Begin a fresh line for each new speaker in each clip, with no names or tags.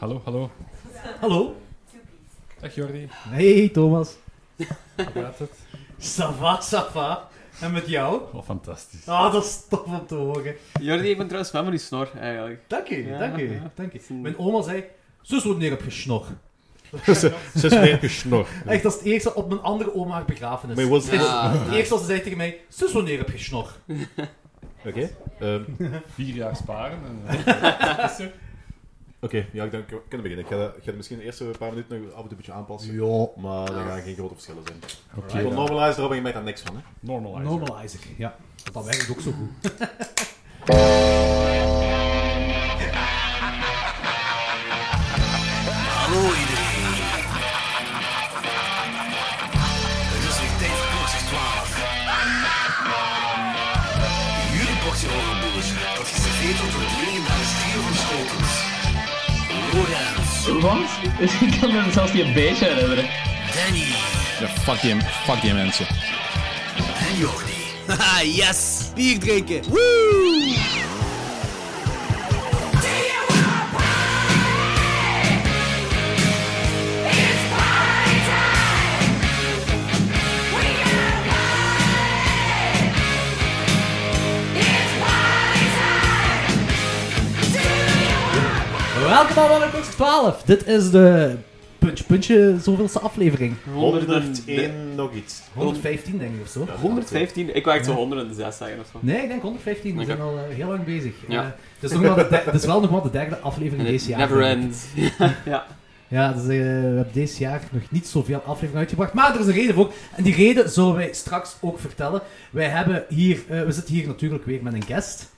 Hallo, hallo.
Hallo?
Dag Jordi.
Hey Thomas.
Hoe gaat het?
Sava, Sava. En met jou?
Oh, fantastisch.
Ah, dat is tof om te horen.
Jordi, ik ben trouwens fan van die snor, eigenlijk.
Dank je,
Ja,
dank je,
ja.
dank je. Mijn oma zei, zus wordt neer op je snor.
Ze is weer gesnor.
Echt, dat is het eerste op mijn andere oma haar begrafenis.
Maar was
Dit is
Ah,
Het eerste wat ze zei tegen mij, zus wordt neer op je snor.
Oké. ehm,
Vier jaar sparen. En, eh,
Oké, ja, ik denk, ik kan beginnen. Ik ga, dat- ik ga dat misschien de eerste paar minuten nog af en toe een beetje aanpassen.
Ja.
Maar er gaan geen grote verschillen zijn.
Oké.
Ik wil normalize erop en je merkt daar niks van, hè.
Normalizer.
Normalizer, ja. Want dat werkt ook zo goed.
Hallo iedereen. Het is weer tijd voor klokslag 12. Jullie boxen overboers, dat is gegeven tot het legendarische stier van Schotens. Lorenz,
Want? Ik kan me zelfs die een beetje herinneren.
Danny
Ja, fuck die, fuck die mensen.
en Jordi.
Haha, yes! Bier drinken! Woo!
Welkom allemaal bij Klokslag 12. Dit is de puntje puntje zoveelste aflevering.
101 nog iets.
115 denk ik of zo.
115? Ik wou echt zo 106 zeggen of zo.
Nee, ik denk 115. We
Oké.
zijn al eh, heel lang bezig.
Ja.
Eh, het, is nog maar de derde- het is wel nog maar de derde aflevering
En het
deze jaar.
Never
denk ik.
ends. ja.
Ja, dus, eh, we hebben deze jaar nog niet zoveel afleveringen uitgebracht. Maar er is een reden voor. En die reden zullen wij straks ook vertellen. Wij hebben hier, eh, we zitten hier natuurlijk weer met een guest.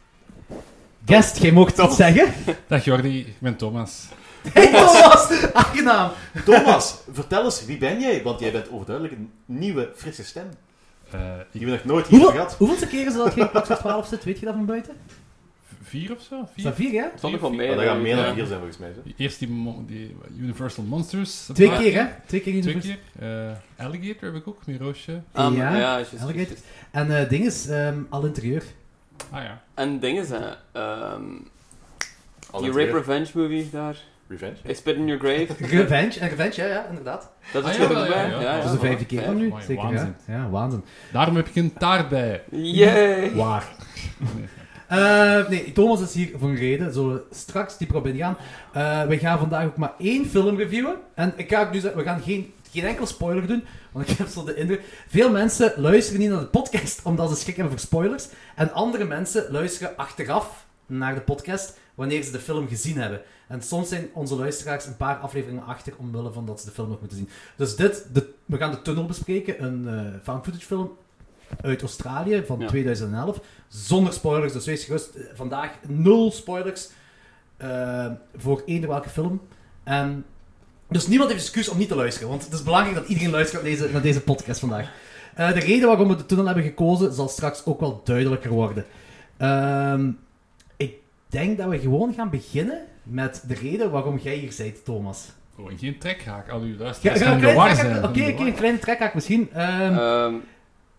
Guest, jij mocht dat zeggen.
Dag Jordi, ik ben Thomas.
Hey Thomas, aangenaam.
Thomas, vertel eens, wie ben jij? Want jij bent overduidelijk een nieuwe, frisse stem.
Eh, ik
Die we nog nooit hier
Hoeveel,
gehad.
hoeveelste keren is dat jij in Klokslag 12 zit? Weet je dat van buiten?
vier of zo?
Is dat
Vier?
vier, ja?
Het stond nog wel mee.
Maar Oh, dat gaan
denk ik,
meer
ja.
dan vier zijn, volgens mij. Hè?
Eerst die, mo- die Universal Monsters.
Twee
Ah,
keer, hè? Twee keer in
Twee
de
keer. Eh, Alligator heb ik ook, Miroosje.
Ah,
Ja,
maar- ja, juist, juist,
Alligator.
juist.
En eh, ding is, ehm, al interieur.
Ah ja.
En dingen zijn, ehm,
Al
die
het weer.
Rape Revenge movie daar.
Revenge.
I Spit in Your Grave.
Revenge, en revenge, ja, ja, inderdaad.
Dat
Ah,
is
ja,
goed
wel, ja,
bij.
ja.
Dat is de vijfde keer van nu,
Mooi,
zeker, ja.
waanzin.
Ja, waanzin.
Daarom heb ik een taart bij.
Yay!
Waar. Eh, nee, Thomas is hier voor een reden. Zullen we straks die proberen gaan. Eh we gaan vandaag ook maar één film reviewen. En ik ga ook nu zeggen, we gaan geen, geen enkel spoiler doen. Want ik heb zo de indruk... Veel mensen luisteren niet naar de podcast omdat ze schrik hebben voor spoilers. En andere mensen luisteren achteraf naar de podcast wanneer ze de film gezien hebben. En soms zijn onze luisteraars een paar afleveringen achter omwille van dat ze de film nog moeten zien. Dus dit, de, we gaan de Tunnel bespreken, een eh found footage film uit Australië van
Ja.
2011. Zonder spoilers, dus wees gerust. eh, Vandaag nul spoilers eh, voor eender welke film. En dus niemand heeft excuus om niet te luisteren, want het is belangrijk dat iedereen luistert naar deze, naar deze podcast vandaag. Eh, de reden waarom we de tunnel hebben gekozen zal straks ook wel duidelijker worden. Ehm, ik denk dat we gewoon gaan beginnen met de reden waarom jij hier bent, Thomas.
Oh, en geen trekhaak. Al uw
Ja,
luisteraars
ja,
gaan
een
in de
kleine
war
trekhaak-
zijn.
Oké,
Gaan in de
oké,
war.
een kleine trekhaak misschien. Ehm,
Ehm,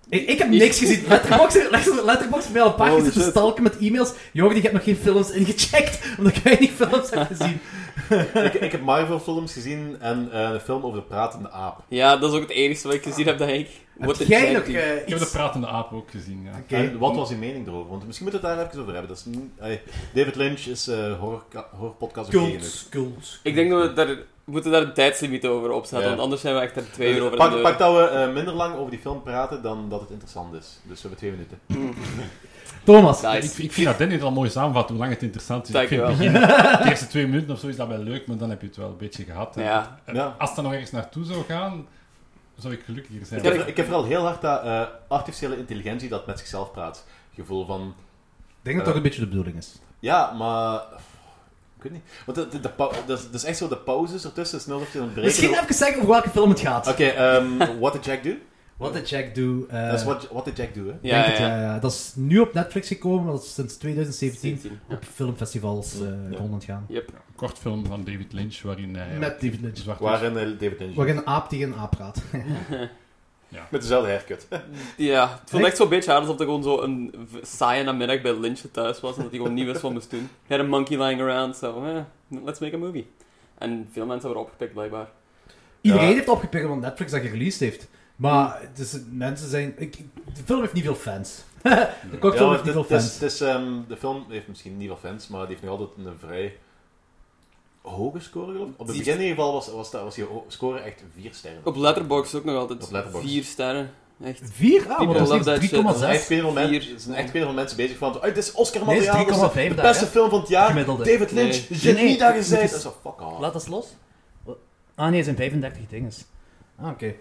ik, ik heb niks gezien. Letterboxd letterbox bij al een paar
Holy
keer zitten
shit.
stalken met e-mails. Jordi, je hebt nog geen films ingecheckt, omdat jij niet films hebt gezien.
ik, ik heb Marvel-films gezien en eh, een film over de pratende aap.
ja, dat is ook het enige wat ik gezien heb, denk ik. What
Heb
the
jij nog
Jack, die-
eh,
Ik heb de
iets-
pratende aap ook gezien, ja.
Oké.
En wat was je mening erover? Want misschien moeten we het daar even over hebben. Dat is niet- ey, David Lynch is eh horror, horrorpodcast ook tegen.
Cult, cult.
Ik denk dat we daar, we moeten daar een tijdslimiet over opzetten,
Ja. Eh,
want anders zijn we echt daar twee uur over aan
pak,
het
pak dat we eh, minder lang over die film praten dan dat het interessant is. Dus we hebben twee minuten.
Thomas.
lullen.
Ik,
Nice.
ik vind dat Danny het al mooi samenvat, hoe lang het interessant is. ik
Dank je
vind
wel.
het begin, de eerste twee minuten of zo is dat wel leuk, maar dan heb je het wel een beetje gehad. hè.
Ja.
En
Ja.
Eh, Als dat nog ergens naartoe zou gaan, zou ik gelukkiger zijn.
Ik heb, ik heb vooral heel hard dat eh, artificiële intelligentie dat met zichzelf praat. Gevoel van,
Ik denk dat dat een beetje de bedoeling is.
ja, maar... Ik weet niet. Want de, de, de pau- dat, is, dat is echt zo, de pauzes ertussen, snel dat je aan het breken...
Misschien even zeggen over welke film het gaat.
Oké, ehm, What Did Jack Do?
What did Jack do? eh,
dat is what, what Did Jack Do, hè?
denk
Ja,
het,
ja.
ja, ja. Dat is nu op Netflix gekomen, maar dat is sinds 2017
17, ja.
op filmfestivals eh, rond aan het gaan.
Yep.
Een kort film van David Lynch, waarin hij...
Met David Lynch.
Zwart
Waarin eh, David Lynch...
Waarin een aap tegen een aap praat.
Met dezelfde haircut.
Ja, het voelde
Echt?
echt zo'n beetje aan alsof ik gewoon zo een v- saaie namiddag bij Lynch thuis was en dat hij gewoon niet wist wat moest doen. Hij had een monkey lying around, so eh, let's make a movie. En veel mensen hebben het opgepikt, blijkbaar.
Iedereen
Ja.
heeft opgepikt wat Netflix dat gereleased heeft. Maar dus, mensen zijn... Ik, ik- de film heeft niet veel fans. de cocktail
Ja,
heeft niet
het-
veel
het is-
fans.
het is, ehm, de film heeft misschien niet veel fans, maar die heeft nog altijd een vrij hoge score, geloof ik. Op het
Die-
begin in ieder geval was, was, dat- was die ho- score echt 4 sterren.
Op Letterboxd ook nog altijd.
Op Letterboxd.
Vier sterren. Echt.
Vier? Ah,
People
maar dat
love that
is
shit.
Er zijn
3,6.
echt veel mensen,
vier.
er zijn echt veel mensen bezig van, "Oei, dit is
Nee, het is
Oscar-materiaal, dit is
3,5
de
daar,
beste
hè?
film van het jaar,
Gemiddelde.
David Lynch,
Nee.
genie
Nee,
dat je
het
zei.
is-
Dat is zo, fuck off.
Laat ons los. Ah nee, het zijn 35 dinges.
Ah, oké.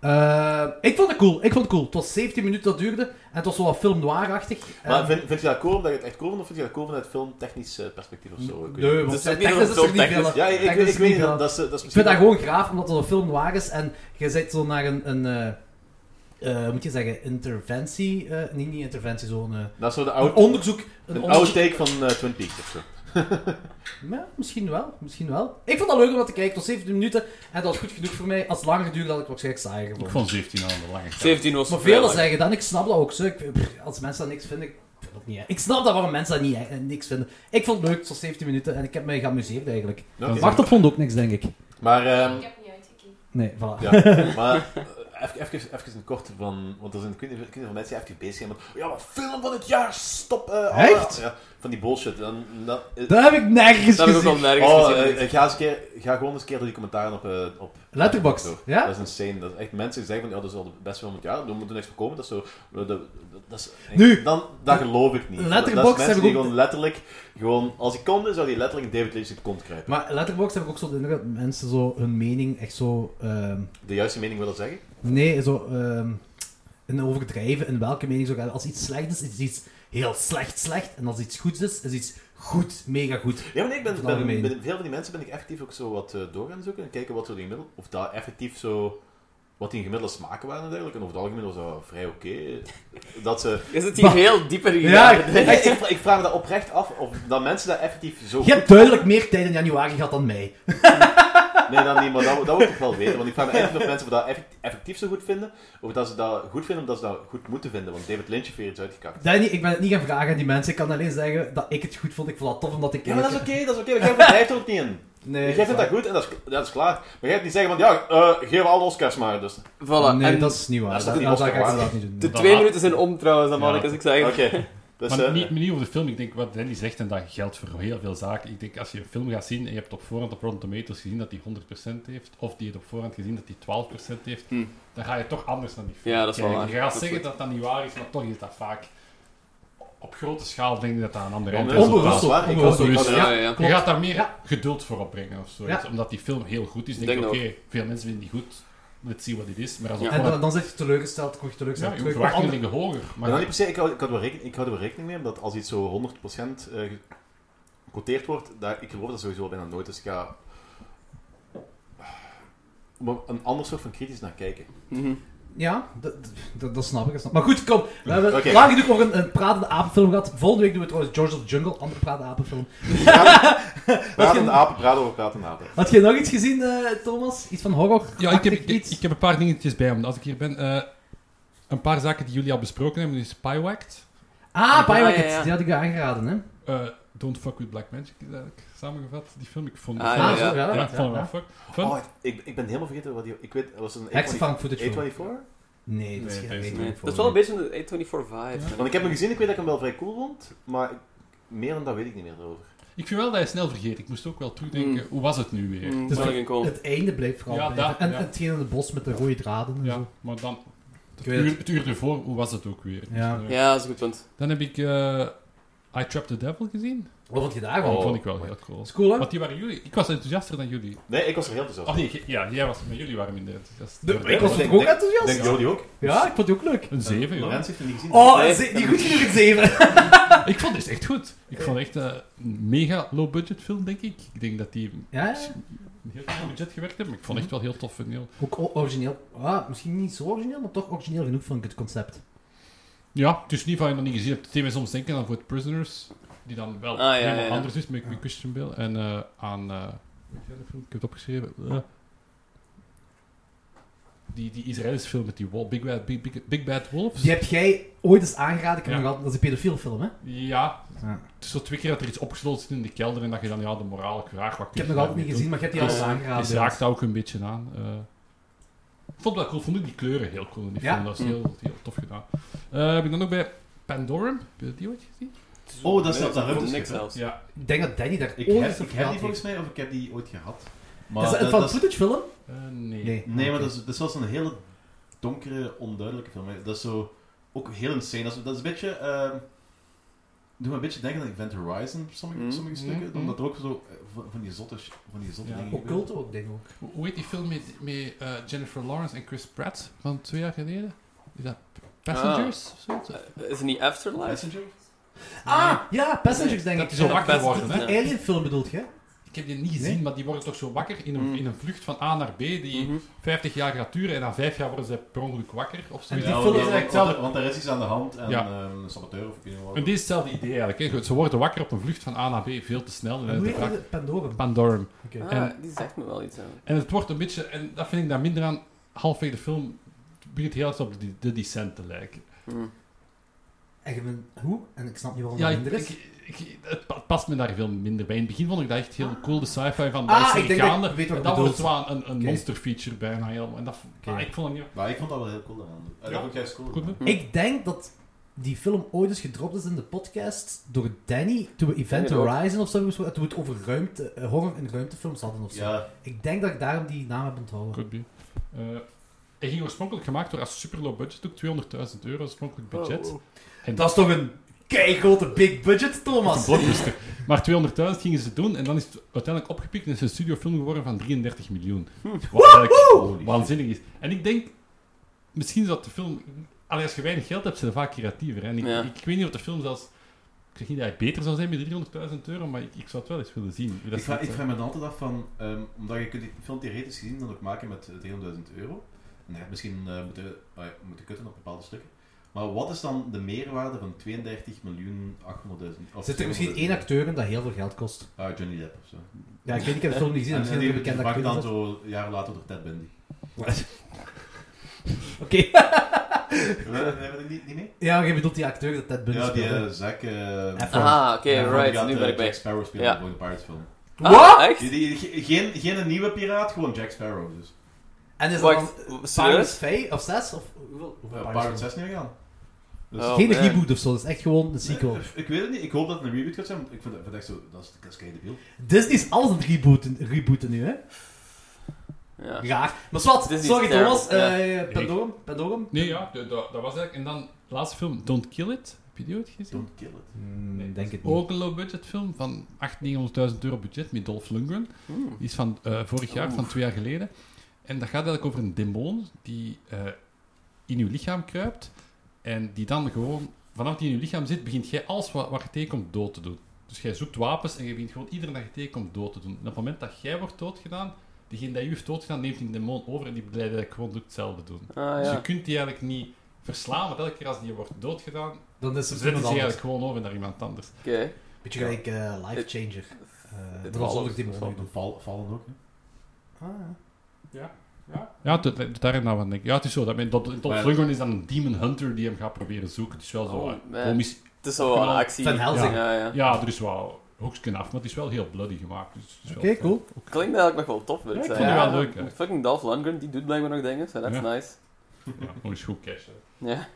Eh, ik vond het cool. Ik vond het cool. Het was 17 minuten dat duurde. En het was wel wat film noir-achtig.
Maar
Eh,
vind, vind je dat cool omdat je het echt cool vindt, of vind je dat cool vanuit filmtechnisch eh, perspectief of zo? Ik weet
Nee,
niet.
want
Het is ook niet
technisch is
dat het
er niet
zo
veel.
Ja, ik, ik,
Technisch
weet-
is niet
ik weet niet,
veel.
dat is, dat is
Ik vind
misschien...
dat gewoon graaf, omdat het een film noir is en je zit zo naar een, een eh, eh, hoe moet je zeggen, interventie, eh, niet, niet interventie, zo'n eh,
Dat is zo de
een
oude,
onderzoek. Een
een oude
onderzoek.
take van eh, Twin Peaks of zo.
Ja, misschien wel, misschien wel. Ik vond dat leuk om dat te kijken, tot 17 minuten en dat was goed genoeg voor mij. Als het langer duurde, had ik het waarschijnlijk saaier
Ik
gevonden.
vond 17 aan de lange kant.
17 was
Maar
vrij
velen
lang.
zeggen dat, ik snap dat ook zo. Ik, pff, als mensen dat niks vinden, ik vind dat niet erg. Ik snap dat waarom mensen dat niet, eh, niks vinden. Ik vond het leuk, tot 17 minuten en ik heb mij geamuseerd eigenlijk.
Oké.
Martel vond ook niks, denk ik.
Maar, ehm,
Ik heb niet uitgekeken.
Nee, voilà.
ja, maar eh, even, even, even een kort van, want er zijn kunnen veel mensen die even bezig zijn met, ja, maar film van het jaar, stop. eh, alle-
Echt?
Ja, van die bullshit. Dan, dat, eh,
Dat heb ik nergens
Dat heb ik ook
gezien.
al nergens
oh,
gezien.
eh, eh, ga, eens een keer, ga gewoon eens een keer door die commentaren op... eh, op
Letterboxd,
door.
ja?
Dat is insane. Dat is echt mensen die zeggen van, ja, dat is wel de beste film van het jaar, we moeten niks voorkomen. Dat is zo... dat- dat- dat is,
Nu,
dan, dat geloof ik niet. Dat- dat is
Letterboxd heb
mensen
ik
die
ook-
gewoon letterlijk, gewoon, als ik kon, zou die letterlijk David Lynch in de kont krijgen.
Maar Letterboxd heb ik ook zo de indruk dat mensen zo hun mening echt zo... ehm,
De juiste mening wil dat zeggen?
nee, zo... ehm in overdrijven in welke mening ze ook hebben. Als iets slecht is, is iets heel slecht slecht. En als iets goeds is, is iets goed, mega goed.
Ja, maar nee, ik ben,
Van
ben,
algemeen.
ben- veel van die mensen ben ik effectief ook zo wat eh, door gaan zoeken en kijken wat zo die gemiddeld, of dat effectief zo, wat die gemiddelde smaken waren en dergelijke. En over het algemeen was dat vrij oké. Dat ze...
Je zit hier heel diep in
Ja,
gegaan.
Nee, ik, ik vraag me dat oprecht af of dat mensen dat effectief zo
Je hebt duidelijk meer tijd in januari gehad dan mij.
Nee, dat niet, maar dat, dat wil ik toch wel weten. Want ik vraag me echt of mensen dat effect- effectief zo goed vinden, of dat ze dat goed vinden omdat ze dat goed moeten vinden. Want David Lynch heeft weer iets uitgekakt.
Danny, ik ben het niet gaan vragen aan die mensen. Ik kan alleen zeggen dat ik het goed vond. Ik vond dat tof omdat ik...
Ja, maar dat is oké, dat is oké. maar Jij verdrijft er ook niet in.
Nee,
Jij vindt dat goed en dat is, dat is klaar. Maar jij hebt niet zeggen van, ja, eh geef alle Oscars maar. Dus.
Voilà.
Nee,
en
dat is niet
dat
waar.
is
Dat,
toch
dat,
niet
dat ga ik
Oscar
inderdaad niet doen.
de
nee.
twee minuten zijn om trouwens, dat mag ik
Ja.
als ik zeg.
Oké. Dus,
Maar
eh,
niet, niet over de film. Ik denk wat Danny zegt, en dat geldt voor heel veel zaken. Ik denk, als je een film gaat zien en je hebt op voorhand op Rotten Tomatoes gezien dat die 100% heeft, of die het op voorhand gezien dat die 12% heeft,
Hm.
dan ga je toch anders naar die film
Ja, dat is wel
kijken.
waar.
Je gaat
Dat is
zeggen
goed.
dat dat niet waar is, maar toch is dat vaak... Op grote schaal denk ik dat dat een ander
Ja,
eindresultaat
onbewust
is.
ook,
waar, ik was ook-
onbewust.
Ja, ja, ja.
Je gaat daar meer geduld voor opbrengen of zo.
Ja.
Omdat die film heel goed is. Denk,
Denk
je,
dat
oké, veel mensen vinden die goed. Let's see wat dit is. Maar als
Ja.
ja.
En dan, dan zit je teleurgesteld, kom je teleurgesteld.
ja, je
terug.
verwachtingen
Want
liggen hoger.
Maar
Maar
dan niet per se, ik hou, ik, hou er wel rekening, ik hou er wel rekening mee dat als iets zo 100% eh, gecoteerd wordt, dat, ik geloof dat sowieso bijna nooit. Dus ik ga maar een ander soort van kritisch naar kijken.
Mhm.
Ja, dat, dat, dat snap ik. dat snap ik. Maar goed, kom. We hebben
Oké.
lang genoeg over een, een pratende apenfilm gehad. Volgende week doen we trouwens George of the Jungle, andere pratende apenfilm.
Praten apen, praten over praten apen.
Had je nog iets gezien, eh, Thomas? Iets van horror?
Ja, ik heb,
Achtig
ik,
iets?
ik heb een paar dingetjes bij, omdat als ik hier ben. eh, een paar zaken die jullie al besproken hebben, is Pywacked.
Ah, Pirates,
ja, ja.
die had ik je aangeraden, hè?
eh Don't Fuck With Black Magic is eigenlijk samengevat, die film. Ik vond
Ah,
ik
ja,
vond-
zo,
ja.
ja,
ja,
ik vond hem wel
ja.
fuck- fun.
Oh, ik, ik ben helemaal vergeten wat die... Ik weet, was het een
Hexenfarm footage film.
A24?
Nee, dat is
Nee,
geen
deze
idee.
Nee, Dat is wel een beetje een A24 vibe.
Want ik heb hem gezien, ik weet dat ik hem wel vrij cool vond, maar ik- meer dan dat weet ik niet meer over.
Ik vind wel dat hij snel vergeet. Ik moest ook wel toedenken, hoe was het nu weer?
Mm,
Dus
wel
ik-
een call.
Het einde bleef vooral
Ja,
blijven.
dat,
En
ja.
en hetgeen in het bos met de rode draden en
Ja,
zo.
maar dan... Het
weet
uur, het uur ervoor, hoe was het ook weer? Dus,
Ja.
eh,
Ja, dat is een goed punt.
Dan heb ik eh, I Trapped the Devil gezien.
Wat vond je daarvan?
Dat
Dat
Oh. vond ik wel heel cool.
is cool, hè?
Want die waren jullie... Ik was enthousiaster dan jullie.
Nee, ik was er heel enthousiast.
Ah,
Oh nee, ge- ja, jij was... Maar jullie waren minder enthousiast.
De- ik was
denk-
ook
denk- Ik
enthousiast.
denk Jody ook.
Ja, ik vond die ook leuk.
Een 7, joh.
Lorenz heeft hem niet gezien.
Oh,
Nee.
een ze- niet goed genoeg een 7.
Ik vond dit echt goed. Ik vond het echt eh, een mega low-budget film, denk ik. Ik denk dat die
Ja, ja.
een heel klein budget gewerkt hebben, maar ik vond het echt wel heel tof. En heel...
Ook o- origineel. Ah, misschien niet zo origineel, maar toch origineel genoeg vond ik het concept.
Ja, het is niet van je nog niet gezien hebt. Het deed mij soms denken aan voor het Prisoners, die dan wel
Ah, ja,
helemaal
ja, ja.
anders is met, met Christian Bale. En eh, aan... eh, hoe heet die andere film? ik heb het opgeschreven. Eh, die, die Israëlische film met die wol- Big, Bad, Big, Big, Big Bad Wolves.
Die heb jij ooit eens aangeraden. Ik heb
Ja.
nog altijd, dat is een pedofiel film, hè?
Ja.
Ja.
Het is zo twee keer dat er iets opgesloten zit in de kelder en dat je dan ja, de morale vraag wat
Ik heb nog altijd niet gezien, maar je hebt die al
Dus,
eens aangeraden.
Die raakt ook een beetje aan. eh. ik vond dat cool. Vond ik die kleuren heel cool in die
Ja.
film. Dat is
Mm.
heel, heel tof gedaan. Eh, heb ik dan ook bij Pandorum. Heb je die ooit gezien?
Oh, dat is op dat
Voor
ruimteschip,
niks
hè?
zelfs.
Ja.
Ik denk dat Danny daar
Ik
ooit
heb,
eens
ik
over
heb
gehad
die volgens
heeft.
mij of ik heb die ooit gehad. Maar
Is dat een
dat-
van
dat is-
footage film?
Eh, nee.
Nee.
Nee, maar dat is, dat is zelfs een hele donkere, onduidelijke film. hè. Dat is zo ook heel insane. Dat is, dat is een beetje. ehm doe me een beetje denken aan Event Horizon, sommige,
Mm.
sommige
Mm,
stukken.
mm.
Omdat er ook zo eh, van, van die zotte, sh- van die zotte
Ja.
dingen gebeuren.
Occult ook, denk ik ook.
Hoe- Hoe heet die film met, met eh, Jennifer Lawrence en Chris Pratt van twee jaar geleden? Is dat Passengers of zoiets?
Eh, Is het niet Afterlife?
Messenger?
Ah, ja, Passengers denk
dat
ik.
die zo
Ja,
wakker
Pass-
worden, hè? Eh,
Ja.
Die Alien film bedoelt je?
Ik heb die niet gezien, maar die worden toch zo wakker in een,
Mm.
in een vlucht van A naar B die
Mhm.
50 jaar gaat duren en na 5 jaar worden ze per ongeluk wakker of zo.
En
En,
die
Ja,
film
want-
is
want-
eigenlijk hetzelfde.
Want, want er is iets aan de hand en
Ja.
ehm, een saboteur of ik weet niet wat.
dit is hetzelfde idee eigenlijk. Hè. Goed, Ze worden wakker op een vlucht van A naar B veel te snel. En,
En Hoe
de
heet
vraag-
dat? Pandorum.
Pandorum.
Oké.
En-
Ah, die zegt me wel iets aan.
En het wordt een beetje, en dat vind ik daar minder aan, halfweg de film begint heel erg op de, de Descent te lijken.
Hm.
En je bent hoe? En ik snap niet waarom
Ja,
dat
ik,
minder is.
ik, ik- het pa- past me daar veel minder bij. In het begin vond ik dat echt heel cool, de sci-fi van
Ah,
daar is
ik
er
denk dat ik
gaande.
weet wat
en
je
dat wordt
bedoelt.
zo aan een, een
Oké.
monster feature bijna helemaal. En dat,
Oké.
ah, ik vond het niet
Maar ik vond dat wel heel cool daaraan. Eh,
Ja.
Dat vond jij cool.
goed. hè.
Hm.
Ik denk dat die film ooit eens gedropt is in de podcast door Danny toen we Event
Danny ook.
Horizon of zo hebben besproken, toen we het over ruimte, eh, horror en ruimtefilms hadden of zo.
Ja,
Ik denk dat ik daarom die naam heb onthouden.
Could be. Eh, hij ging oorspronkelijk gemaakt door als super low budget, ook 200.000 euro oorspronkelijk budget.
Oh,
En
Dat is toch een keigrote big budget,
een
Thomas?
blockbuster. Maar 200.000 gingen ze doen en dan is het uiteindelijk opgepikt en is het een studiofilm geworden van 33 miljoen. Wat eigenlijk waanzinnig is. En ik denk, misschien is dat de film... Allee, als je weinig geld hebt, zijn ze vaak creatiever. hè. En ik,
Ja.
ik weet niet of de film zelfs... Ik zeg niet dat hij beter zou zijn met 300.000 euro, maar ik, ik zou het wel eens willen zien. hoe dat eh,
ik, vraag,
zit,
ik
hè.
vraag me dan altijd af van, ehm, omdat je kunt die film theoretisch gezien dan ook maken met eh, 300.000 euro. En daar misschien eh, moeten, ah ja, moeten kutten op bepaalde stukken. Maar wat is dan de meerwaarde van 32 miljoen 800.000?
Zit er misschien één acteur in dat heel veel geld kost?
Ah, Johnny Depp of zo.
Ja, ik weet niet, ik heb de film niet gezien,
en eh,
misschien
die
een bekende
vervangt
acteur.
dan zo jaren later door Ted Bundy.
Oké.
Hebben we dat niet, niet mee?
Ja, maar je bedoelt die acteur dat Ted Bundy
Ja, die
speelde.
eh, Zack... eh,
Efron.
Ah, oké,
Efron, die
right.
gaat,
Nu
eh,
ben ik
Jack
bij.
Sparrow spelen
Ja.
in de Bonnie Pirates film.
Ah, echt?
Die- die- ge- geen, geen nieuwe piraat, gewoon Jack Sparrow. Dus.
En is eh, dat
Wacht,
dan Pirates
serieus?
5 of 6? Of hoeveel? hoeveel
Uh,
Pirates
Pirates
films?
6 nu gaan. Dus-
Oh,
Geen
man.
reboot of zo, dat is echt gewoon een sequel.
Eh, Ik, ik weet het niet, ik hoop dat het een reboot gaat zijn, want ik vind, ik vind echt zo, dat is, dat is kei debiel.
Disney is alles aan het rebooten, rebooten nu, hè?
Ja.
Raar. Maar zwart,
Disney is
sorry
terrible,
Thomas.
ja.
eh Pandorum? Pandorum?
Nee, ja, dat, dat dat was eigenlijk... En dan, laatste film, Don't Kill It. Heb je die ooit gezien?
Don't kill it.
Nee, Hmm, Oh. denk het niet.
Ook een low-budget film van 800.000, 900.000 euro budget met Dolph Lundgren.
Hmm.
Die is van eh, vorig jaar, van twee jaar geleden. En dat gaat eigenlijk over een demon die eh, in uw lichaam kruipt. En die dan gewoon, vanaf die in uw lichaam zit, begint jij alles wat, wat je tegenkomt dood te doen. Dus jij zoekt wapens en je begint gewoon iedereen dat je tegenkomt dood te doen. En op het moment dat jij wordt doodgedaan, degene die u heeft doodgedaan, neemt die demon over en die blijft eigenlijk gewoon hetzelfde doen.
Ah,
Dus je
ja.
kunt die eigenlijk niet verslaan, want elke keer als die wordt doodgedaan,
Dan is het
zetten
iemand
ze
anders.
eigenlijk gewoon over naar iemand anders.
Oké. Oh,
Beetje gelijk eh, Life
Het-
Changer. Eh,
het
Dat was
valt-
ook die
het
man. Ah,
Dan val, vallen ook. Hè.
Ja, het- het- daar en daar van denk ik. nou Ja, het is zo. Dat men, dat, Dolph
Maar-
Lundgren is dan een demon hunter die hem gaat proberen zoeken. Het is wel zo
Oh,
wat
man.
komisch.
Het is zo een actie.
Van Helsing.
Ja, ja.
Ja, er is wel hoeksken af, maar het is wel heel bloody gemaakt. Dus het is wel
Oké,
fijn.
cool.
Klinkt eigenlijk nog wel tof, wil ik
Ja, ik
zeggen.
vond die
Ja,
wel leuk, hè.
Fucking Dolph Lundgren, die doet blijkbaar nog dingen, so that's
Ja.
nice.
Ja, gewoon eens goed cash. hè.
Ja.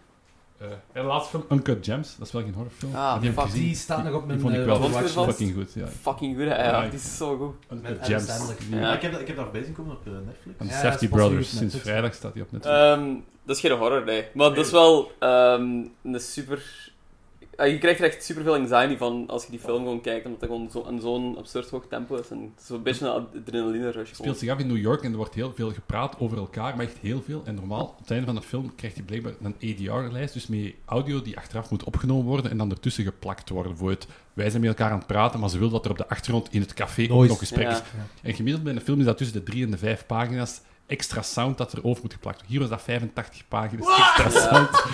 Eh, en de laatste film, Uncut Gems. Dat is wel geen horrorfilm.
Ah,
maar die heb ik
fuck,
gezien.
Die staat nog op
Die
mijn
vond ik
eh,
wel
Wat
watchlist.
voor vast?
fucking goed. Ja.
Fucking goed, hè.
Ja,
ja.
ik-
Die is zo goed.
Uncut
Adam
Gems.
Sandler.
Die-
Ja.
Ik, heb, dat- ik heb daar voorbij zien komen op eh, Netflix.
Van de
Ja, dat
Safety
is pas
Brothers.
nieuw op
Sinds
Netflix.
vrijdag staat
Eh,
die op Netflix.
Ehm, dat is geen horror, nee. Maar dat is wel ehm, een super... Ah, Je krijgt er echt super veel anxiety van als je die film gewoon kijkt, omdat dat gewoon zo, aan zo'n absurd hoog tempo is. En het is zo'n beetje een adrenaline rush.
Het speelt zich af in New York en er wordt heel veel gepraat over elkaar, maar echt heel veel. En normaal, op het einde van de film, krijgt hij blijkbaar een ADR-lijst, dus met audio die achteraf moet opgenomen worden en dan ertussen geplakt worden. Voor het, wij zijn met elkaar aan het praten, maar ze wil dat er op de achtergrond in het café ook
Noise.
nog gesprek
Ja.
is. En gemiddeld bij een film is dat tussen de drie en de vijf pagina's extra sound dat erover moet geplakt worden. Hier was dat 85 pagina's extra sound.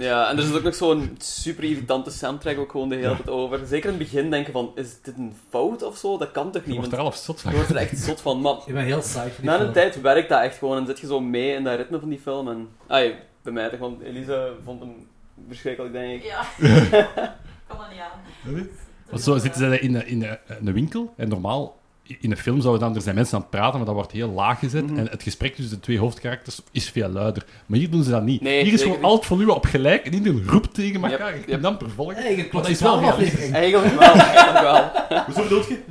Ja, en er is ook nog zo'n super irritante soundtrack ook gewoon de hele tijd over. Zeker in het begin denken van, is dit een fout of zo? Dat kan toch
Je
niet?
wordt
Want
er half zot van.
je wordt er echt zot van. Maar
Ik ben heel saai voor die
na een
film.
tijd werkt dat echt gewoon en zit je zo mee in dat ritme van die film. En, ai, bij mij toch, want Elisa vond hem verschrikkelijk, denk ik.
Ja. kan dat niet aan.
Want zo zitten ze in de, in, de, in de winkel en normaal in een film zouden dan, er zijn mensen aan het praten, maar dat wordt heel laag gezet.
Mhm.
En het gesprek tussen de twee hoofdkarakters is veel luider. Maar hier doen ze dat niet.
Nee,
hier is
zeker
gewoon al het volume op gelijk en iedereen roept tegen
Yep,
elkaar.
yep.
En dan vervolgen.
Hey, je klopt
dat is
het
wel
wel
realistisch.
aflevering.
Eigenlijk wel, eigenlijk wel.
Hoezo bedoel je?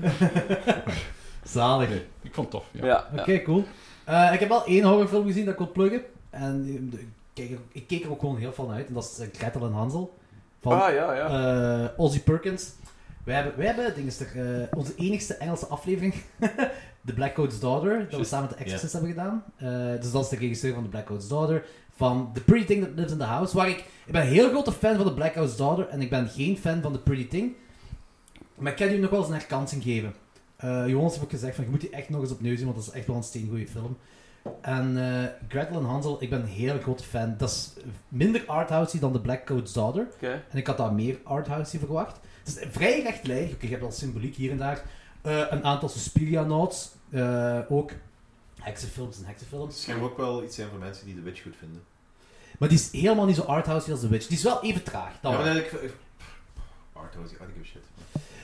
Zalig. Oké,
Ik vond het tof. Ja.
Ja, ja.
cool. Eh, ik heb wel één horrorfilm gezien dat ik wil pluggen. En eh, ik keek, er, ik keek er ook gewoon heel veel naar uit. En dat is eh, Gretel en Hansel. Van
Ah, ja, ja.
eh, Ozzy Perkins. Wij hebben, wij hebben ding is er, eh, onze enigste Engelse aflevering, The Black Coat's Daughter, dat we
Juist.
samen met The Exorcist hebben gedaan. Eh, dus dat is de regisseur van The Black Coat's Daughter, van The Pretty Thing That Lives in the House, waar ik... Ik ben een heel grote fan van The Black Coat's Daughter en ik ben geen fan van The Pretty Thing. Maar ik kan die nog wel eens een herkansing geven. Eh Jonas heeft ook gezegd van, je moet die echt nog eens opnieuw zien, want dat is echt wel een steengoeie film. En eh, Gretel en Hansel, ik ben een heel grote fan. Dat is minder arthousey dan The Black Coat's Daughter.
Oké.
En ik had daar meer arthouse verwacht. Het is vrij rechtlijnig. Oké, je hebt al symboliek hier en daar. Eh, een aantal Suspiria nods. Eh, ook heksenfilms en heksenfilms.
Het schijnt ook wel iets zijn voor mensen die de Witch goed vinden.
Maar die is helemaal niet zo arthouse als The Witch. Die is wel even traag. Dat
Ja,
wel.
maar dan ik... ik- Arthouse, I don't give a shit.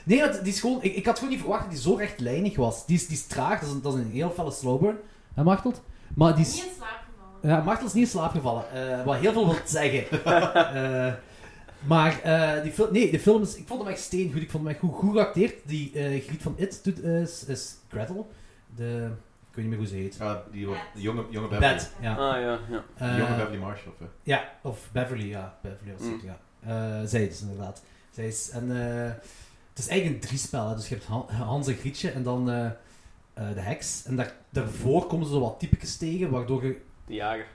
Nee, want die is gewoon, ik, ik had gewoon niet verwacht dat die zo rechtlijnig was. Die is, die is traag. Dat is, een, dat is een heel felle slow burn. Hè, Martelt? Maar die is...
Niet in slaap gevallen.
Ja, Martel is niet in slaap gevallen, eh, wat heel veel wil zeggen. Eh, maar eh, die film, nee, de film is, ik vond hem echt steengoed, ik vond hem echt goed, goed geacteerd. Die eh griet van It doet, eh, is, is Gretel, de, ik weet niet meer hoe ze heet.
Ja, die wat- de jonge, jonge Beverly.
Bad, ja.
Ah, ja, ja.
De
Eh,
jonge Beverly Mm. Marshall. hè.
ja, of Beverly, ja. Beverly was het, ja. Eh, zij is inderdaad. Zij is, en, eh, het is eigenlijk een driespel, hè. dus je hebt Han- Hans en Grietje en dan eh, eh, de heks. En daar, daarvoor komen ze zo wat typetjes tegen, waardoor je
De jager.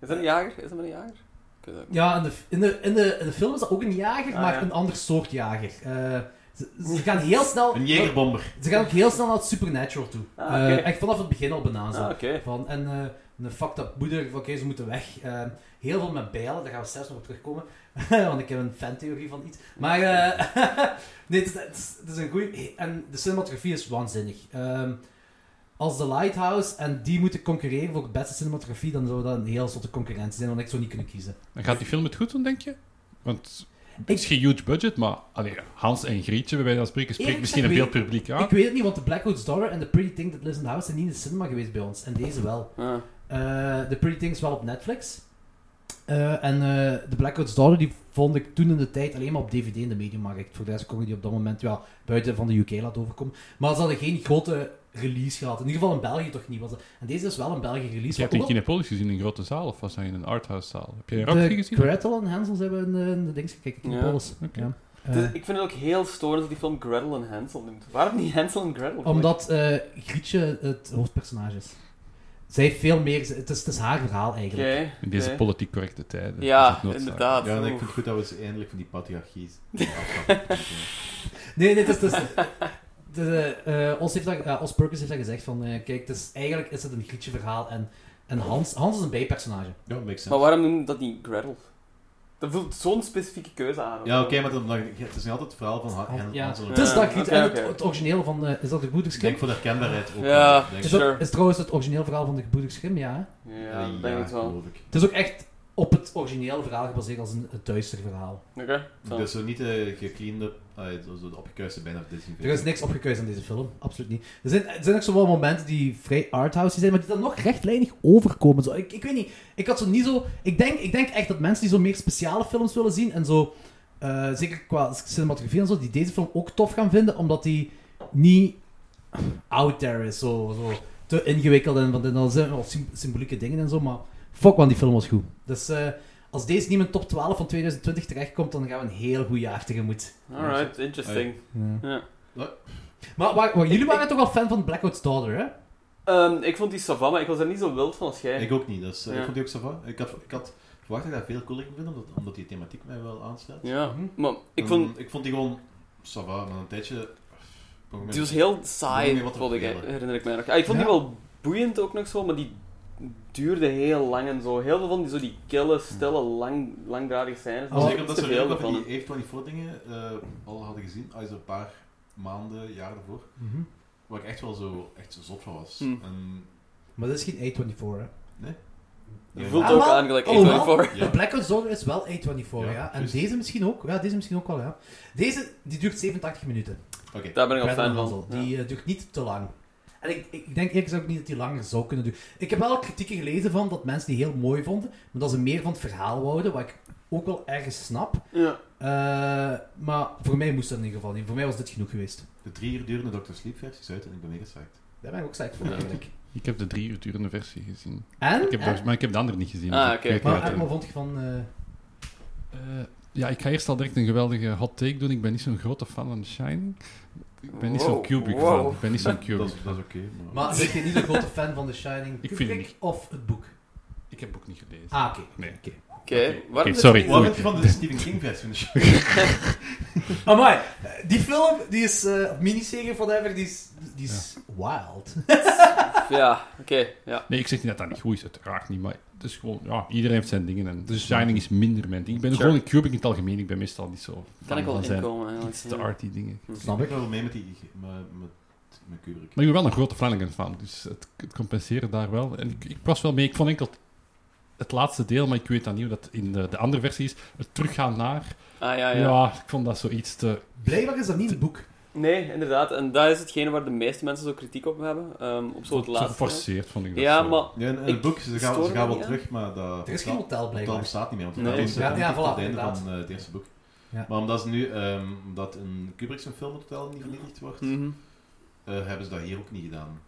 Is dat een jager? Is dat maar een jager? Ik weet het ook niet.
Ja, in de, in, de, in, de, in de film is dat ook een jager,
Ah,
maar
ja.
een ander soort jager. Eh, ze, ze gaan heel snel...
Een jegerbomber.
Ze gaan ook heel snel naar het supernatural toe.
Ah,
Eh,
oké.
echt vanaf het begin al benaan zo.
Ah, oké.
Van, en eh, een fucked up moeder, van, oké, ze moeten weg. Eh, heel veel met bijlen, daar gaan we zelfs nog op terugkomen. Want ik heb een fantheorie van iets. Maar eh, nee, het is, het is- het is een goeie... En de cinematografie is waanzinnig. Ehm, als The Lighthouse en die moeten concurreren voor de beste cinematografie, dan zou dat een heel zotte concurrentie zijn, want ik zou niet kunnen kiezen.
Dan gaat die film het goed doen, denk je? Want het
Ik-
is geen huge budget, maar allee, Hans en Grietje, bij wijze van spreken, spreekt
Eerlijk
misschien een
gezegd
veel publiek aan.
Ik weet het niet, want The Black Hawk's Daughter en The Pretty Thing That Lives in the House zijn niet in de cinema geweest bij ons. En deze wel.
Ah.
Eh, The Pretty Thing is wel op Netflix. Eh, en eh The Black Hawk's Daughter die vond ik toen in de tijd alleen maar op DVD in de mediamarkt. Voor de rest kon ik die op dat moment wel buiten van de UK laten overkomen. Maar ze hadden geen grote release gehad. In ieder geval in België toch niet. Was het. En deze is wel een België
Je
release.
hebt
wat
in
ook
Kinepolis gezien in een grote zaal, of was dat in een arthouse-zaal? Heb je er ook
wel-
geen gezien?
De Gretel en Hansels hebben in de, in de dings gekeken.
Ja,
in Polis.
oké.
Ja.
Het is-
Eh,
ik vind het ook heel storend dat die film Gretel en Hansel noemt. Waarom niet Hansel en Gretel?
Omdat eh, Grietje het hoofdpersonage is. Zij heeft veel meer... Het is, het is haar verhaal
Oké.
eigenlijk.
In deze
oké.
politiek correcte tijden. is
Ja,
het noodzaak.
inderdaad.
Ja, en ik
Oeh.
vind het goed dat we ze eindelijk van die patriarchie afstappen.
Nee, nee, het is... Het is de, eh, Os, heeft dat, eh, Os Perkins heeft dat gezegd van... eh, kijk, het is, eigenlijk is het een Grietje verhaal en, en Hans... Hans is een bijpersonage.
Ja, makes
Maar
sense.
waarom noemt dat niet Gretel? Dat voelt zo'n specifieke keuze aan.
Ja, oké, maar dan, dan- het is niet altijd het verhaal van Han- Han-
ja.
Hansel en
Het is dat Grietje.
oké,
en het-
oké.
Het, origineel van... eh, is dat de
Ik
Gebroeders
denk
Grimm?
voor de herkenbaarheid ook.
Ja.
wel, denk
Is,
ik.
dat,
Sure.
is trouwens het origineel verhaal van de Gebroeders Grimm, ja.
Ja, ik denk het wel.
geloof ik.
Het is ook echt op het origineel verhaal gebaseerd als een, een duister verhaal.
Oké. zo.
Dus zo niet de gecleande, eh, zo zo de opgekuiste bijna of Disney.
Er is niks opgekuist aan deze film, absoluut niet. Er zijn, er zijn ook zo wel momenten die vrij arthouse zijn, maar die dan nog rechtlijnig overkomen. Zo, ik, ik weet niet, ik had zo niet zo... Ik denk, ik denk echt dat mensen die zo meer speciale films willen zien en zo... eh, zeker qua cinematografie en zo, die deze film ook tof gaan vinden, omdat die niet out there is, zo, zo te ingewikkeld en want dan zijn er wel sym- symbolieke dingen en zo, maar fuck man, die film was goed. Dus eh, als deze niet in mijn top 12 van 2020 terechtkomt, dan gaan we een heel goed jaar tegemoet.
Alright, interesting. Ja.
Maar, waar- waar- jullie
Ik-
waren toch al fan van Blackout's Daughter, hè?
Ehm, ik vond die Savannah, ik was er niet zo wild van als jij.
Ik ook niet, dus eh,
Ja.
ik vond die ook sava. Ik had, ik had verwacht dat ik dat veel cooler ging vinden, omdat, omdat die thematiek mij wel aanslaat.
Ja,
Mhm.
maar ik
En
vond...
ik vond die gewoon sava, maar een tijdje... op een gegeven moment-
Die was heel
Ik weet niet
saai,
wat er
vond ik,
vervelen.
herinner ik mij nog. Ah, ik vond die
Ja.
wel boeiend ook nog zo, maar die duurde heel lang en zo. Heel veel van die, zo die kille, stille, lang, langdradige scènes.
Maar
Oh.
daar
zeker omdat
was
ze
te veel
heel wat van
van.
die A24 dingen eh, al hadden gezien, al is er een paar maanden, jaren ervoor,
Mhm.
waar ik echt wel zo, echt zo zot van was.
Hm.
En,
Maar dat is geen A24, hè.
Je
ja,
voelt
Ah,
ook
wel.
aan gelijk
Oh, wel.
A24.
Ja.
De Black Ops Zone is wel A24, ja.
Ja,
En
juist.
deze misschien ook. Ja, deze misschien ook wel, ja. Deze, die duurt 87 minuten.
Oké,
Daar ben ik al
Brandon
fan van.
Hansel. Die eh, duurt niet te lang. En ik, ik denk eerlijk gezegd ook niet dat die langer zou kunnen duren. Ik heb wel kritieken gelezen van dat mensen die heel mooi vonden, maar dat ze meer van het verhaal wouden, wat ik ook wel ergens snap.
Ja.
Eh, maar voor mij moest dat in ieder geval niet. Voor mij was dit genoeg geweest.
de drie uur durende Dr. Sleep versie is uit en ik ben mega psyched.
Daar ben ik ook sterk voor, eigenlijk.
Ik heb de drie uur durende versie gezien.
En?
Ik heb
en-
de- maar ik heb de andere niet gezien.
Ah,
dus ik
oké.
weet
maar
niet wat-
en wat vond je van... eh,
Eh, ja, ik ga eerst al direct een geweldige hot take doen. Ik ben niet zo'n grote fan van The Shining. Ik ben niet zo'n
Wow,
Kubrick
wow.
fan. Ik ben niet zo'n
Dat
Kubrick
is, dat
fan.
is oké, maar...
maar ben je niet zo'n grote fan van The Shining?
Ik vind
Kubrick
niet.
Of het boek?
Ik heb het boek niet gelezen.
Ah, oké.
Nee.
Oké.
Oké, waarom is
sorry.
het niet-
Wat vind je van de Stephen King versie van de show?
Amai, die film, die is, eh, of miniserie of whatever, die is, die is wild.
Ja, oké, ja.
Nee, ik zeg niet dat dat niet goed is, uiteraard niet. Maar het is gewoon, ja, iedereen heeft zijn dingen. En The
Dus-
Shining is minder mijn ding. Ik ben
Sure.
gewoon een Kubrick in het algemeen. Ik ben meestal niet zo.
Kan
fan
ik wel
van zijn
inkomen eigenlijk.
Iets te
ja. Hm.
arty dingen.
Snap
Ik ben wel mee met die... met, met, met Kubrick.
Maar ik ben wel een grote Flanagan fan, dus het, het compenseren daar wel. En ik, ik was wel mee, ik vond enkel het, het laatste deel, maar ik weet dan niet hoe dat in de, de andere versie is. Het teruggaan naar.
Ah, ja,
Ja,
ja.
ik vond dat zoiets te.
Blijkbaar is dat niet in het boek.
Nee, inderdaad. En dat is hetgene waar de meeste mensen zo kritiek op hebben. ehm, op zo het
te
laatste.
geforceerd, vond ik dat.
Ja,
zo.
maar...
Ja, en in
Ik
het boek, ze gaan,
stoor
ze gaan
me
wel
niet
terug, maar dat...
Er is geen hotel,
Dat
blijkbaar.
bestaat niet meer, want
Nee.
dat is
Ja,
ja,
ja, voilà,
het einde
inderdaad.
van eh, het eerste boek.
Ja.
Maar omdat, ze nu, ehm omdat in Kubrick zijn film totaal niet vernietigd wordt,
mhm.
eh, hebben ze dat hier ook niet gedaan.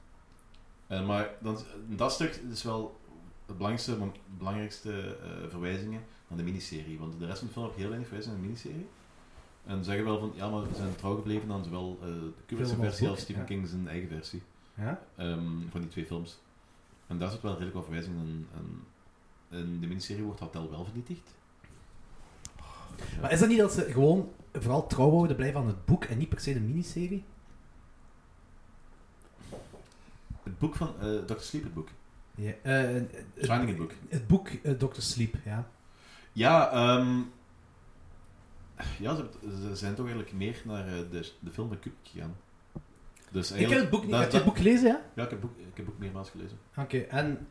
Eh, maar dan, dat stuk is wel het belangrijkste, want de belangrijkste eh, verwijzingen naar de miniserie. Want de rest van de film heb ik heel weinig verwijzingen naar de miniserie. En ze zeggen wel van, ja, maar we zijn trouw gebleven aan zowel eh de Kubrick's
Film als
versie
boek,
als Stephen
ja.
King's King zijn eigen versie
Ja?
ehm, van die twee films. En daar zit wel redelijk wat verwijzingen in. En in de miniserie wordt dat wel wel vernietigd.
Maar is dat niet dat ze gewoon vooral trouw wouden blijven aan het boek en niet per se de miniserie?
Het boek van eh Dr. Sleep, het boek.
Ja. eh, eh, het,
Shining, het boek.
het boek eh, Dr. Sleep, ja.
Ja, ehm, ja ze, ze zijn toch eigenlijk meer naar eh, de, de film van Kubrick gegaan.
Ik
Dus
heb
eigenlijk,
het boek niet...
dat-
heb je het
dat-
boek gelezen, ja?
Ja, ik heb, boek, ik heb het boek meermaals gelezen.
Oké, en...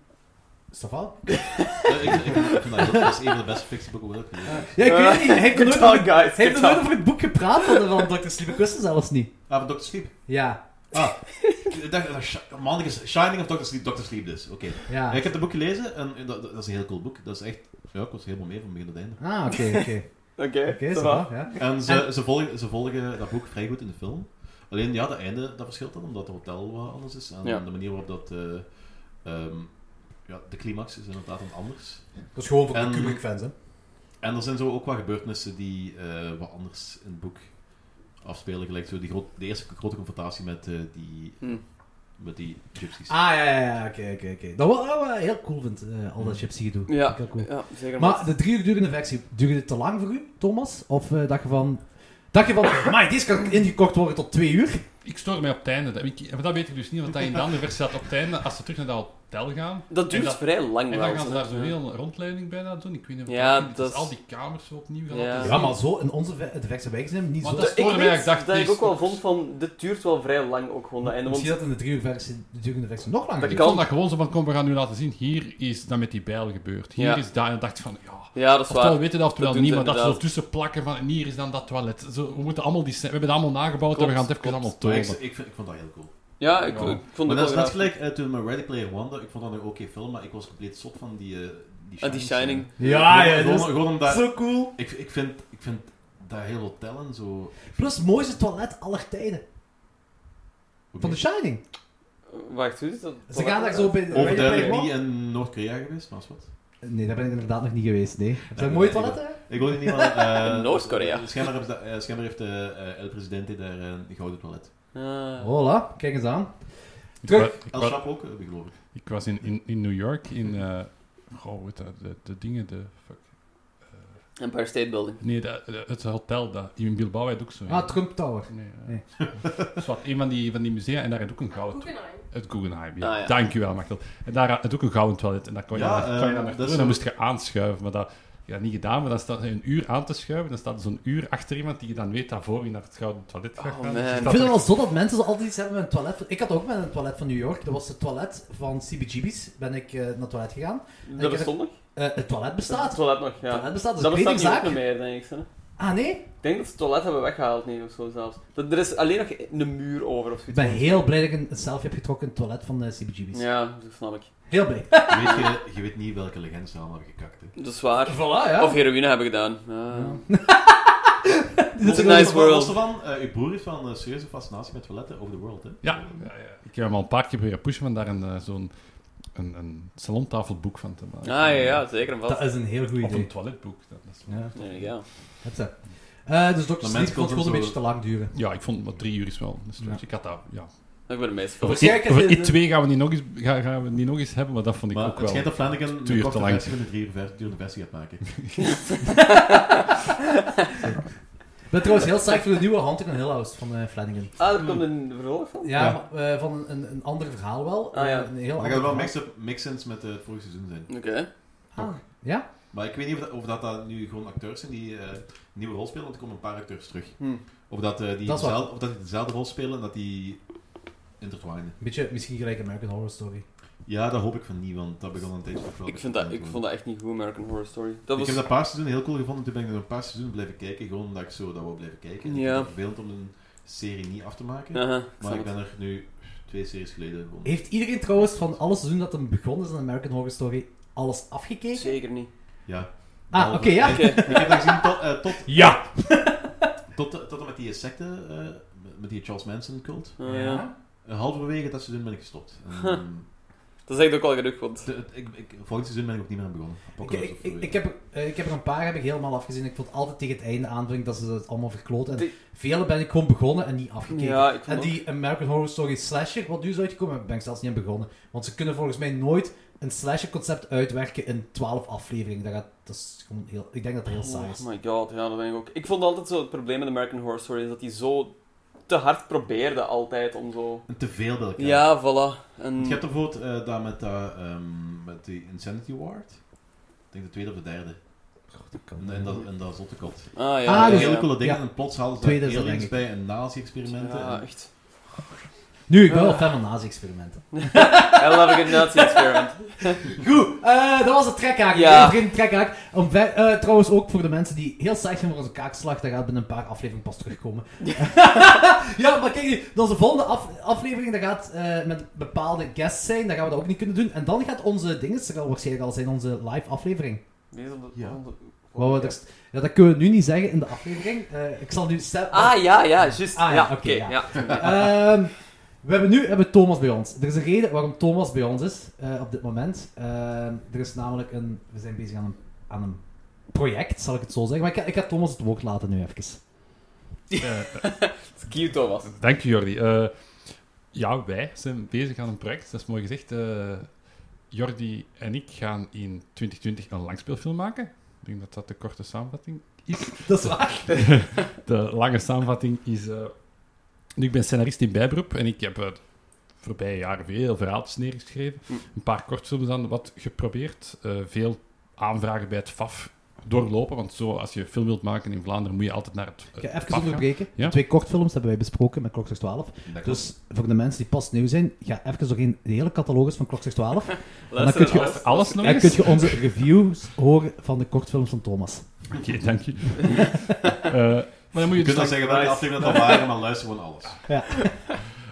Stafal?
Eh, ik, ik, ik vind dat, dat is een van de beste fictieboeken wat ik heb gelezen.
Ja, ik
Eh,
weet het niet. Hij heeft er nooit,
good
over,
talk, guys,
hij heeft
good
er nooit
talk.
over het boek gepraat van, van Dr. Sleep. Ik wist het zelfs niet.
Ah, van Dr. Sleep.
Ja,
Ah, ik dacht, dat Sh- man, ik is Shining of Dr. Sleep, Dr. Sleep dus. Oké.
ja.
Ja, ik heb het boek gelezen en dat, dat dat is een heel cool boek. Dat is echt, ja, ik was helemaal mee van begin tot einde.
Ah, oké, oké.
Oké,
Oké,
ça
zo
va.
va, ja.
En ze, ze, volgen, ze volgen dat boek vrij goed in de film. Alleen ja, dat einde dat verschilt dan, omdat het hotel wat anders is. En
Ja.
de manier waarop dat. eh, ehm, ja, de climax is inderdaad wat anders.
Dat is gewoon voor
En-
de Kubrick-fans, hè.
En er zijn zo ook wat gebeurtenissen die eh, wat anders in het boek afspelen. Gelijk zo die groot, de eerste grote confrontatie met, eh, die,
Hm.
met die gypsies.
Ah, ja, ja, ja, oké, oké, oké. Dat wel wel heel cool vindt, eh, al dat gypsy gedoe. Vind
Ja,
ik heel cool.
ja, zeker.
Maar de drie uur durende versie, duurde het te lang voor u, Thomas? Of eh, dacht je van... Dacht je van, maar deze kan ingekocht worden tot twee uur?
Ik stoor mij op het einde. Dat, ik, maar dat weet ik dus niet, want dat in de andere versie staat op het einde, als ze terug naar dat hotel gaan.
dat duurt
en dat-
vrij lang
En
wel,
dan gaan ze
hè.
daar zo'n heel rondleiding bijna doen. Ik weet niet of
Ja,
dat,
dat
is
is-
al die kamers zo opnieuw gaan
Ja.
laten zien.
Ja, maar zo in onze ve- de versie wij zijn, niet
Want
zo...
dat is-
Ik
Voor mij,
weet
ik dacht
dat ik
eerst
ook wel
nog-
vond van, dit duurt wel vrij lang ook gewoon, dat einde, want
Misschien dat in de drie uur versie, de durende versie, nog langer
Ik
Dat
duurt.
kan.
vond dat gewoon zo van, kom, we gaan nu laten zien, hier is dat met die bijl gebeurd. Hier
Ja.
is dat. En ik dacht van, ja...
Ja, dat is
Oftewel
waar.
weten dat, oftewel
Dat
niet,
doen
maar
ze
dat ze
inderdaad.
ertussen plakken van, en hier is dan dat toilet. Zo, we, moeten allemaal die, scè- we hebben dat allemaal nagebouwd en we
Klopt,
gaan het even
klopt.
allemaal
Maar ik,
tonen.
ik, vind- ik vond dat heel cool.
Ja, ik,
Ja.
ik vond
Maar
het
dat is
wel
net
graag.
gelijk eh, toen met Ready Player One, dat- ik vond dat een oké film, maar ik was compleet zot van die, eh, die eh.
Ah, die Shining.
Ah, Ja, ja,
gewoon,
dat
gewoon
is
omdat...
zo cool.
Ik, ik, vind, ik vind dat heel hotel en zo...
Plus, mooiste toilet aller tijden. Van The Shining.
Wacht, hoe is dat?
Ze gaan daar zo bij... bij- bij-
Overduidelijk niet in Noord-Korea geweest, maar is wat.
Nee, daar ben ik inderdaad nog niet geweest, nee. Zijn
nee,
mooie
nee,
toiletten?
Ik wil niet meer... eh,
In Noord-Korea.
Schijnbaar, hebben ze dat- eh, schijnbaar heeft eh, eh, El Presidente daar eh, een gouden toilet.
Ah.
Hola, kijk eens aan.
Ik
Terug.
wa- ik
El
wa-
Chapo ook, eh, geloof ik.
Ik was in, in, in New York, in... eh goh, hoe heet dat? De, de dingen, de... Fuck.
Empire State Building.
Nee, de- de- het hotel daar. In Bilbao had ook zo.
Ah, Trump Tower.
Nee, eh.
Nee.
Dus wat, een van die, van die musea en daar had ook een gouden.
Guggenheim.
Het Guggenheim, ja.
Ah, ja.
Dankjewel, Machtel. En daar had het ook een gouden toilet. En dat kon je
Ja,
dan,
eh,
kon je dan naartoe
dat is
en
zo-
dan moest je aanschuiven. Maar dat ja, niet gedaan, maar dan staat hij een uur aan te schuiven. Dan staat er zo'n uur achter iemand die je dan weet dat voor je naar het gouden toilet gaat
Oh,
gaan.
man.
Dus
Ik
dat
vind het
er-
wel zo dat mensen zo altijd iets hebben met een toilet. Ik had ook met een toilet van New York. Dat was het toilet van CBGB's. Ben ik eh, naar het toilet gegaan.
Dat bestond nog?
Eh, het toilet
Het
bestaat.
toilet nog,
Het
ja.
toilet bestaat, dus
Dat
ik weet
bestaat niet
exact-
ook niet meer, denk ik. hè.
Ah nee?
Ik denk dat ze het toilet hebben weggehaald nu of zo zelfs. Dat, er is alleen nog een muur over of
Ik
zoiets.
ben heel blij dat ik een een selfie heb getrokken in het toilet van eh, de CBGB's.
Ja, dat snap ik.
Heel blij.
Weet je, je weet niet welke legende ze allemaal hebben gekakt. Hè.
Dat is waar.
Voilà, ja.
Of heroïne hebben gedaan. Ah. Ja.
Los-
een nice
los-
world.
los ervan, eh, uw broer heeft wel een serieuze fascinatie met toiletten over the world. Hè?
Ja, ja, ja. ik heb hem al een paar keer proberen pushen om daar een, eh, zo'n een, een salontafelboek van te maken.
Ah ja, ja, zeker en vast.
Dat is een heel goed
Of een
idee.
toiletboek. Dat dat is...
Ja,
Nee, ja.
heb ze. Eh, dus Dr. Sleep
Maar mensen
vond
komen
het gewoon een
zo-
beetje te lang duren.
Ja, ik vond maar drie uur is wel een stukje. Ik had dat, ja.
Ik ben de meest
Over,
Waarschijnlijk
I- over
is het-
I2 gaan we, niet nog eens, gaan, gaan we niet nog eens hebben, maar dat vond ik
Maar
ook
het
wel...
schijnt dat Flanagan een
Duurt te
korte
lang.
versie van de drie uur vers- durende versie gaat maken.
Ik ben trouwens heel sterk voor de nieuwe Haunted in Hill House van eh, Flanagan.
Ah, er komt een vervolg van?
Ja,
Ja.
maar, eh, van een- een, een ander verhaal wel.
Ah, ja.
Eh, Een heel
Maar
ander
dat gaat wel
verhaal.
mix-up- mix-ins met eh, het vorige seizoen zijn.
Oké.
Ah, ja?
Maar ik weet niet of dat, of dat, dat nu gewoon acteurs zijn die eh, een nieuwe rol spelen, want er komen een paar acteurs terug.
Hm.
Of dat, eh, die,
Dat is waar.
dezelfde, of dat die dezelfde rol spelen en dat die intertwinen.
Een beetje misschien gelijk American Horror Story.
Ja, dat hoop ik van niet, want dat begon een tijdje terug wel
Ik, vind
te
dat, ik
worden.
vond dat echt niet goed, American Horror Story. Dat
Hm. Ik
was...
heb dat paar seizoenen heel cool gevonden, toen ben ik nog een paar seizoenen blijven kijken, gewoon omdat ik zo dat wou blijven kijken. En Ik
Ja.
vind het vervelend om een serie niet af te maken,
Aha, ik
maar
snap
ik
het.
ben er nu twee series geleden gewoon...
Heeft iedereen trouwens van alle seizoen dat hem begonnen is aan American Horror Story alles afgekeken?
Zeker niet.
Ja. Nou,
Ah, oké, ja.
Ik heb dat gezien tot, eh, tot,
Ja!
tot, eh, tot en met die secte, eh, met die Charles Manson cult.
Ah, ja.
Eh, halverwege dat seizoen ben ik gestopt. En,
Dat is echt ook wel genoeg, want...
de- het- ik, ik, volgend seizoen ben ik ook niet meer aan begonnen.
Ik,
Apocalypse
ik,
of zo.
ik, ik heb, er- eh, ik heb er een paar heb ik helemaal afgezien. Ik vond altijd tegen het einde aanvang dat ze dat allemaal verkloten. En
Die-
vele ben ik gewoon begonnen en niet afgekeken.
Ja, ik vond
en
ook-
die American Horror Story slasher, wat nu is uitgekomen, ben ik zelfs niet aan begonnen. Want ze kunnen volgens mij nooit een slasher concept uitwerken in 12 afleveringen. Dat, gaat, dat is gewoon heel, ik denk dat dat heel saai is.
Oh my god, ja, dat ben ik ook. Ik vond altijd zo het probleem met American Horror Story is dat die zo te hard probeerde altijd om zo...
En te veel bij elkaar.
Ja, mm. voilà.
Want
En...
Je hebt bijvoorbeeld eh dat met, dat, ehm, met die Insanity Ward. Ik denk de tweede of de derde. En, en dat, en dat zotte kot.
Ah, ja.
Ah,
ja,
dus
Hele
ja.
coole dingen
Ja.
en plots halen ze
Tweede
daar
is dat,
aliens
denk
bij en nazi-experimenten.
Ja,
en-
echt.
Nu, ik ben
Ja.
wel fan van nazi-experimenten.
I love a good Nazi experiment.
Goed, eh, dat was het trekhaak.
Ja.
Ja. Iedereen een trekhaak. Om ver- eh, trouwens ook voor de mensen die heel saai zijn voor onze kaakslag, dat gaat binnen een paar afleveringen pas terugkomen. ja, maar kijk, nu, onze volgende af- aflevering dat gaat eh, met bepaalde guests zijn. Dat gaan we dat ook niet kunnen doen. En dan gaat onze dinges er al waarschijnlijk al zijn, onze live aflevering.
Die is op de-
Ja.
op de-
Wat we er- ja, dat kunnen we nu niet zeggen in de aflevering. Eh, ik zal nu... Stel-
Ah, ja, ja, juist.
Ah, ja,
ja,
oké,
oké.
ja.
ja.
Ehm, we hebben nu hebben we Thomas bij ons. Er is een reden waarom Thomas bij ons is eh, op dit moment. Ehm, er is namelijk een. We zijn bezig aan een, aan een project, zal ik het zo zeggen. Maar ik, ga- ik ga Thomas het woord laten nu even.
Eh,
Het is cute, Thomas.
Dank je, Jordi. Eh, ja, wij zijn bezig aan een project, dat is mooi gezegd. Eh, Jordi en ik gaan in 2020 een langspeelfilm maken. Ik denk dat dat de korte samenvatting
Dat is waar.
de lange samenvatting is... eh, nu, ik ben scenarist in bijberoep en ik heb eh, de voorbije jaren veel verhaaltjes neergeschreven.
Hm.
Een paar kortfilms aan wat geprobeerd. eh, veel aanvragen bij het FAF doorlopen, want zo, als je een film wilt maken in Vlaanderen, moet je altijd naar het
Ik
eh,
ga even
FAF gaan.
onderbreken.
Ja.
Twee kortfilms hebben wij besproken met Klokslag 12.
Dat klopt.
Dus voor de mensen die pas nieuw zijn, ga even doorheen de hele catalogus van Klokslag 12. dan
Luister
kun je-
naar alles.
Alles nog
En
eens?
kun je onze reviews horen van de kortfilms van Thomas.
Oké, dank je. Eh, maar dan moet je
Je kunt
dus,
dan zeggen dat de
Nice.
afleveringen dat waren, maar luister gewoon alles.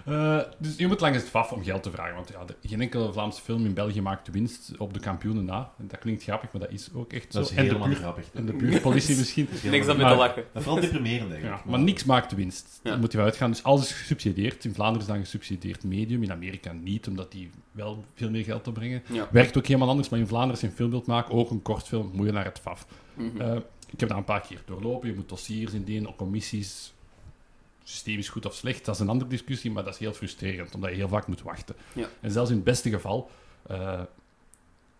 eh, dus je moet langs het FAF om geld te vragen, want ja, de- geen enkele Vlaamse film in België maakt winst op de kampioenen na. En dat klinkt grappig, maar dat is ook echt zo.
Dat
en,
is
de
helemaal niet
buur,
grappig.
en de buurtpolitie misschien.
Niks aan
Maar-
met te lachen.
Dat is vooral deprimerend eigenlijk.
Ja, maar niks maakt de winst.
Ja.
Daar moet je wel uitgaan. Dus alles is gesubsidieerd. In Vlaanderen is dan gesubsidieerd medium, in Amerika niet, omdat die wel veel meer geld opbrengen.
Ja.
Werkt ook helemaal anders, maar in Vlaanderen als je een film wilt maken, ook een kortfilm, moet je naar het FAF.
Mhm.
Eh, ik heb daar een paar keer doorlopen. Je moet dossiers indienen, commissies. Systeem is goed of slecht, dat is een andere discussie, maar dat is heel frustrerend, omdat je heel vaak moet wachten.
Ja.
En zelfs in het beste geval, eh,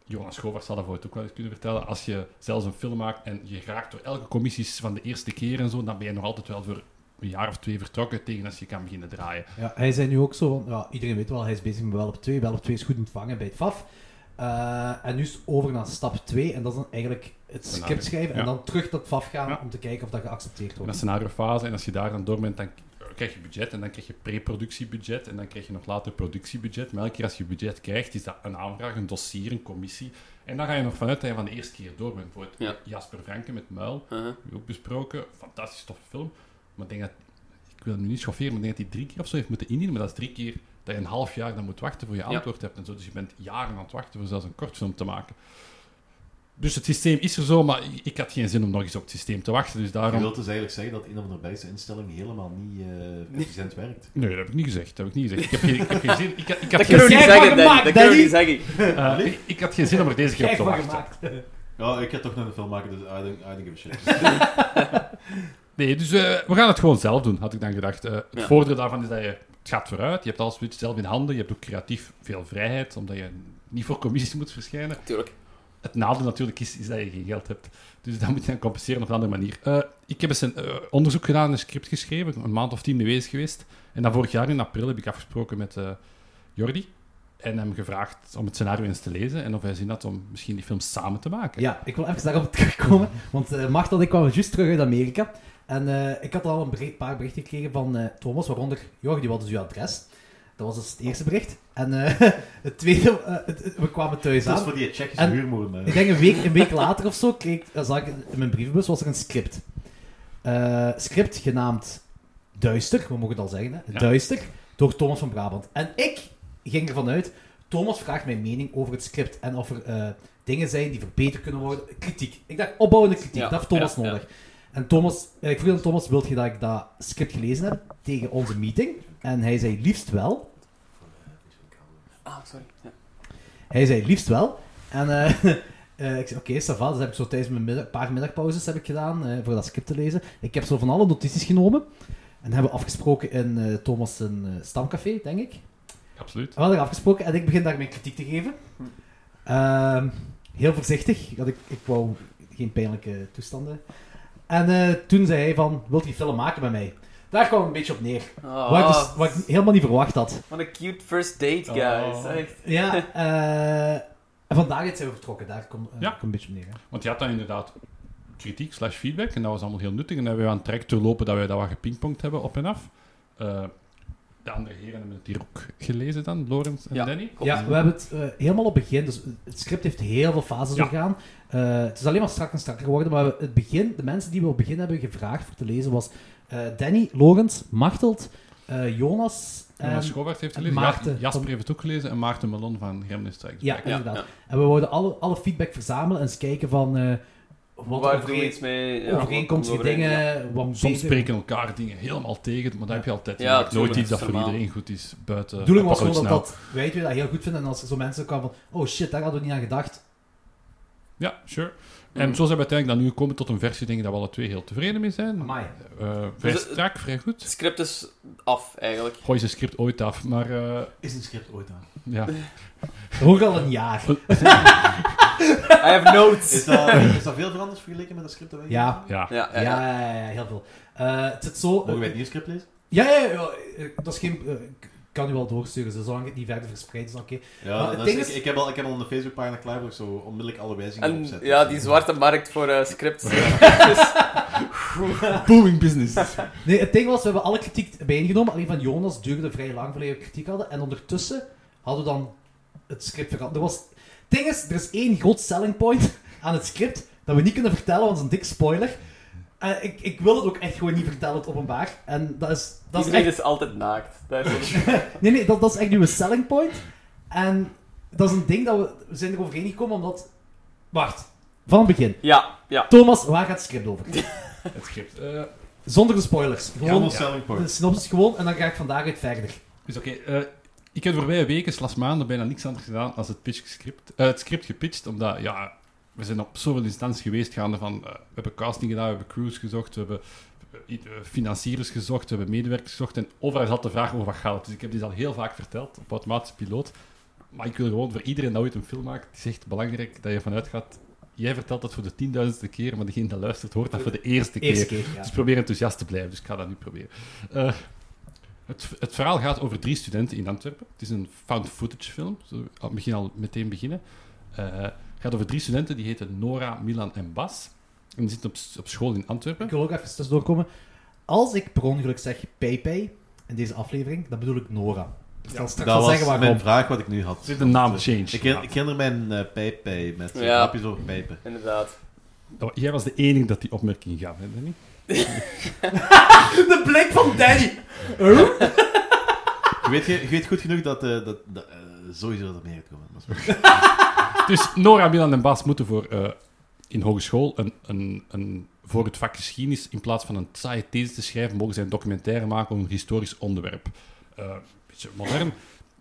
Jonas Schovaert zal dat voor het ook wel eens kunnen vertellen, als je zelfs een film maakt en je raakt door elke commissies van de eerste keer en zo, dan ben je nog altijd wel voor een jaar of twee vertrokken tegen als je kan beginnen draaien.
Ja, hij zei nu ook zo, want ja, iedereen weet wel, hij is bezig met wel op 2. Wel op 2 is goed ontvangen bij het FAF. Eh, en nu is het over naar stap 2 en dat is dan eigenlijk het script schrijven en
Ja.
dan terug naar het FAF gaan
Ja.
om te kijken of dat geaccepteerd
En dat
wordt.
is een andere fase. En als je daar dan door bent, dan k- krijg je budget. En dan krijg je pre-productiebudget. En dan krijg je nog later productiebudget. Maar elke keer als je budget krijgt, is dat een aanvraag, een dossier, een commissie. En dan ga je nog vanuit dat je van de eerste keer door bent. Bijvoorbeeld
Ja.
Jasper Franken met Muil,
Uh-huh.
heb je ook besproken. Fantastisch toffe film. Maar ik denk dat, ik wil hem nu niet schofferen, maar ik denk dat hij drie keer of zo heeft moeten indienen. Maar dat is drie keer dat je een half jaar dan moet wachten voor je
Ja.
antwoord hebt. En zo. Dus je bent jaren aan het wachten voor zelfs een kortfilm te maken. Dus het systeem is er zo, maar ik had geen zin om nog eens op het systeem te wachten. Dus
Je
daarom
wilt dus eigenlijk zeggen dat een of andere bijse instelling helemaal niet eh, efficiënt werkt.
Nee, dat heb ik niet gezegd. Dat heb ik niet gezegd. Ik, heb geen, ik, heb geen zin, ik, had- ik, had
Dat
geen,
kunnen we niet
jij
zeggen,
van
Danny.
gemaakt,
Dat kunnen we
Danny?
niet zeggen.
eh, ik, ik had geen zin om er deze keer op
Kijk
te
maar
wachten.
gemaakt.
Ja, ik ga toch nog een film maken, dus I don't, I don't give a shit.
Nee, dus eh, we gaan het gewoon zelf doen, had ik dan gedacht. Eh, het
Ja.
voordeel daarvan is dat je... Het gaat vooruit. Je hebt alles zelf in handen. Je hebt ook creatief veel vrijheid, omdat je niet voor commissies moet verschijnen.
Tuurlijk.
Het nadeel natuurlijk is, is dat je geen geld hebt. Dus dat moet je dan compenseren op een andere manier. Eh, ik heb eens een eh, onderzoek gedaan, een script geschreven, een maand of tien mee bezig geweest. En dan vorig jaar in april heb ik afgesproken met eh, Jordi en hem gevraagd om het scenario eens te lezen en of hij zin had om misschien die film samen te maken.
Ja, ik wil even daarop terugkomen. Want eh Martel en ik kwamen juist terug uit Amerika. En eh, ik had al een bericht- paar berichten gekregen van eh, Thomas, waaronder Jordi, wat is dus uw adres? Dat was dus het eerste bericht. En eh, het tweede, eh, het- het- we kwamen thuis
Dat is
aan.
voor die Tsjechische
En-
huurmoorden.
Ik denk een week, een week later of zo kreeg, ik- zag ik in mijn brievenbus was er een script. Eh, script genaamd Duister, we mogen het al zeggen, hè?
Ja.
Duister, door Thomas van Brabant. En ik ging ervan uit, Thomas vraagt mijn mening over het script en of er eh, dingen zijn die verbeterd kunnen worden. Kritiek. Ik dacht, opbouwende kritiek,
Ja,
dat heeft Thomas
ja, ja.
nodig. En Thomas, eh, ik vroeg aan Thomas, wilt je dat ik dat script gelezen heb tegen onze meeting? En hij zei, liefst wel.
Ah, sorry. Ja.
Hij zei liefst wel. En eh, eh, ik zei, oké, ça va. Dus heb ik zo tijdens mijn middag, paar middagpauzes heb ik gedaan eh, voor dat script te lezen. Ik heb zo van alle notities genomen. En hebben we afgesproken in eh, Thomas' een, eh, stamcafé, denk ik.
Absoluut.
We hadden afgesproken en ik begin daar mijn kritiek te geven. Ehm, heel voorzichtig, want ik, ik wou geen pijnlijke toestanden. En eh, toen zei hij van, wilt je film maken met mij? Daar kwam het een beetje op neer.
Ah,
Wat, ik dus- wat ik helemaal niet verwacht had.
Wat een cute first date, guys.
Oh.
Echt.
Ja, eh, en vandaag zijn we vertrokken. Daar komt eh,
Ja.
komt een beetje op neer. hè.
Want je had dan inderdaad kritiek slash feedback en dat was allemaal heel nuttig. En dan hebben we aan het traject doorlopen dat wij dat wat gepingpongd hebben op en af. Eh, de andere heren hebben het hier ook gelezen dan, Lorenz en
Ja.
Danny.
Ja, we hebben het eh, helemaal op het begin. Dus het script heeft heel veel fases
Ja.
doorgaan. Eh, het is alleen maar strakker en strakker geworden. Maar we- het begin, de mensen die we op het begin hebben gevraagd voor te lezen was eh, Danny, Logans, Machtelt, eh, Jonas.
Jonas
en-
Schouwaert heeft
en
het gelezen. Ja,
Ehm, Maarten
Jasper
van-
heeft het ook gelezen en Maarten Melon van Gremlin Strikes
ja,
Back.
inderdaad. En we wilden alle, alle feedback verzamelen en eens kijken van eh wat
Waar
overeen-
doen we iets mee? Ja,
overeenkomstige
wat doen we
dingen.
overeen? Ja.
wat we
Soms
beter-
spreken elkaar dingen helemaal tegen, maar dat heb je altijd.
Ja,
Je maakt
tuurlijk,
nooit iets dat
dat
voor
is normaal.
iedereen goed is, buiten...
De bedoeling was
Apocalypse
gewoon dat,
Now.
dat wij twee dat heel goed vinden. En als er zo mensen kwamen van, oh shit, daar hadden we niet aan gedacht.
Ja, sure.
Mhm.
En zo zijn we uiteindelijk dan nu gekomen tot een versie, denk ik, dat we alle twee heel tevreden mee zijn.
Amai.
Eh, vrij
Dus, eh,
strak, vrij
Het
goed.
script is af, eigenlijk.
Gooi ze script ooit af, maar eh,
Is een script ooit aan?
ja.
Hoor al een jaar.
I have notes.
Is dat, is dat veel veranderd vergeleken met dat script dat wij
Ja.
gemaakt
ja.
Ja,
Ja, ja, Eh, ja.
ja, ja, heel veel. Eh, het zit zo...
hebben? Mogen wij het nieuwe script lezen?
Ja, ja, ja, ja, eh, dat is geen... eh, ik kan u wel doorsturen, zolang het niet verder verspreid is, dan oké. Maar
Ja,
het
dat
ding
is,
is-
ik, ik heb al, ik heb al een Facebookpagina klaar waar ik zo onmiddellijk alle wijzigingen
En
opzet.
ja, die zwarte markt voor eh, scripts.
Booming business.
Nee, het ding was, we hebben alle kritiek bijeengenomen. Alleen van Jonas duurde vrij lang voordat we kritiek hadden. En ondertussen hadden we dan het script veranderd. Er was... Het ding is, er is één groot selling point aan het script dat we niet kunnen vertellen, want het is een dik spoiler. Eh, ik, ik wil het ook echt gewoon niet vertellen, het openbaar. En dat is, dat is
Iedereen
echt
is altijd naakt. Dat is
Nee, nee, dat, dat is echt nieuwe selling point. En dat is een ding dat we, we zijn eroverheen gekomen omdat... Wacht, van het begin.
ja, ja.
Thomas, waar gaat het script over?
Het script. eh,
Zonder de spoilers. Gewoon Dus-
Allemaal selling
de
point.
synopsis gewoon en dan ga ik vandaag uit verder.
dus oké, eh, ik heb de voorbije weken, slash maanden, bijna niks anders gedaan dan het, pitch script, eh, het script gepitcht, omdat, ja, we zijn op zoveel instanties geweest gaande van, eh, we hebben casting gedaan, we hebben crews gezocht, we hebben eh, eh, financiers gezocht, we hebben medewerkers gezocht, en overal zat de vraag over wat gaat het. Dus ik heb dit al heel vaak verteld, op automatische piloot. Maar ik wil gewoon voor iedereen dat ooit een film maakt, het is echt belangrijk dat je vanuit gaat jij vertelt dat voor de tienduizendste keer, maar degene dat luistert hoort dat voor de eerste keer.
Eerste keer, ja.
Dus probeer enthousiast te blijven, dus ik ga dat nu proberen. Eh, het, het verhaal gaat over drie studenten in Antwerpen. Het is een found footage film, zo al- begin al meteen beginnen. Eh, het gaat over drie studenten, die heten Nora, Milan en Bas. En die zitten op, s- op school in Antwerpen.
Ik wil ook even tussendoor komen. Als ik per ongeluk zeg Pepe in deze aflevering, dan bedoel ik Nora. Ik zal straks
Dat
wel
was
zeggen
mijn
waarom.
vraag wat ik nu had.
Er zit een naamchange.
Ik ken, ik ken er mijn eh pijpij met
Ja.
grapjes over pijpen.
Inderdaad.
Dat- Oh, Jij was de enige dat die opmerking gaf, hè, Danny?
De blik van Danny!
Je weet, ge- je weet goed genoeg dat, eh, dat, dat eh, sowieso dat er meer gaat komen. Dat is waar.
Dus Nora, Milan en Bas moeten voor eh, in hogeschool een, een, een, voor het vak geschiedenis in plaats van een saaie these te schrijven, mogen zij een documentaire maken over een historisch onderwerp. Eh, Een beetje modern.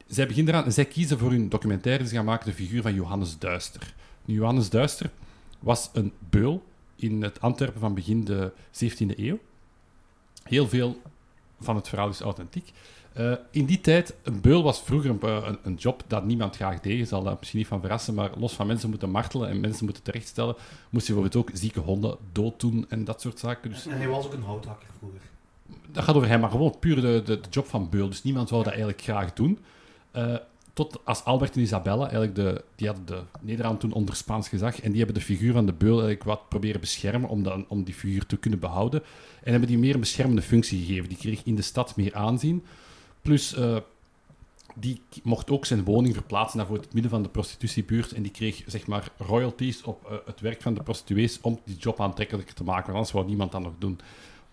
Zij beginnen eraan en zij kiezen voor hun documentaire. Ze gaan maken de figuur van Johannes Duister. Nu, Johannes Duister was een beul in het Antwerpen van begin de 17e eeuw. Heel veel van het verhaal is authentiek. Eh, in die tijd, een beul was vroeger een, eh, een, een job dat niemand graag deed. Je zal daar misschien niet van verrassen, maar los van mensen moeten martelen en mensen moeten terechtstellen, moest je bijvoorbeeld ook zieke honden dooddoen en dat soort zaken. Dus
En hij was ook een houthakker vroeger.
dat gaat over hem, maar gewoon puur de, de, de job van beul. Dus niemand wou dat eigenlijk graag doen. Eh, tot als Albert en Isabella, eigenlijk de, die hadden de Nederland toen onder Spaans gezag, en die hebben de figuur van de beul eigenlijk wat proberen beschermen om, dan, om die figuur te kunnen behouden. En hebben die meer een beschermende functie gegeven. Die kreeg in de stad meer aanzien. Plus, eh, die k- mocht ook zijn woning verplaatsen naar voor het midden van de prostitutiebuurt. En die kreeg, zeg maar, royalties op eh, het werk van de prostituees om die job aantrekkelijker te maken. Want anders wou niemand dat nog doen.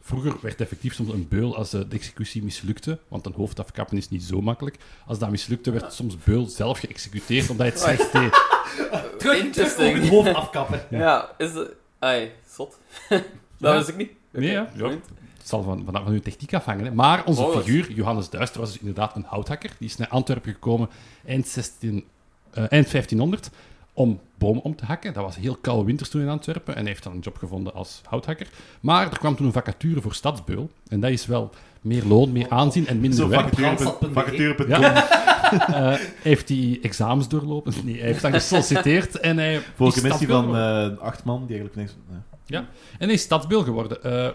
Vroeger werd effectief soms een beul als eh, de executie mislukte, want een hoofd afkappen is niet zo makkelijk. Als dat mislukte, werd soms beul zelf geëxecuteerd omdat hij het slecht deed.
Interesting.
Het hoofd afkappen.
Ja, is de... Ai, zot. dat
Ja.
wist ik niet. Oké,
Nee, ja, ja. Het zal van, van, van uw techniek afhangen. Hè. Maar onze
Mogelijk.
figuur, Johannes Duister, was dus inderdaad een houthakker. Die is naar Antwerpen gekomen eind, 16, eh, eind 1500 om bomen om te hakken. Dat was heel koude winters toen in Antwerpen. En hij heeft dan een job gevonden als houthakker. Maar er kwam toen een vacature voor stadsbeul. En dat is wel meer loon, meer aanzien en minder
Zo
werk.
vacature.com.
Brandstad.be.
Vacature.
Ja. Eh, heeft hij examens doorlopen? Nee, hij heeft dan gesolliciteerd en hij...
Voor een
is
commissie
stadsbeeld
van
geworden.
eh, acht man die eigenlijk niks... eh, nee.
En hij is stadsbeeld geworden. Eh,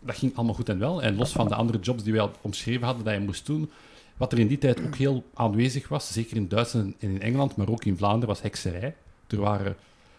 dat ging allemaal goed en wel. En los van de andere jobs die wij al omschreven hadden dat hij moest doen, wat er in die tijd ook heel aanwezig was, zeker in Duitsland en in Engeland, maar ook in Vlaanderen, was hekserij. Er waren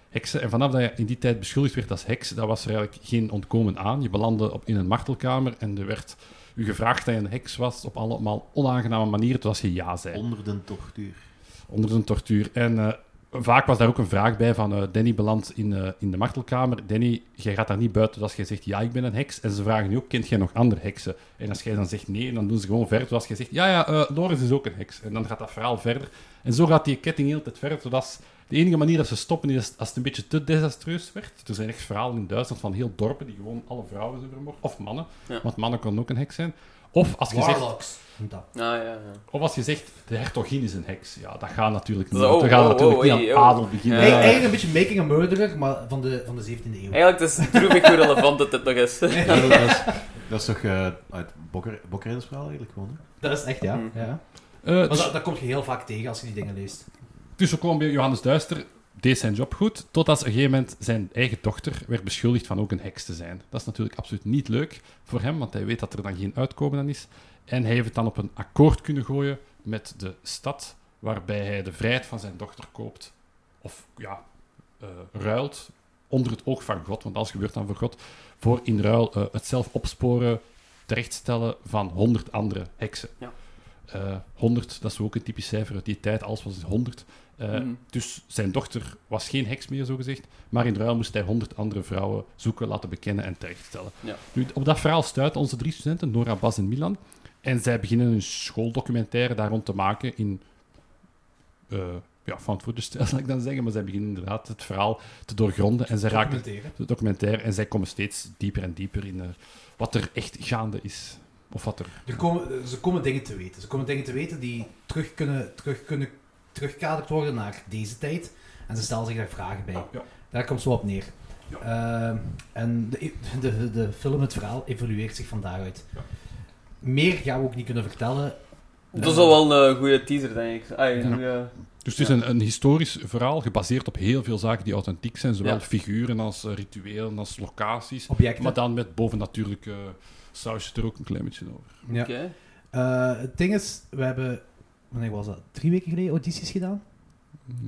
heksen. En vanaf dat je in die tijd beschuldigd werd als heks, daar was er eigenlijk geen ontkomen aan. Je belandde op, in een martelkamer en er werd u gevraagd dat je een heks was op allemaal onaangename manieren, tot als je ja zei.
Onder de tortuur.
onder zijn tortuur. En eh, vaak was daar ook een vraag bij van eh, Danny belandt in, eh, in de martelkamer. Danny, jij gaat daar niet buiten als jij zegt ja, ik ben een heks. En ze vragen nu ook, kent jij nog andere heksen? En als jij dan zegt nee, dan doen ze gewoon verder. Zoals jij zegt, ja, ja, eh Loris is ook een heks. En dan gaat dat verhaal verder. En zo gaat die ketting heel de tijd verder, zodat ze- de enige manier dat ze stoppen is als het een beetje te desastreus werd. Er zijn echt verhalen in Duitsland van heel dorpen die gewoon alle vrouwen zijn vermoord. Of mannen,
Ja.
want mannen konden ook een heks zijn. Of als je zegt,
Warlocks. noemt dat.
Ah, ja, ja.
of als je zegt, de hertogin is een heks. Ja, dat gaat natuurlijk niet.
Zo,
want we gaan
wow,
natuurlijk
wow,
niet
hey,
aan
oh.
adel beginnen.
Ja.
Eigen- Eigenlijk een beetje Making a Murderer, maar van de, van de 17e eeuw.
Eigenlijk is het droevig hoe relevant dat dit nog is.
Ja, dat, dat is, dat is toch eh, uit Bokker, Bokkerheidersverhaal eigenlijk gewoon, hè?
Dat is echt, ja.
Mhm.
ja.
Eh,
Maar
dus,
dat, dat kom je heel vaak tegen als je die dingen leest.
dus ook kwam bij Johannes Duister, deed zijn job goed, totdat op een gegeven moment zijn eigen dochter werd beschuldigd van ook een heks te zijn. Dat is natuurlijk absoluut niet leuk voor hem, want hij weet dat er dan geen uitkomen aan is. En hij heeft het dan op een akkoord kunnen gooien met de stad, waarbij hij de vrijheid van zijn dochter koopt. Of ja, eh, ruilt onder het oog van God, want alles gebeurt dan voor God, voor in ruil eh, het zelf opsporen, terechtstellen van 100 andere heksen.
Ja.
Eh, 100, dat is ook een typisch cijfer uit die tijd, alles was 100. Eh,
Mhm.
Dus zijn dochter was geen heks meer, zogezegd, maar in ruil moest hij 100 andere vrouwen zoeken, laten bekennen en terechtstellen.
Ja.
Nu, op dat verhaal stuiten onze drie studenten, Nora, Bas en Milan, en zij beginnen een schooldocumentaire daar rond te maken in eh ja, found stijl zal ik dan zeggen, maar zij beginnen inderdaad het verhaal te doorgronden en zij raken
Documenteren.
het documentaire en zij komen steeds dieper en dieper in eh, wat er echt gaande is. Of wat er...
Er komen, ze komen dingen te weten. Ze komen dingen te weten die terug kunnen, terug kunnen terugkaderd worden naar deze tijd. En ze stellen zich daar vragen bij.
ja.
Daar komt zo op neer.
Ja.
Ehm, en de, e- de, de film, het verhaal, evolueert zich van daaruit. Meer gaan we ook niet kunnen vertellen.
Dat is al wel een eh, goede teaser, denk ik. Ai, eh,
Ja.
een goede
Dus het is een, een historisch verhaal gebaseerd op heel veel zaken die authentiek zijn, zowel
Ja.
figuren als eh, rituelen als locaties.
Objecten.
Maar dan met bovennatuurlijke sausje er ook een klein beetje over.
Ja.
Oké.
Eh, het ding is, we hebben, wanneer was dat? Drie weken geleden audities gedaan.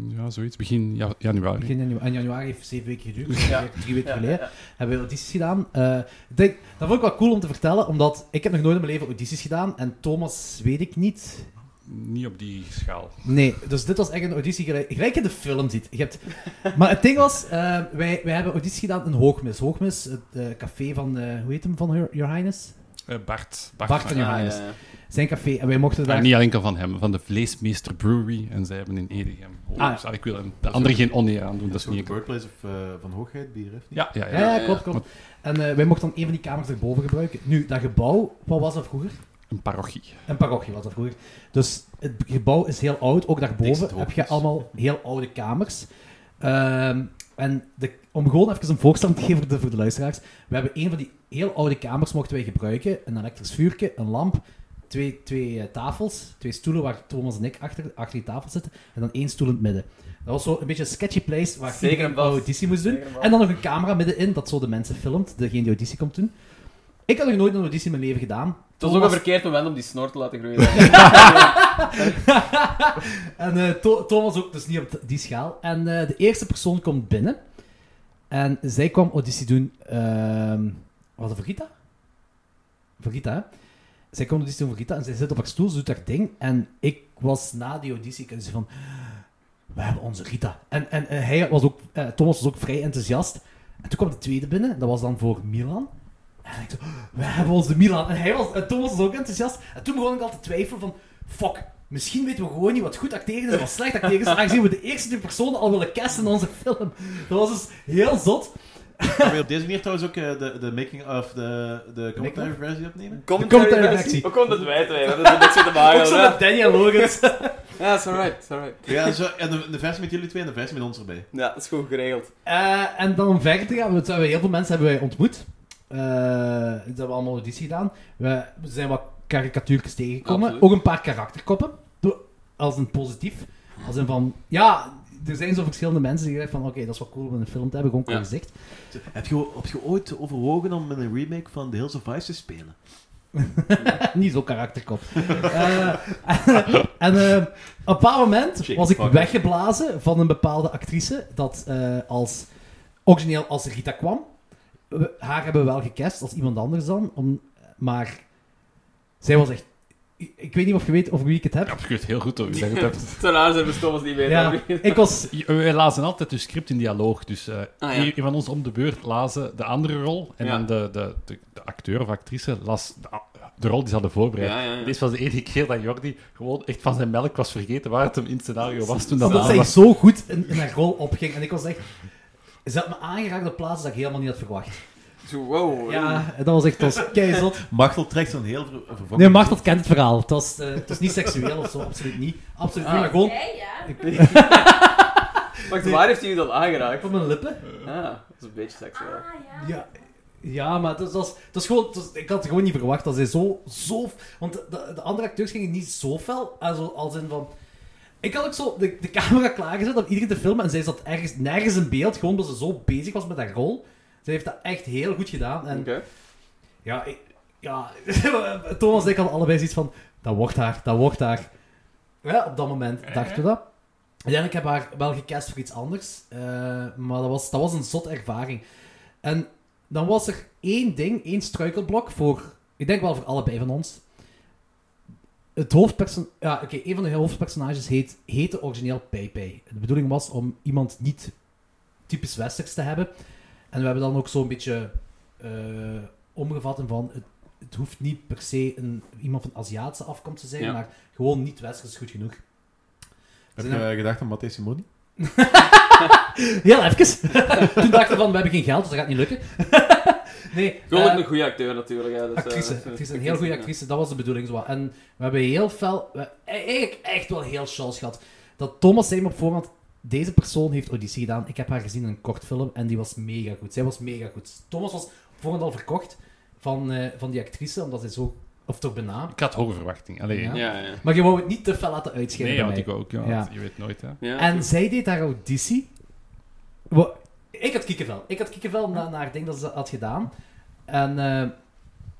Ja, zoiets. Begin ja- januari.
Begin janu- en januari heeft zeven weken geduurd. dus
Ja.
ongeveer Drie weken
Ja,
geleden
ja.
hebben we audities gedaan. Eh, ik denk, dat vond ik wel cool om te vertellen, omdat ik heb nog nooit in mijn leven audities gedaan en Thomas weet ik niet.
Niet op die schaal.
Nee, dus dit was echt een auditie gelijk, gelijk je de film ziet. Je hebt... Maar het ding was, eh, wij, wij hebben audities gedaan in Hoogmis. Hoogmis, het eh, café van, eh, hoe heet hem, van Your, Your Highness?
Eh, Bart. Bart,
Bart
maar-
en
Ah,
Johannes. Zijn café. En wij mochten daar...
Maar Ah, niet enkel van hem, van de Vleesmeester Brewery. En zij hebben in Edegem. Oh,
Ah.
zal ik wil hem- de andere geen oneer aan doen, dat
Dat
is niet enkel.
Workplace of, eh, van hoogheid, bier, heeft niet?
Ja, ja, ja.
Ja, ja, klopt, klopt. En eh, wij mochten dan een van die kamers erboven gebruiken. Nu, dat gebouw, wat was dat vroeger?
Een parochie.
Een parochie was dat vroeger. Dus het gebouw is heel oud. Ook
Dikste
daarboven heb
hoogtes.
dus.
je allemaal heel oude kamers. Ehm, en de, om gewoon even een voorstand te geven voor de, voor de luisteraars. We hebben een van die heel oude kamers mochten wij gebruiken. Een elektrisch vuurtje, een lamp, twee, twee eh, tafels, twee stoelen waar Thomas en ik achter, achter die tafel zitten. En dan één stoel in het midden. Dat was zo een beetje een sketchy place waar
Zeker
iedereen
en
een
vast.
auditie moest doen.
Zeker en vast.
En dan nog een camera middenin dat zo de mensen filmt, degene die auditie komt doen. Ik had nog nooit een auditie in mijn leven gedaan.
Het was ook een verkeerd moment om die snor te laten groeien.
En eh, To- Thomas ook, dus niet op die schaal. En eh, de eerste persoon komt binnen. En zij kwam auditie doen. ehm was het voor Gita? Voor Gita, hè? Zij kwam auditie doen voor Gita en zij zit op haar stoel, ze doet haar ding. En ik was na die auditie, ik zei van... We hebben onze Gita. En, en eh, hij was ook, eh, Thomas was ook vrij enthousiast. En toen kwam de tweede binnen, dat was dan voor Milan. En ik zo, we hebben onze Milan. En hij was, en Thomas was ook enthousiast. En toen begon ik al te twijfelen van, fuck, misschien weten we gewoon niet wat goed acteren is en wat slecht acteren is, aangezien we de eerste twee personen al willen casten in onze film. Dat was dus heel zot.
Gaan we op deze manier trouwens ook eh, de, de making of de, de commentary versie opnemen?
Commentary versie.
Hoe komt dat wij twee? Dat is niks te maken.
Ook zo
Ah, ja.
met Daniel Logans.
Ja, is alright, is alright.
Ja, zo, en de, de versie met jullie twee en de versie met ons erbij.
Ja, dat is goed geregeld.
Eh, en dan om verder te gaan, want we hebben heel veel mensen hebben wij ontmoet. Eh, dat hebben we allemaal auditie gedaan. We zijn wat karikatuurtjes tegengekomen.
Absoluut.
Ook een paar karakterkoppen. Do- Als een positief. Als een van, ja, er zijn zo verschillende mensen die zeggen van, oké, dat is wel cool om in een film te hebben, gewoon qua
Ja.
gezicht.
Heb je, heb je ooit overwogen om in een remake van The Hills of Ice te spelen?
Niet zo'n karakterkop. Eh, en eh, op een bepaald moment was ik
Fucker.
weggeblazen van een bepaalde actrice dat eh, als origineel als Rita kwam. We- haar hebben we wel gecast als iemand anders dan, om, maar zij was echt. Ik, ik weet niet of je weet over wie ik het heb.
Ja, dat gebeurt heel goed hoor. Je zegt het
Het
hebt.
is zo raar zijn we Thomas niet meer.
Ja, ik was.
Je- Wij lazen altijd een script in dialoog. Dus eh
Ah, ja.
een van ons om de beurt lazen de andere rol. En
Ja.
dan de, de, de, de acteur of actrice las de, a- de rol die ze hadden voorbereid.
Ja, ja, ja.
Dit was de enige keer dat Jordi gewoon echt van zijn melk was vergeten waar het hem in het scenario was toen dat
Omdat
aan
zij
was.
zo goed in, in haar rol opging. En ik was echt. Ze had me aangeraakt op plaatsen dat ik helemaal niet had verwacht.
Zo, wow.
Ja, dat was echt. Dat was keizot.
Machtel trekt zo'n heel ver, vervangend.
Nee, Martel kent het verhaal. Het was, eh, het was niet seksueel of zo, absoluut niet. Absoluut
Ah.
Ah,
niet, maar Ah, gewoon
Jij, ja?
Wacht, waar heeft hij u dat aangeraakt?
op mijn lippen.
Ah, dat is een beetje seksueel.
Ah, ja.
Ja, ja maar het was, het was gewoon, het was- ik had het gewoon niet verwacht dat zij zo, zo... Want de, de- de andere acteurs gingen niet zo fel, also, als in van... Ik had ook zo de, de camera klaargezet om iedereen te filmen en zij zat ergens, nergens in beeld, gewoon omdat ze zo bezig was met haar rol. Zij heeft dat echt heel goed gedaan. En
Oké.
ja, ik, ja, Thomas en ik hadden allebei zoiets van, dat wordt haar, dat wordt haar. Ja, op dat moment dachten we dat. Uiteindelijk heb ik haar wel gecast voor iets anders, eh, maar dat was, dat was een zot ervaring. En dan was er één ding, één struikelblok voor, ik denk wel voor allebei van ons. Het hoofdperson... Ja, oké, een van de hoofdpersonages heet, heette origineel Pei Pei. De bedoeling was om iemand niet typisch westers te hebben. En we hebben dan ook zo'n beetje eh, omgevat in van... Het, het hoeft niet per se een, iemand van Aziatische afkomst te zijn,
Ja.
maar gewoon niet westers is goed genoeg.
Heb
Zijn
je gedacht aan Matthijs Simoni?
Heel even. Toen dachten we van, we hebben geen geld, dus dat gaat niet lukken. nee.
Gewoon ook
eh,
een goede acteur natuurlijk. Ja, dus, eh,
actrice,
dat is-
actrice, een heel goede
ja.
actrice, dat was de bedoeling. Zo. En we hebben heel fel, we, eigenlijk echt wel heel chance gehad. Dat Thomas zei me op voorhand, deze persoon heeft auditie gedaan. Ik heb haar gezien in een kort film en die was mega goed. Zij was mega goed. Thomas was op voorhand al verkocht van, eh, van die actrice, omdat zij zo Of toch bijna.
Ik had hoge verwachting. Allee,
Ja.
Ja, ja.
Maar je wou het niet te fel laten uitschijnen
Nee, ja,
bij
want
mij.
ik ook. Ja,
Ja.
want Je weet nooit, hè.
ja.
En zij deed haar auditie. Wa- Ik had kiekenvel. Ik had kiekenvel na, na haar ding dat ze dat had gedaan. En eh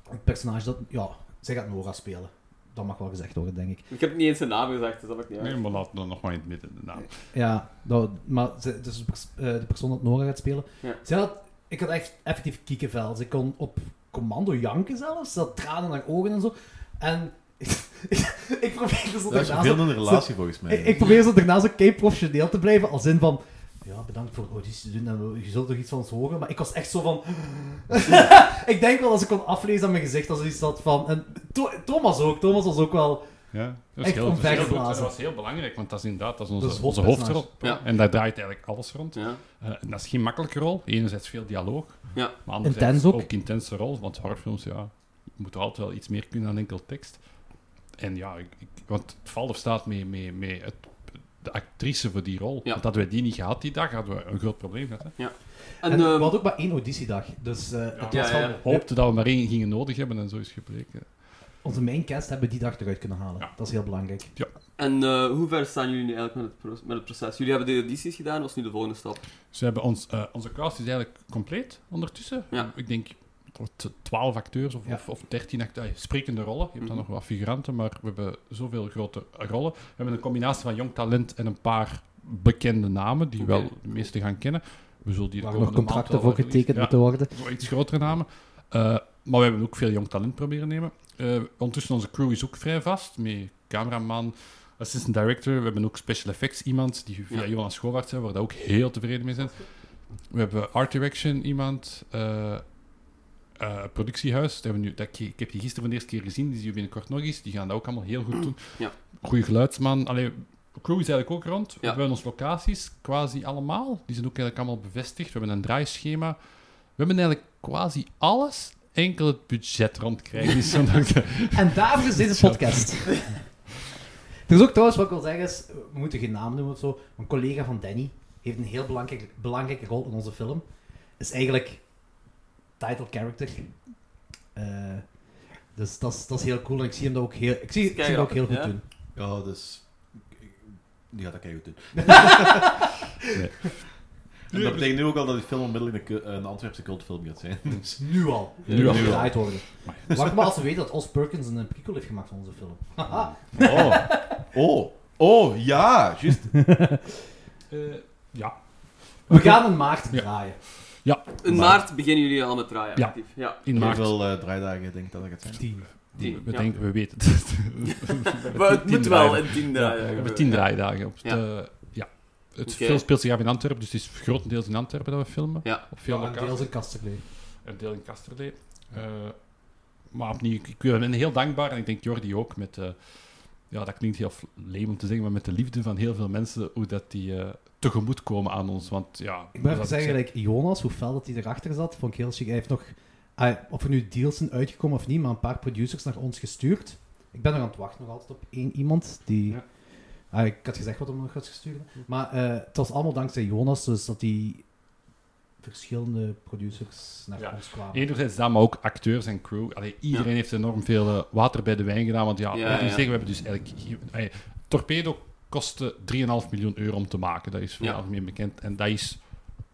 het personage dat... Ja, zij gaat Nora spelen. Dat mag wel gezegd worden, denk ik.
Ik heb niet eens zijn naam gezegd, dus dat maakt niet uit.
Nee, maar laat dan nog maar in het midden de naam.
Ja, dat, maar ze, dus de, pers- eh, de persoon dat Nora gaat spelen.
Ja.
Zij had, ik had echt effectief kiekenvel. Ze kon op commando janken zelfs. Ze had tranen in haar ogen en zo. En ik probeerde zo
Dat is
daarna
veel
zo...
in een relatie, volgens mij.
Ik, ik probeer zo daarna zo kei-professioneel te blijven. Als in van... Ja, bedankt voor de auditie te doen. En we- je zult toch iets van ons horen. Maar ik was echt zo van... ik denk wel als ik kon aflezen aan mijn gezicht als er iets zat van... En To- Thomas ook. Thomas was ook wel...
Ja, dat
Echt
is heel, dat is heel goed.
omvergeblazen.
Dat was heel belangrijk, want dat is inderdaad dat is onze,
Dat is
onze
hoofdpersonage.
hoofdrol.
Ja.
En daar draait eigenlijk alles rond.
Ja.
Eh, en dat is geen makkelijke rol. Enerzijds veel dialoog,
Ja.
maar anderzijds
Intens ook.
ook. intense rol. Want horrorfilms, ja, je moet er altijd wel iets meer kunnen dan enkel tekst. En ja, ik, ik- want het valt of staat mee, mee, mee het, de actrice voor die rol.
Ja.
Want hadden we die niet gehad die dag, hadden we een groot probleem gehad. Hè.
En,
En
ehm,
we hadden ook maar één auditiedag. Dus eh, het
Ja,
was van...
ja, ja.
Hoopte dat we maar één gingen nodig hebben en zo is gebleken.
Onze maincast hebben we die dag eruit kunnen halen.
Ja.
Dat is heel belangrijk.
en eh, hoe ver staan jullie nu eigenlijk met het, pro- met het proces? Jullie hebben de audities gedaan, wat is nu de volgende stap?
Ze hebben ons, eh, onze cast is eigenlijk compleet ondertussen.
Ja.
Ik denk t- 12 acteurs of,
Ja.
of, of 13 acteurs. Sprekende rollen. Je hebt dan
Mhm.
nog wat figuranten, maar we hebben zoveel grote rollen. We hebben een combinatie van jong talent en een paar bekende namen die
Oké.
wel de meesten gaan kennen. We zullen die de
Waar
komende
nog
maand wel
contracten voor
wat
getekend
releasen.
moeten worden.
Ja, zo iets grotere namen. Eh, maar we hebben ook veel jong talent proberen nemen. Eh, ondertussen onze crew is ook vrij vast. Met cameraman, assistant director. We hebben ook special effects iemand die via
Ja.
Johan Schoowaard zijn, waar we ook heel tevreden mee zijn. We hebben art direction iemand. eh, eh, productiehuis. Dat hebben we nu, dat, ik, ik heb die gisteren voor de eerste keer gezien. Die zie je binnenkort nog eens. Die gaan dat ook allemaal heel goed doen.
Mm. Ja.
Goeie geluidsman. Allee, crew is eigenlijk ook rond. We
Ja.
hebben onze locaties quasi allemaal. Die zijn ook eigenlijk allemaal bevestigd. We hebben een draaischema. We hebben eigenlijk quasi alles. Enkel het budget rondkrijgen. is zo'n ding.
En daarvoor is deze podcast. er is ook trouwens, wat ik wil zeggen, is, we moeten geen naam noemen of zo. Een collega van Danny heeft een heel belangrijk, belangrijke rol in onze film. Is eigenlijk title character. Eh, dus dat is, dat is heel cool en ik zie hem dat ook heel, ik zie, ik zie hem dat ook heel goed
Ja.
doen.
Ja, dus... Die gaat dat keihard doen. En dat betekent nu ook al dat die film onmiddellijk een, cu- een Antwerpse cultfilm gaat zijn. Dus,
Nu al.
Nu al.
Moet Gedraaid worden. Wacht maar als we weten dat Os Perkins een prequel heeft gemaakt van onze film. Haha.
oh. oh, oh, ja, juist.
Eh, ja.
We gaan een maart
Ja.
draaien.
In maart beginnen jullie al met draaien,
Ja.
actief. Ja.
In maart.
Hoeveel eh, draaidagen denk ik dat dat gaat zijn?
Tien.
We, we
ja.
denken, we weten het.
Maar het moet wel in tien
Ja, we
draaien.
hebben
gebeuren.
tien draaidagen. Op
Ja.
de, ja. Het
Oké.
film speelt zich af in Antwerpen, dus het is grotendeels in Antwerpen dat we filmen.
Ja.
Op veel
Ja, en
locaties.
deels een kastenleven.
Een deel in Kasterlee. Eh, maar opnieuw, ik, ik ben heel dankbaar en ik denk Jordi ook met... eh, ja, dat klinkt heel leem om te zeggen, maar met de liefde van heel veel mensen, hoe dat die eh, tegemoetkomen aan ons. Want ja...
Ik moet
dat
even zeggen,
zei-
like, Jonas, hoe fel dat hij erachter zat, vond ik heel chic. Hij heeft nog, ah, of er nu deals zijn uitgekomen of niet, maar een paar producers naar ons gestuurd. Ik ben nog aan het wachten nog altijd op één iemand die...
Ja.
Ah, ik had gezegd wat hem nog had gestuurd. Maar eh, het was allemaal dankzij Jonas, dus dat die verschillende producers naar
Ja.
ons kwamen.
Enerzijds dat, maar ook acteurs en crew. Allee, iedereen heeft enorm veel eh, water bij de wijn gedaan. Want ja,
Ja,
laten we
ja.
zeggen, we hebben dus eigenlijk... hier- allee, Torpedo kostte 3,5 miljoen euro om te maken. Dat is voor
Ja.
het algemeen bekend. En dat is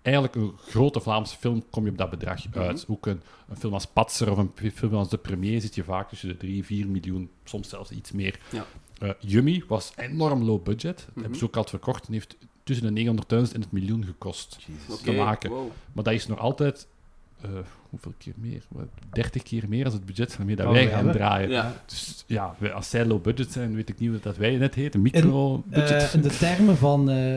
eigenlijk een grote Vlaamse film, kom je op dat bedrag
Mhm.
uit. Ook een, een film als Patser of een p- film als De Premier zit je vaak tussen de 3, 4 miljoen, soms zelfs iets meer.
Ja. Mhm.
Eh, Yummy was enorm low budget. Dat hebben ze ook al verkocht en heeft tussen de 900.000 en het miljoen gekost
Jezus.
Oké,
te maken.
wow.
Maar dat is nog altijd. eh, hoeveel keer meer? Wat, 30 keer meer als het budget waarmee dat
Oh,
wij
we
gaan
hebben.
draaien.
Ja.
Dus ja, wij- als zij low budget zijn, weet ik niet wat dat wij net heten. Micro-budget.
Eh, in de termen van eh,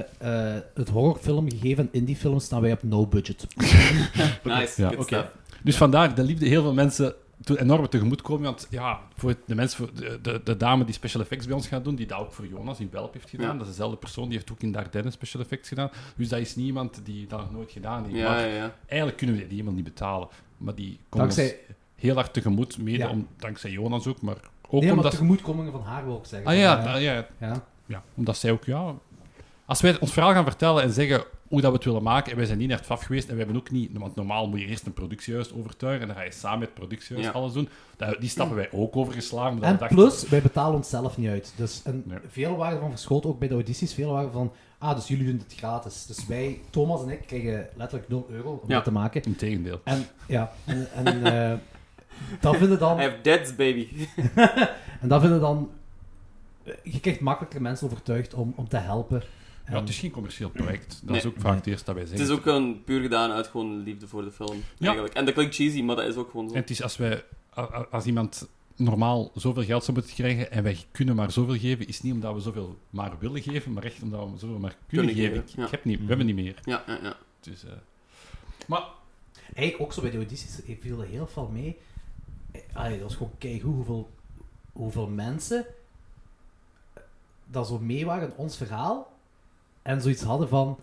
eh, het horrorfilmgegeven en indiefilm staan wij op no budget.
Nice,
Ja.
good
Oké.
stuff.
Dus vandaar de liefde heel veel mensen toe- enorm tegemoetkomen. Want ja, voor de, mensen, voor de, de, de dame die special effects bij ons gaat doen, die dat ook voor Jonas in Welp heeft gedaan,
Ja.
dat is dezelfde persoon, die heeft ook in Dardenne special effects gedaan. Dus dat is niemand die dat nog nooit gedaan heeft.
Ja,
Maar
ja, ja.
Eigenlijk kunnen we die iemand niet betalen. Maar die komt
Dankzij-
ons heel hard tegemoet. Mede
Ja.
om, dankzij Jonas ook, maar ook
nee, maar
omdat...
tegemoetkomingen van haar wil ik zeggen.
Ah
Van,
ja,
eh,
da- ja,
ja.
ja, omdat zij ook, ja... Als wij ons verhaal gaan vertellen en zeggen hoe dat we het willen maken. En wij zijn niet naar het FAF geweest en we hebben ook niet... Want normaal moet je eerst een productiehuis overtuigen en dan ga je samen met het productiehuis
Ja.
alles doen. Dat, die stappen wij ook overgeslagen. omdat we
En
dachten-
plus, wij betalen onszelf niet uit. Dus en
Nee.
veel waren van verschoten, ook bij de audities, veel waren van, ah, dus jullie doen het gratis. Dus wij, Thomas en ik, kregen letterlijk 0 euro om
Ja.
dat te maken.
Integendeel.
En ja, en, en eh, dat vinden dan...
I have debts, baby.
En dat vinden dan... eh, Je krijgt makkelijker mensen overtuigd om, om te helpen. En-
Ja, het is geen commercieel project. Dat is
Nee.
ook vaak het eerste dat wij
Het
zeggen.
is ook gewoon puur gedaan uit gewoon liefde voor de film,
Ja.
eigenlijk. En dat klinkt cheesy, maar dat is ook gewoon zo.
En het is als wij, a- a- als iemand normaal zoveel geld zou moeten krijgen en wij kunnen maar zoveel geven, is niet omdat we zoveel maar willen geven, maar echt omdat we zoveel maar kunnen,
Kunnen
geven.
geven,
Ik-
ja.
Ik heb niet, we hebben niet meer.
Ja, ja, ja.
Dus, eh,
Eigenlijk ook zo bij de audities ik viel er heel veel mee. Eh, Allee, dat was gewoon keigoed hoeveel, hoeveel mensen eh, dat zo mee waren in ons verhaal. En zoiets hadden van,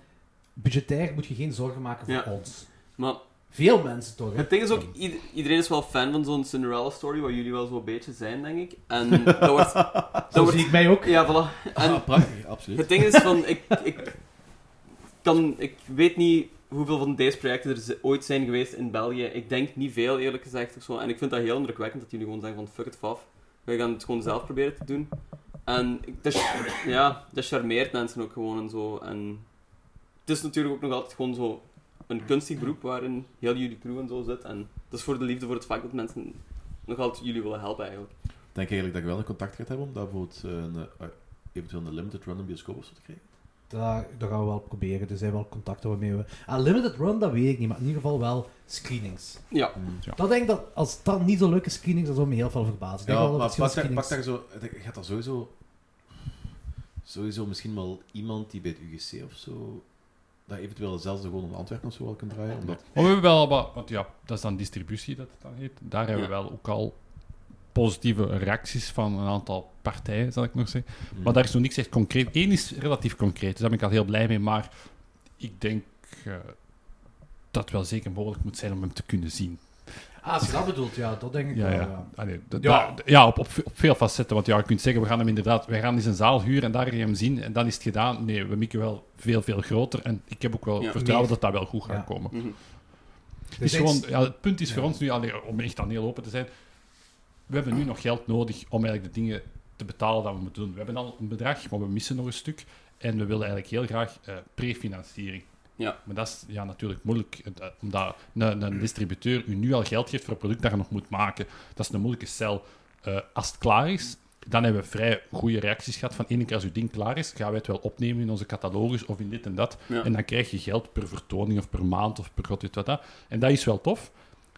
budgetair moet je geen zorgen maken voor
Ja.
ons.
Maar
Veel mensen toch, hè?
Het ding is ook, ied- iedereen is wel fan van zo'n Cinderella-story, waar jullie wel zo'n beetje zijn, denk ik. En dat wordt... dat
Zo
wordt
zie ik mij ook.
ja, voilà. En
Ah, prachtig, absoluut.
het ding is van, ik, ik, kan, ik weet niet hoeveel van deze projecten er z- ooit zijn geweest in België. Ik denk niet veel, eerlijk gezegd. Of zo. En ik vind dat heel indrukwekkend dat jullie gewoon zeggen van, fuck it, faf. Wij gaan het gewoon zelf proberen te doen. En ik- dat, ch- ja, dat charmeert mensen ook gewoon en zo. En het is natuurlijk ook nog altijd gewoon zo een kunstig beroep waarin heel jullie crew en zo zit. En dat is voor de liefde voor het vak dat mensen nog altijd jullie willen helpen eigenlijk.
Ik denk eigenlijk dat je wel een contact gaat hebben om daar bijvoorbeeld eh, een, eh, eventueel een limited run in bioscoop of zo te krijgen.
Daar, daar gaan we wel proberen. Er zijn wel contacten waarmee we... Ah, limited run, dat weet ik niet, maar in ieder geval wel screenings.
Ja.
Mm.
Dat denk ik dat, als dat niet zo lukken screenings, dat zou me heel veel verbazen. Ik denk
Ja,
wel
maar
dat
pak, daar-
verschillende
pak daar zo... Je gaat daar sowieso... Sowieso misschien wel iemand die bij het UGC of zo... Dat eventueel zelfs gewoon in Antwerpen of zo wel kunt draaien. Omdat,
maar we hebben wel wat, want ja, dat is dan distributie dat het dan heet. Daar hebben we
Ja.
wel ook al positieve reacties van een aantal partijen, zal ik nog
Mhm.
zeggen.
Hmm.
Maar daar is nog niks echt concreet. Eén is relatief concreet, dus daar ben ik al heel blij mee. Maar ik denk eh, dat het wel zeker mogelijk moet zijn om hem te kunnen zien.
screenings. Ah, als je dat bedoelt, ja, dat denk ik
Ja,
wel,
ja. Ah, nee, d-
Ja.
daar- ja op, op, op veel facetten. Want ja, je kunt zeggen, we gaan hem inderdaad, we gaan eens een zaal huren en daar gaan we hem zien. En dan is het gedaan. Nee, we mikken wel veel, veel groter. En ik heb ook wel
Ja,
vertrouwen
meer.
dat dat wel goed gaat
Ja.
komen.
Mhm.
Dus
Het, is
ik-
gewoon, ja, het punt is
Ja.
voor ons nu, allee, om echt aan heel open te zijn, we hebben nu nog geld nodig om eigenlijk de dingen te betalen dat we moeten doen. We hebben al een bedrag, maar we missen nog een stuk. En we willen eigenlijk heel graag eh, prefinanciering.
Ja.
Maar dat is ja, natuurlijk moeilijk, eh, omdat een, een distributeur u nu al geld geeft voor een product dat je nog moet maken. Dat is een moeilijke cel. Eh, als het klaar is, dan hebben we vrij goede reacties gehad van ene keer als uw ding klaar is, gaan wij het wel opnemen in onze catalogus of in dit en dat.
Ja.
En dan krijg je geld per vertoning of per maand of per god weet wat dat. En dat is wel tof.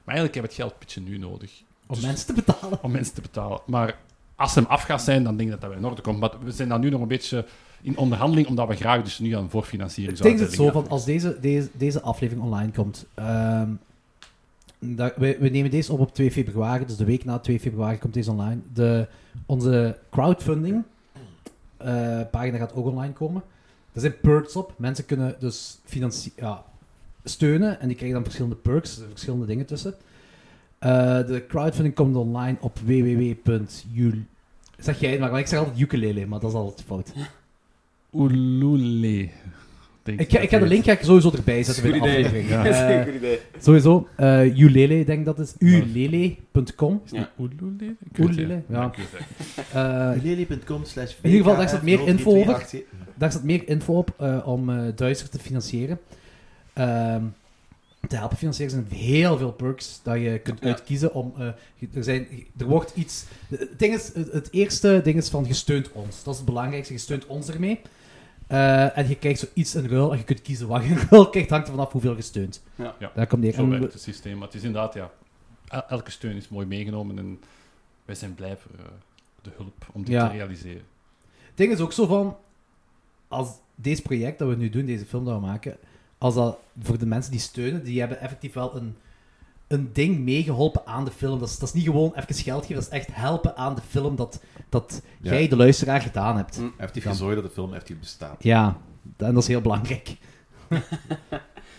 Maar eigenlijk hebben we het geld een beetje nu nodig
Om
dus-
mensen te betalen.
om mensen te betalen. Maar als ze hem af gaat zijn, dan denk ik dat dat wel in orde komt. Maar we zijn dan nu nog een beetje in onderhandeling, omdat we graag dus nu aan voorfinanciering
Ik denk
zouden
het zo van, als deze, deze, deze aflevering online komt, ehm, dat, we, we nemen deze op op 2 februari, dus de week na 2 februari komt deze online. De, onze crowdfunding eh, pagina gaat ook online komen. Er zijn perks op. Mensen kunnen dus financi- ja, steunen en die krijgen dan verschillende perks, er verschillende dingen tussen. Eh, de crowdfunding komt online op www.jul... Zeg jij het maar, want ik zeg altijd ukulele, maar dat is altijd fout.
Oelule. denk
Ik ga, ik ga de link ga ik sowieso erbij zetten bij de
Goed idee.
aflevering.
Ja.
Dat is
Eh,
een goed idee.
Sowieso, eh Ulele, denk ik dat is. Ulele.com.
Oelule? Ik weet het,
Ulele, ja.
Ik weet het.
Eh,
Lely.com slash
In ieder geval, daar staat meer info over.
0328.
daar staat meer info op eh, om eh Duitsers te financieren. Ehm, te helpen financieren zijn heel veel perks dat je kunt
Ja.
uitkiezen. Om, eh, je- er, zijn, er wordt iets... Het, ding is, het het eerste ding is van je steunt ons. Dat is het belangrijkste. Je steunt ons ermee. Eh, en je krijgt zoiets in ruil en je kunt kiezen wat je in ruil krijgt. hangt er vanaf hoeveel je steunt.
Ja.
Ja.
Daar komt neer.
Zo
En
werkt
we-
het systeem. Maar het is inderdaad, ja. el- Elke steun is mooi meegenomen en wij zijn blij voor eh, de hulp om dit
Ja.
te realiseren.
Het ding is ook zo van, als deze project dat we nu doen, deze film dat we maken, als dat voor de mensen die steunen, die hebben effectief wel een, een ding meegeholpen aan de film. Dat is, dat is niet gewoon even geld geven, dat is echt helpen aan de film dat, dat
Ja.
jij, de luisteraar, gedaan hebt.
Mm.
Hij heeft gezorgd dat de film effectief bestaat.
Ja, en dat is heel belangrijk.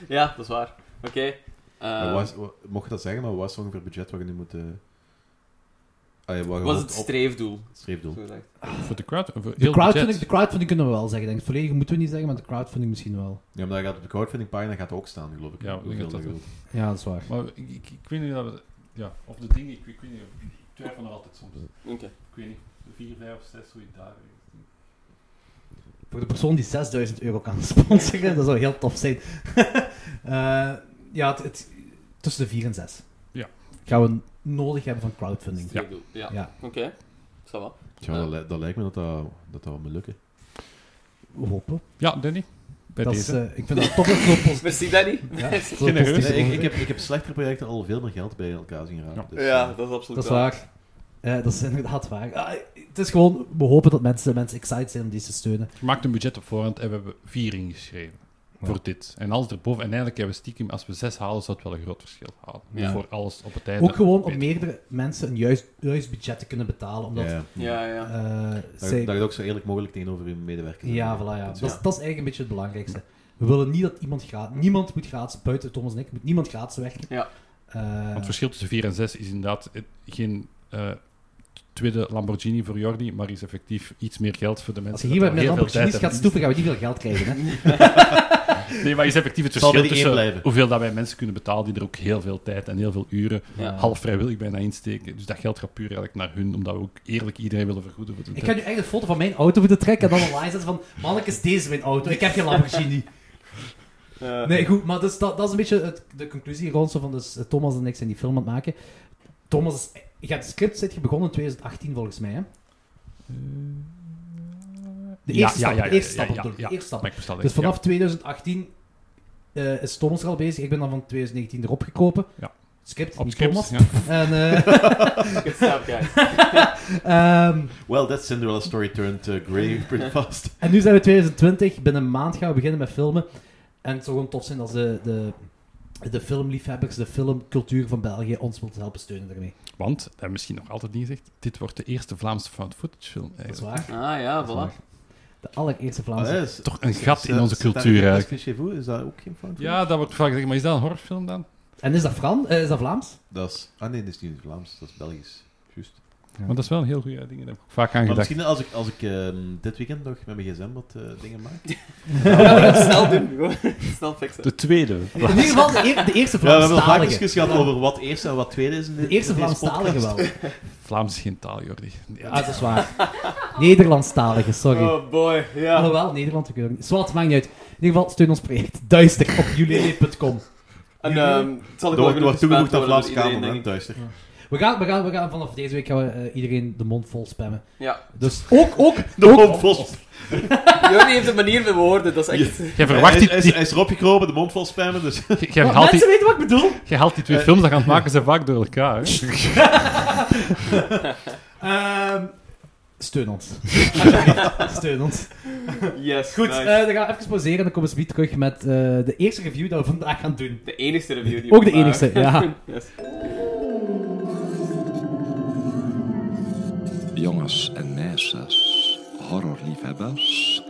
Ja, dat is waar. Oké. Eh,
Maar wat is- wat- mocht je dat zeggen, maar wat is ongeveer het budget wat je nu moet... eh, Ah, ja, waar
Wat is
je
het
op-
streefdoel?
streefdoel.
Zo gezegd.
Voor de crowd. Voor
De
heel
crowdfunding,
budget.
de crowdfunding kunnen we wel zeggen. Denk. ik. Het volledige moeten we niet zeggen, maar de crowdfunding misschien wel.
Ja, maar dat gaat op de crowdfunding pagina gaat ook staan, geloof ik.
Ja, ik denk
Hoeveel
dat dat-
je wilt.
Ja, dat is waar.
Maar ik, ik, ik weet niet dat we... Ja, of de dingen, ik, ik weet niet. Ik twijfel nog altijd soms.
Oké.
Ik weet niet. Vier, vijf of zes, zoiets daar.
Voor de persoon die 6000 euro kan sponsoren, dat zou heel tof zijn. Eh, ja, het, het- tussen de 4 en 6.
Ja.
Gaan we nodig hebben van crowdfunding.
Streefdoel. Ja.
Ja.
Oké. Is dat wel?
Tja, dat, li- dat lijkt me dat dat, dat, dat wel moet lukken.
We hopen.
Ja, Danny. Bij
Dat is,
deze.
eh, ik vind dat tof dat het zo post-
Merci, Danny.
ja, Dus,
Merci.
zo
Genereus.
positief
Nee, ik,
is.
ik, heb, ik heb slechtere projecten al veel meer geld bij elkaar zien raken.
Ja.
Dus,
ja,
eh,
dat is absoluut
Dat is
waar.
waar. Eh, dat is inderdaad waar. Ah, het is gewoon, we hopen dat mensen, mensen excited zijn om deze te steunen.
Je maakt een budget op voorhand en we hebben vier ingeschreven. Voor dit. En alles erboven. En eigenlijk hebben we stiekem, als we zes halen, zou het wel een groot verschil halen.
Ja.
Voor alles op het einde.
Ook gewoon om
Beter.
meerdere mensen een juist, juist budget te kunnen betalen. Omdat,
ja, ja.
Ja, ja.
eh,
Dat,
zij-
dat je het ook zo eerlijk mogelijk tegenover je medewerkers
Ja,
doet.
voilà, ja. Dat, is-
ja.
dat is eigenlijk een beetje het belangrijkste. We willen niet dat iemand gaat. Niemand moet gratis, buiten Thomas en ik, moet niemand gratis werken.
Ja.
Eh,
Want het verschil tussen 4 en 6 is inderdaad eh, geen eh, tweede Lamborghini voor Jordi, maar is effectief iets meer geld voor de
als
mensen.
je hier
dat
met mijn
al heel veel tijd
Lamborghinis gaat
hebben.
stoeven, gaan we niet veel geld krijgen. Hè?
Nee, maar is effectief het
Het zal bij
verschil
die één
tussen
blijven.
hoeveel dat wij mensen kunnen betalen die er ook heel veel tijd en heel veel uren
Ja.
Ah.
half vrijwillig bijna insteken. Dus dat geld gaat puur eigenlijk naar hun, omdat we ook eerlijk iedereen willen vergoeden. Voor de
Ik
tijd.
ga nu echt een foto van mijn auto moeten trekken en dan online zetten van... Manneke, is deze mijn auto. Ik heb geen Lamborghini.
Eh,
Nee, goed, maar dus, dat, dat is een beetje het, de conclusie rond zo van dus, eh, Thomas en ik zijn die film aan het maken. Thomas, is, je hebt het script zit je begonnen in 2018 volgens mij, hè? De
Ja,
eerste
ja,
stap,
ja, ja,
de eerste
ja,
stap,
ja,
bedoel ik,
ja.
de eerste stap.
Maar ik bestel
Dus
deze,
vanaf 2018 eh, is Thomas er al bezig. Ik ben dan van 2019 erop gekropen.
Ja.
Script,
ja. op
niet
script.
Thomas.
Ja.
En, eh,
Good stuff, guys.
ehm,
Well, that Cinderella story turned eh, grey pretty fast.
en nu zijn we 2020. Binnen een maand gaan we beginnen met filmen. En het zou gewoon tof zijn als de, de, de filmliefhebbers, de filmcultuur van België ons wilt helpen steunen daarmee.
Want, dat hebben we misschien nog altijd niet gezegd, dit wordt de eerste Vlaamse Eh, found footage film.
Dat is
Eigenlijk.
waar.
Ah ja,
Dat is waar.
voilà.
De allereerste
Ah,
Vlaamse.
ja, is-
Toch een gat
is-
eh,
in onze
is- is-
cultuur
Is
eigenlijk.
Clichez Vous, is dat ook geen fout?
Ja, dat wordt vaak gezegd, maar is dat een horrorfilm dan?
En is dat, Fran, eh, is dat Vlaams?
Dat is, ah nee, dat is niet Vlaams, dat is Belgisch. Juist.
Want dat is wel een heel goede ding, daar heb ik ook vaak aan
Maar
gedacht.
misschien als ik, als ik ehm, dit weekend nog met mijn gsm wat eh, dingen maak.
Snel doen, gewoon. Snel fixen.
De tweede.
In ieder geval de, eer- de eerste
Ja, we hebben al vaak
Vlaamstalige.
discussies gehad over wat eerste en wat tweede is. In dit-
de eerste
in deze
Vlaamstalige wel.
podcast.
Vlaams is geen taal, Jordi. Nee,
Ah, dat is waar. Nederlandstalige, sorry.
Oh boy, ja.
Alhoewel, Nederland ook niet. Zwat, maakt niet uit. In ieder geval, steun ons project. Duister op jullie.com.
En ehm, het zal ik wel
Er
genoeg
wordt toegevoegd aan
gespamd
Vlaams
worden door iedereen,
Kamer, hè,
denk ik.
duister.
We gaan, we, gaan, we gaan vanaf deze week gaan we, eh, iedereen de mond vol spammen.
Ja.
Dus ook, ook,
De mond vol.
Jordi heeft een manier met woorden, dat is echt...
Jij
Hij,
verwacht die,
hij is-
die-
hij is erop gekropen, de mond vol spammen. Dus.
jij- jij
Wat,
haalt die,
mensen Eh, weten wat ik bedoel.
jij haalt die twee films dat je aan het maken zijn vaak door elkaar. Hè?
Ehm, steun ons. steun ons.
Yes,
Goed,
nice.
eh, dan gaan we even pauzeren en dan komen we weer terug met eh, de eerste review dat we vandaag gaan doen.
De enigste review die
Ook
we
de enigste, ja.
maken. Yes.
Jongens en meisjes, horrorliefhebbers.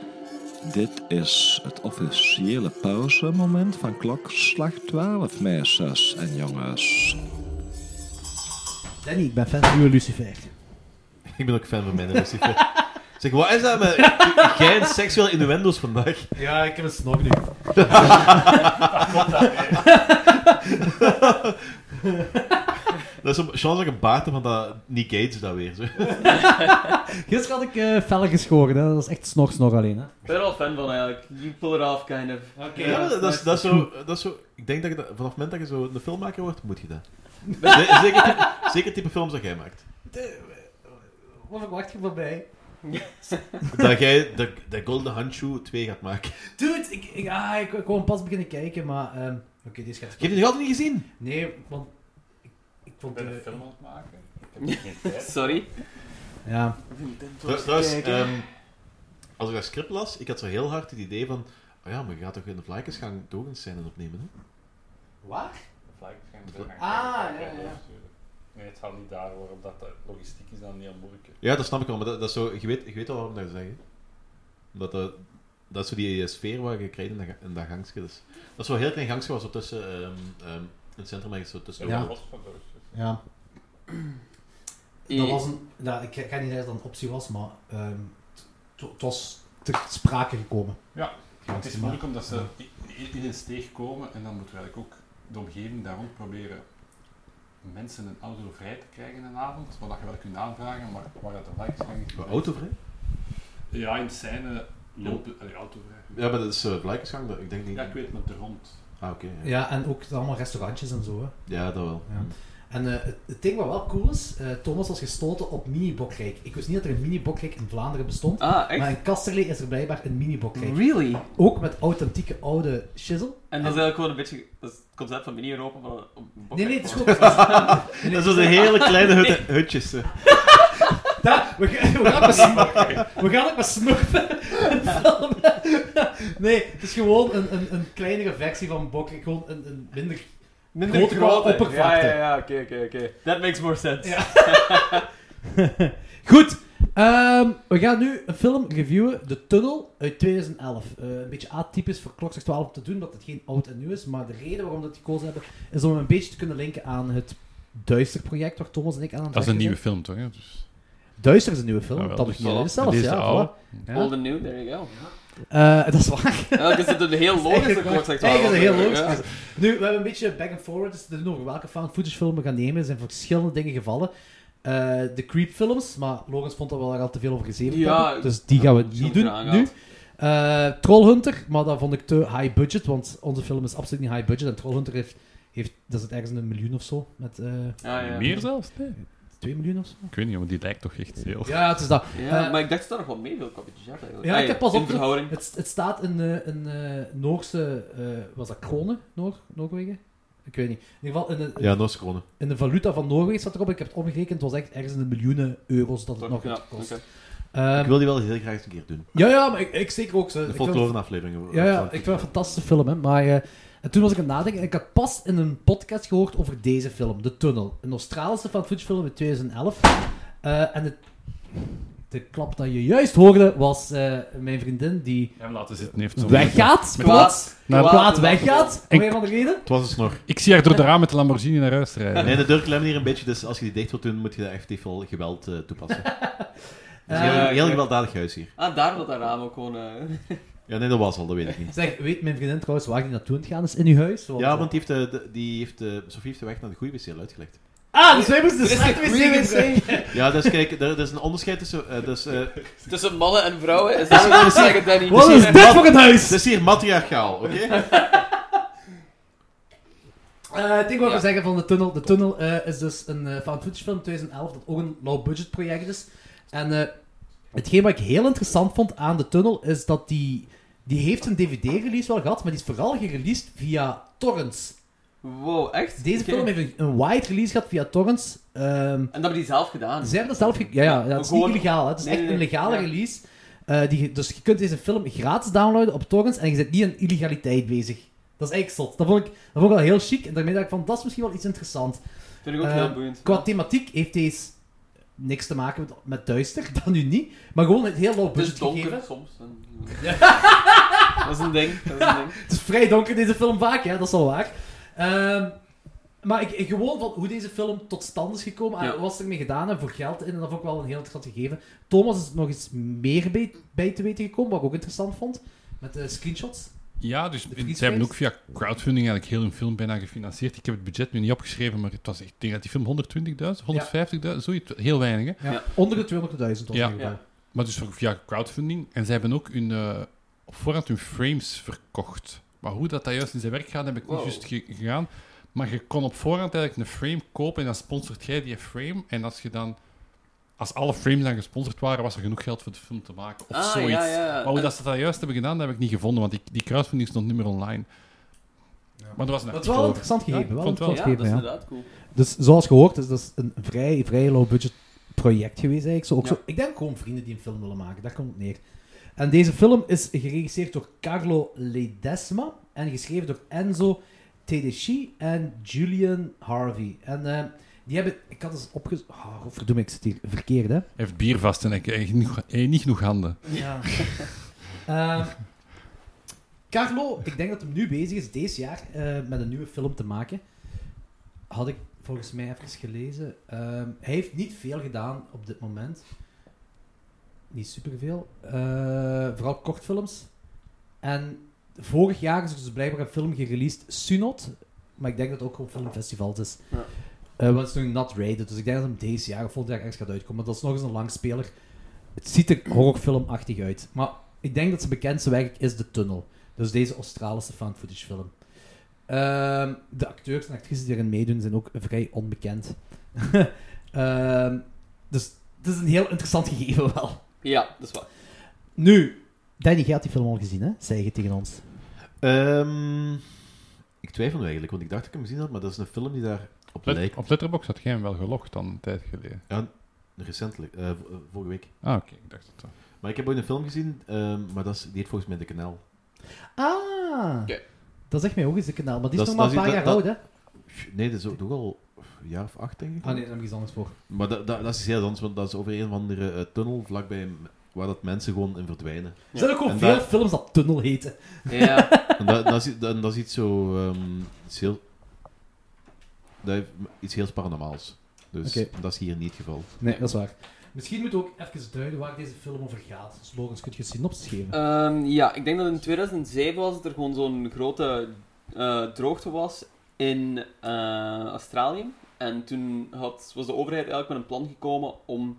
Dit is het officiële pauzemoment van klokslag 12, meisjes en jongens.
Danny, ik ben fan van uw Lucifer.
Ik ben ook fan van mijn Lucifer. Zeg, wat is dat met geen seksuele innuendo's vandaag?
Ja, ik heb een snog nu.
Dat is een chance dat ik een baard heb van dat Nick Gates dat weer. Zo.
Gisteren had ik eh fellen geschoren, hè. dat was echt snog, snog alleen. Hè.
Ik ben er al fan van eigenlijk. You pull it off, kind of.
Ja, maar dat, is, dat, is zo, dat is zo... Ik denk dat je dat, vanaf het moment dat je zo een filmmaker wordt, moet je dat. Z- Zeker, type- zeker het type films dat jij maakt.
Wat verwacht je van mij?
Dat jij de, de Golden Handshoe 2 gaat maken.
Dude, ik, ik, ah, ik, ik wou hem pas beginnen kijken, maar... ehm, Oké, deze gaat...
Ik heb die nog altijd niet gezien.
Nee, want... Ik, ik vond... eh,
Sorry.
ja.
Tru- Trouwens, ehm, als ik dat script las, ik had zo heel hard het idee van... Oh ja, maar je gaat toch in de Vlaikers gaan toch een scène opnemen, hè?
Waar?
Ah,
ja, ja.
Nee, het gaat niet daar hoor, dat logistiek is dan heel moeilijk.
Ja, dat snap ik wel, maar dat, dat is zo, je, weet, je weet al waarom dat je zegt. hè. Omdat dat, dat is zo die eh, sfeer waar je krijgt in dat, ga- in dat gangstje. Dus. Dat is zo'n heel klein gangstje waar zo tussen ehm, ehm, in het centrum en zo tussen.
Ja. Ja.
Eh.
Dat was een, nou, ik ik kan niet zeggen dat het een optie was, maar ehm, het- het het was ter sprake gekomen.
Ja,
Ja,
het is moeilijk omdat ze i- i- in een steeg komen en dan moeten we eigenlijk ook de omgeving daar rond proberen mensen een auto vrij te krijgen een avond, wat dat je wel kunt aanvragen, maar waar dat de lijkt is. hangt niet.
Autovrij?
Ja, in scène lopen, eh, autovrij.
Ja, maar dat is uh, Blijkersgang, dat- ik denk niet.
Ja, ik weet maar de rond.
Ah, oké. ja.
Ja, en ook allemaal restaurantjes en zo. Hè.
Ja, dat wel.
Mhm.
Ja. En eh, het, het ding wat wel cool is, eh, Thomas was gestoten op mini-bokrijk. Ik wist niet dat er een mini-bokrijk in Vlaanderen bestond.
Ah, echt?
Maar in Kasterlee is er blijkbaar een
Mhm.
mini-bokrijk.
Really?
Ook met authentieke oude shizzle.
En dat is eigenlijk gewoon een beetje dat is het concept van mini-Europa. maar dan op een
Nee, nee, het is
bokkenvorm.
gewoon... Nee, nee,
Dat zijn hele kleine hut- hutjes. eh. hè.
Daar, we, gaan- we gaan het besmurfen. We gaan het besmurfen. nee, het is gewoon een, een, een kleinere versie van bokrijk. Gewoon een, een minder...
Minder
grote qua oppervlakte.
Ja, ja, ja, oké, oké, oké. That makes more sense.
Ja. Goed. ehm, we gaan nu een film reviewen, De Tunnel, uit 2011. Eh, een beetje atypisch voor Klokslag 12 om te doen, omdat het geen oud en nieuw is. Maar de reden waarom we dat gekozen hebben, is om hem een beetje te kunnen linken aan het Duister-project waar Thomas en ik aan het
Dat is een
werken
nieuwe film,
zijn.
toch? hè? Dus,
Duister is een nieuwe film,
Jawel,
dat
dus
begint
voilà.
dus zelfs,
Dit is de
ja.
oude.
voilà.
Old and new, there you go.
Ja. Eh, dat is waar.
Eigenlijk is het een heel logische
Eigenlijk
klokslag.
waar. Eigenlijk is het heel
Ja.
logisch. Dus Nu, we hebben een beetje back and forward dus te doen over welke found footage film we gaan nemen. Er zijn verschillende dingen gevallen. Eh, de Creep films, maar Logans vond dat we daar al te veel over gezeten
Ja,
hebben. Dus die gaan we
ik
niet
heb
doen
eraan
nu. Eh, Trollhunter, maar dat vond ik te high budget, want onze film is absoluut niet high budget. En Trollhunter heeft, heeft dat zit ergens in een miljoen of zo. Met eh
Ja, ja.
Meer zelfs? Nee.
2 miljoen of zo.
Ik weet niet, maar die lijkt toch echt heel...
Ja, het is dat.
Ja,
Eh,
maar ik dacht dat dat nog wel mee wil, Kappetje Jack. eigenlijk.
Ja, ik
Ah,
heb pas
in
op-
verhouding.
Het, het staat in eh, een eh, Noorse, eh, was dat kronen? Noor, Noorwegen? Ik weet niet. In ieder geval in een,
Ja, Noorse kronen.
in de valuta van Noorwegen staat erop. Ik heb het omgerekend, het was echt ergens in de miljoenen euro's dat het nog
Ja,
heeft gekost.
oké.
Ehm,
Ik wil die wel heel graag eens een keer doen.
Ja, ja, maar ik, ik zeker ook. Ze,
De eh,
ik vind het-
folklore aflevering.
ja, ja, ik vind het een fantastische film, hè. Maar eh, en toen was ik aan het nadenken en ik had pas in een podcast gehoord over deze film, De Tunnel. Een Australische found film uit 2011. Eh, en het, de klap dat je juist hoorde was eh, mijn vriendin die
Hem laten zitten heeft zo'n-
weggaat. Plaats.
Naar-
Kwaad, weggaat, om
Ik-
een of andere reden.
Het was een snor.
Ik zie haar door de raam met de Lamborghini naar huis rijden.
Nee, de deur klemt hier een beetje, dus als je die dicht wilt doen, moet je daar effectief wel geweld eh, toepassen. Het is een
Eh,
heel,
ja,
heel
ja.
gewelddadig huis hier.
Ah, daar wil dat raam ook gewoon... eh,
Ja, nee, dat was al, dat weet ik niet.
Zeg, weet mijn vriendin trouwens waar die naartoe aan het gaan is in uw huis? Want-
Ja, want die heeft, eh, de, die heeft, eh, Sophie heeft de weg naar de goede wc al uitgelegd.
Ah, dus wij moesten de slechte wc
goeie
gebruiken.
Ja, dus kijk, er, er is een onderscheid tussen... eh, dus, eh,
Tussen mannen en vrouwen is dat wat we zeggen, Danny.
Wat is dit voor een huis?
het is hier matriarchaal, oké?
Eh, het ding wat ik
Ja.
wil zeggen van de tunnel. De tunnel eh, is dus een eh found footage film 2011 dat ook een low budget project is. En eh, hetgeen wat ik heel interessant vond aan de tunnel is dat die die heeft een DVD-release wel gehad, maar die is vooral gereleased via torrents.
Wow, echt?
Deze
Oké.
film heeft een- een wide release gehad via torrents. Ehm
En dat hebben die zelf gedaan.
Ze hebben dat zelf... ge- Ja, ja, dat is niet
Gewoon-
illegaal. hè. Het is
Nee,
echt
nee,
een
nee.
legale
Ja.
release. Eh, die, dus je kunt deze film gratis downloaden op torrents en je zit niet aan illegaliteit bezig. Dat is eigenlijk zot. Dat vond ik, dat vond ik wel heel chic. En daarmee dacht ik van, dat is misschien wel iets interessants.
Vind ik ook
Eh,
heel boeiend.
Qua thematiek heeft deze niks te maken met, met duister, dat nu niet. Maar gewoon het heel low
Het is
budget
donker
gegeven.
soms. en- dat is een ding, dat is een ding.
Het is vrij donker deze film vaak, ja, dat is al waar. Ehm, maar ik, ik- gewoon van hoe deze film tot stand is gekomen,
Ja.
en wat ze ermee gedaan hebben voor geld in, en dat vond ik wel een heel interessant gegeven. Thomas is er nog iets meer bij, bij te weten gekomen, wat ik ook interessant vond, met de screenshots.
Ja, dus
De
ze hebben
Freeze
ook via crowdfunding eigenlijk heel hun film bijna gefinancierd. Ik heb het budget nu niet opgeschreven, maar het was echt tegen die film 120.000, 150.000, zoiets. Heel weinig, hè.
Ja.
Ja.
Onder de 200.000 was
Ja.
ja. ja.
Maar dus voor- via crowdfunding. En ze hebben ook hun, eh, op voorhand hun frames verkocht. Maar hoe dat, dat juist in zijn werk gaat, heb ik
Wow.
niet juist ge- gegaan. Maar je kon op voorhand eigenlijk een frame kopen en dan sponsort jij die frame. En als je dan... Als alle frames dan gesponsord waren, was er genoeg geld voor de film te maken. Of
Ah,
zoiets.
ja, ja.
Maar hoe dat ze dat juist hebben gedaan, dat heb ik niet gevonden. Want die, die crowdfunding stond niet meer online. Maar er was een
Dat is
artikel
wel een
over.
interessant gegeven.
Ja, ik
wel een
vond het wel.
interessant
Ja, dat is
gegeven, ja.
inderdaad cool.
Dus zoals gehoord is dat is een vrij, vrij low budget project geweest eigenlijk. Zo, ook
Ja.
zo, ik denk gewoon vrienden die een film willen maken, daar komt het neer. En deze film is geregisseerd door Carlo Ledesma en geschreven door Enzo Tedeschi en Julian Harvey. En eh, die hebben... Ik had eens opge... Oh, verdomme, ik zit hier verkeerd, hè?
Hij heeft bier vast en hij heeft niet, hij heeft niet genoeg handen.
Ja. Ehm, Carlo, ik denk dat hij nu bezig is, deze jaar, eh, met een nieuwe film te maken. Had ik volgens mij even gelezen. Ehm, hij heeft niet veel gedaan op dit moment. Niet superveel. Eh vooral kortfilms. En vorig jaar is er dus blijkbaar een film gereleased, Sunot. Maar ik denk dat het ook op filmfestivals is.
Ja.
Eh, want het is nog not rated, dus ik denk dat hem deze jaar of volgend jaar ergens gaat uitkomen. Maar dat is nog eens een langspeler. Het ziet er horrorfilmachtig uit. Maar ik denk dat zijn bekendste werk is De Tunnel. Dus deze Australische found footage film. Ehm, de acteurs en actrices die erin meedoen zijn ook vrij onbekend. Ehm, dus het is een heel interessant gegeven wel.
Ja, dat is waar.
Nu, Danny, jij had die film al gezien, hè? Zei je tegen ons.
Ehm, ik twijfel nu eigenlijk, want ik dacht dat ik hem gezien had, maar dat is een film die daar op
Let-
lijkt.
op Letterboxd had jij hem wel gelogd dan een tijd geleden.
Recentelijk, eh, v- eh, vorige week.
Ah, oké, ik dacht het wel.
Maar ik heb ooit een film gezien, ehm, maar dat is, die heet volgens mij De Kanaal.
Ah!
Oké.
Dat zegt mij ook eens een kanaal, maar die is
Dat
nog
is-
maar een
dat
paar
is-
jaar
dat-
oud, hè?
Nee, dat is ook toch al een jaar of acht, denk ik.
Ah nee, daar heb ik iets anders voor.
Maar dat, dat, dat is iets heel anders, want dat is over een of andere eh, tunnel vlakbij m- waar dat mensen gewoon in verdwijnen.
Er zijn ook gewoon
En
veel
dat-
films dat Tunnel heten.
Ja.
En dat, dat, is, dat, dat is iets zo... ehm, iets heel... Dat heeft iets heel paranormaals. Dus
Oké.
dat is hier niet het geval.
Nee, dat is waar. Misschien moeten we ook even duiden waar deze film over gaat. Dus Logans, kun je een synopsis geven?
Ehm, ja, ik denk dat in 2007 was dat er gewoon zo'n grote eh, droogte was in eh, Australië. En toen had, was de overheid eigenlijk met een plan gekomen om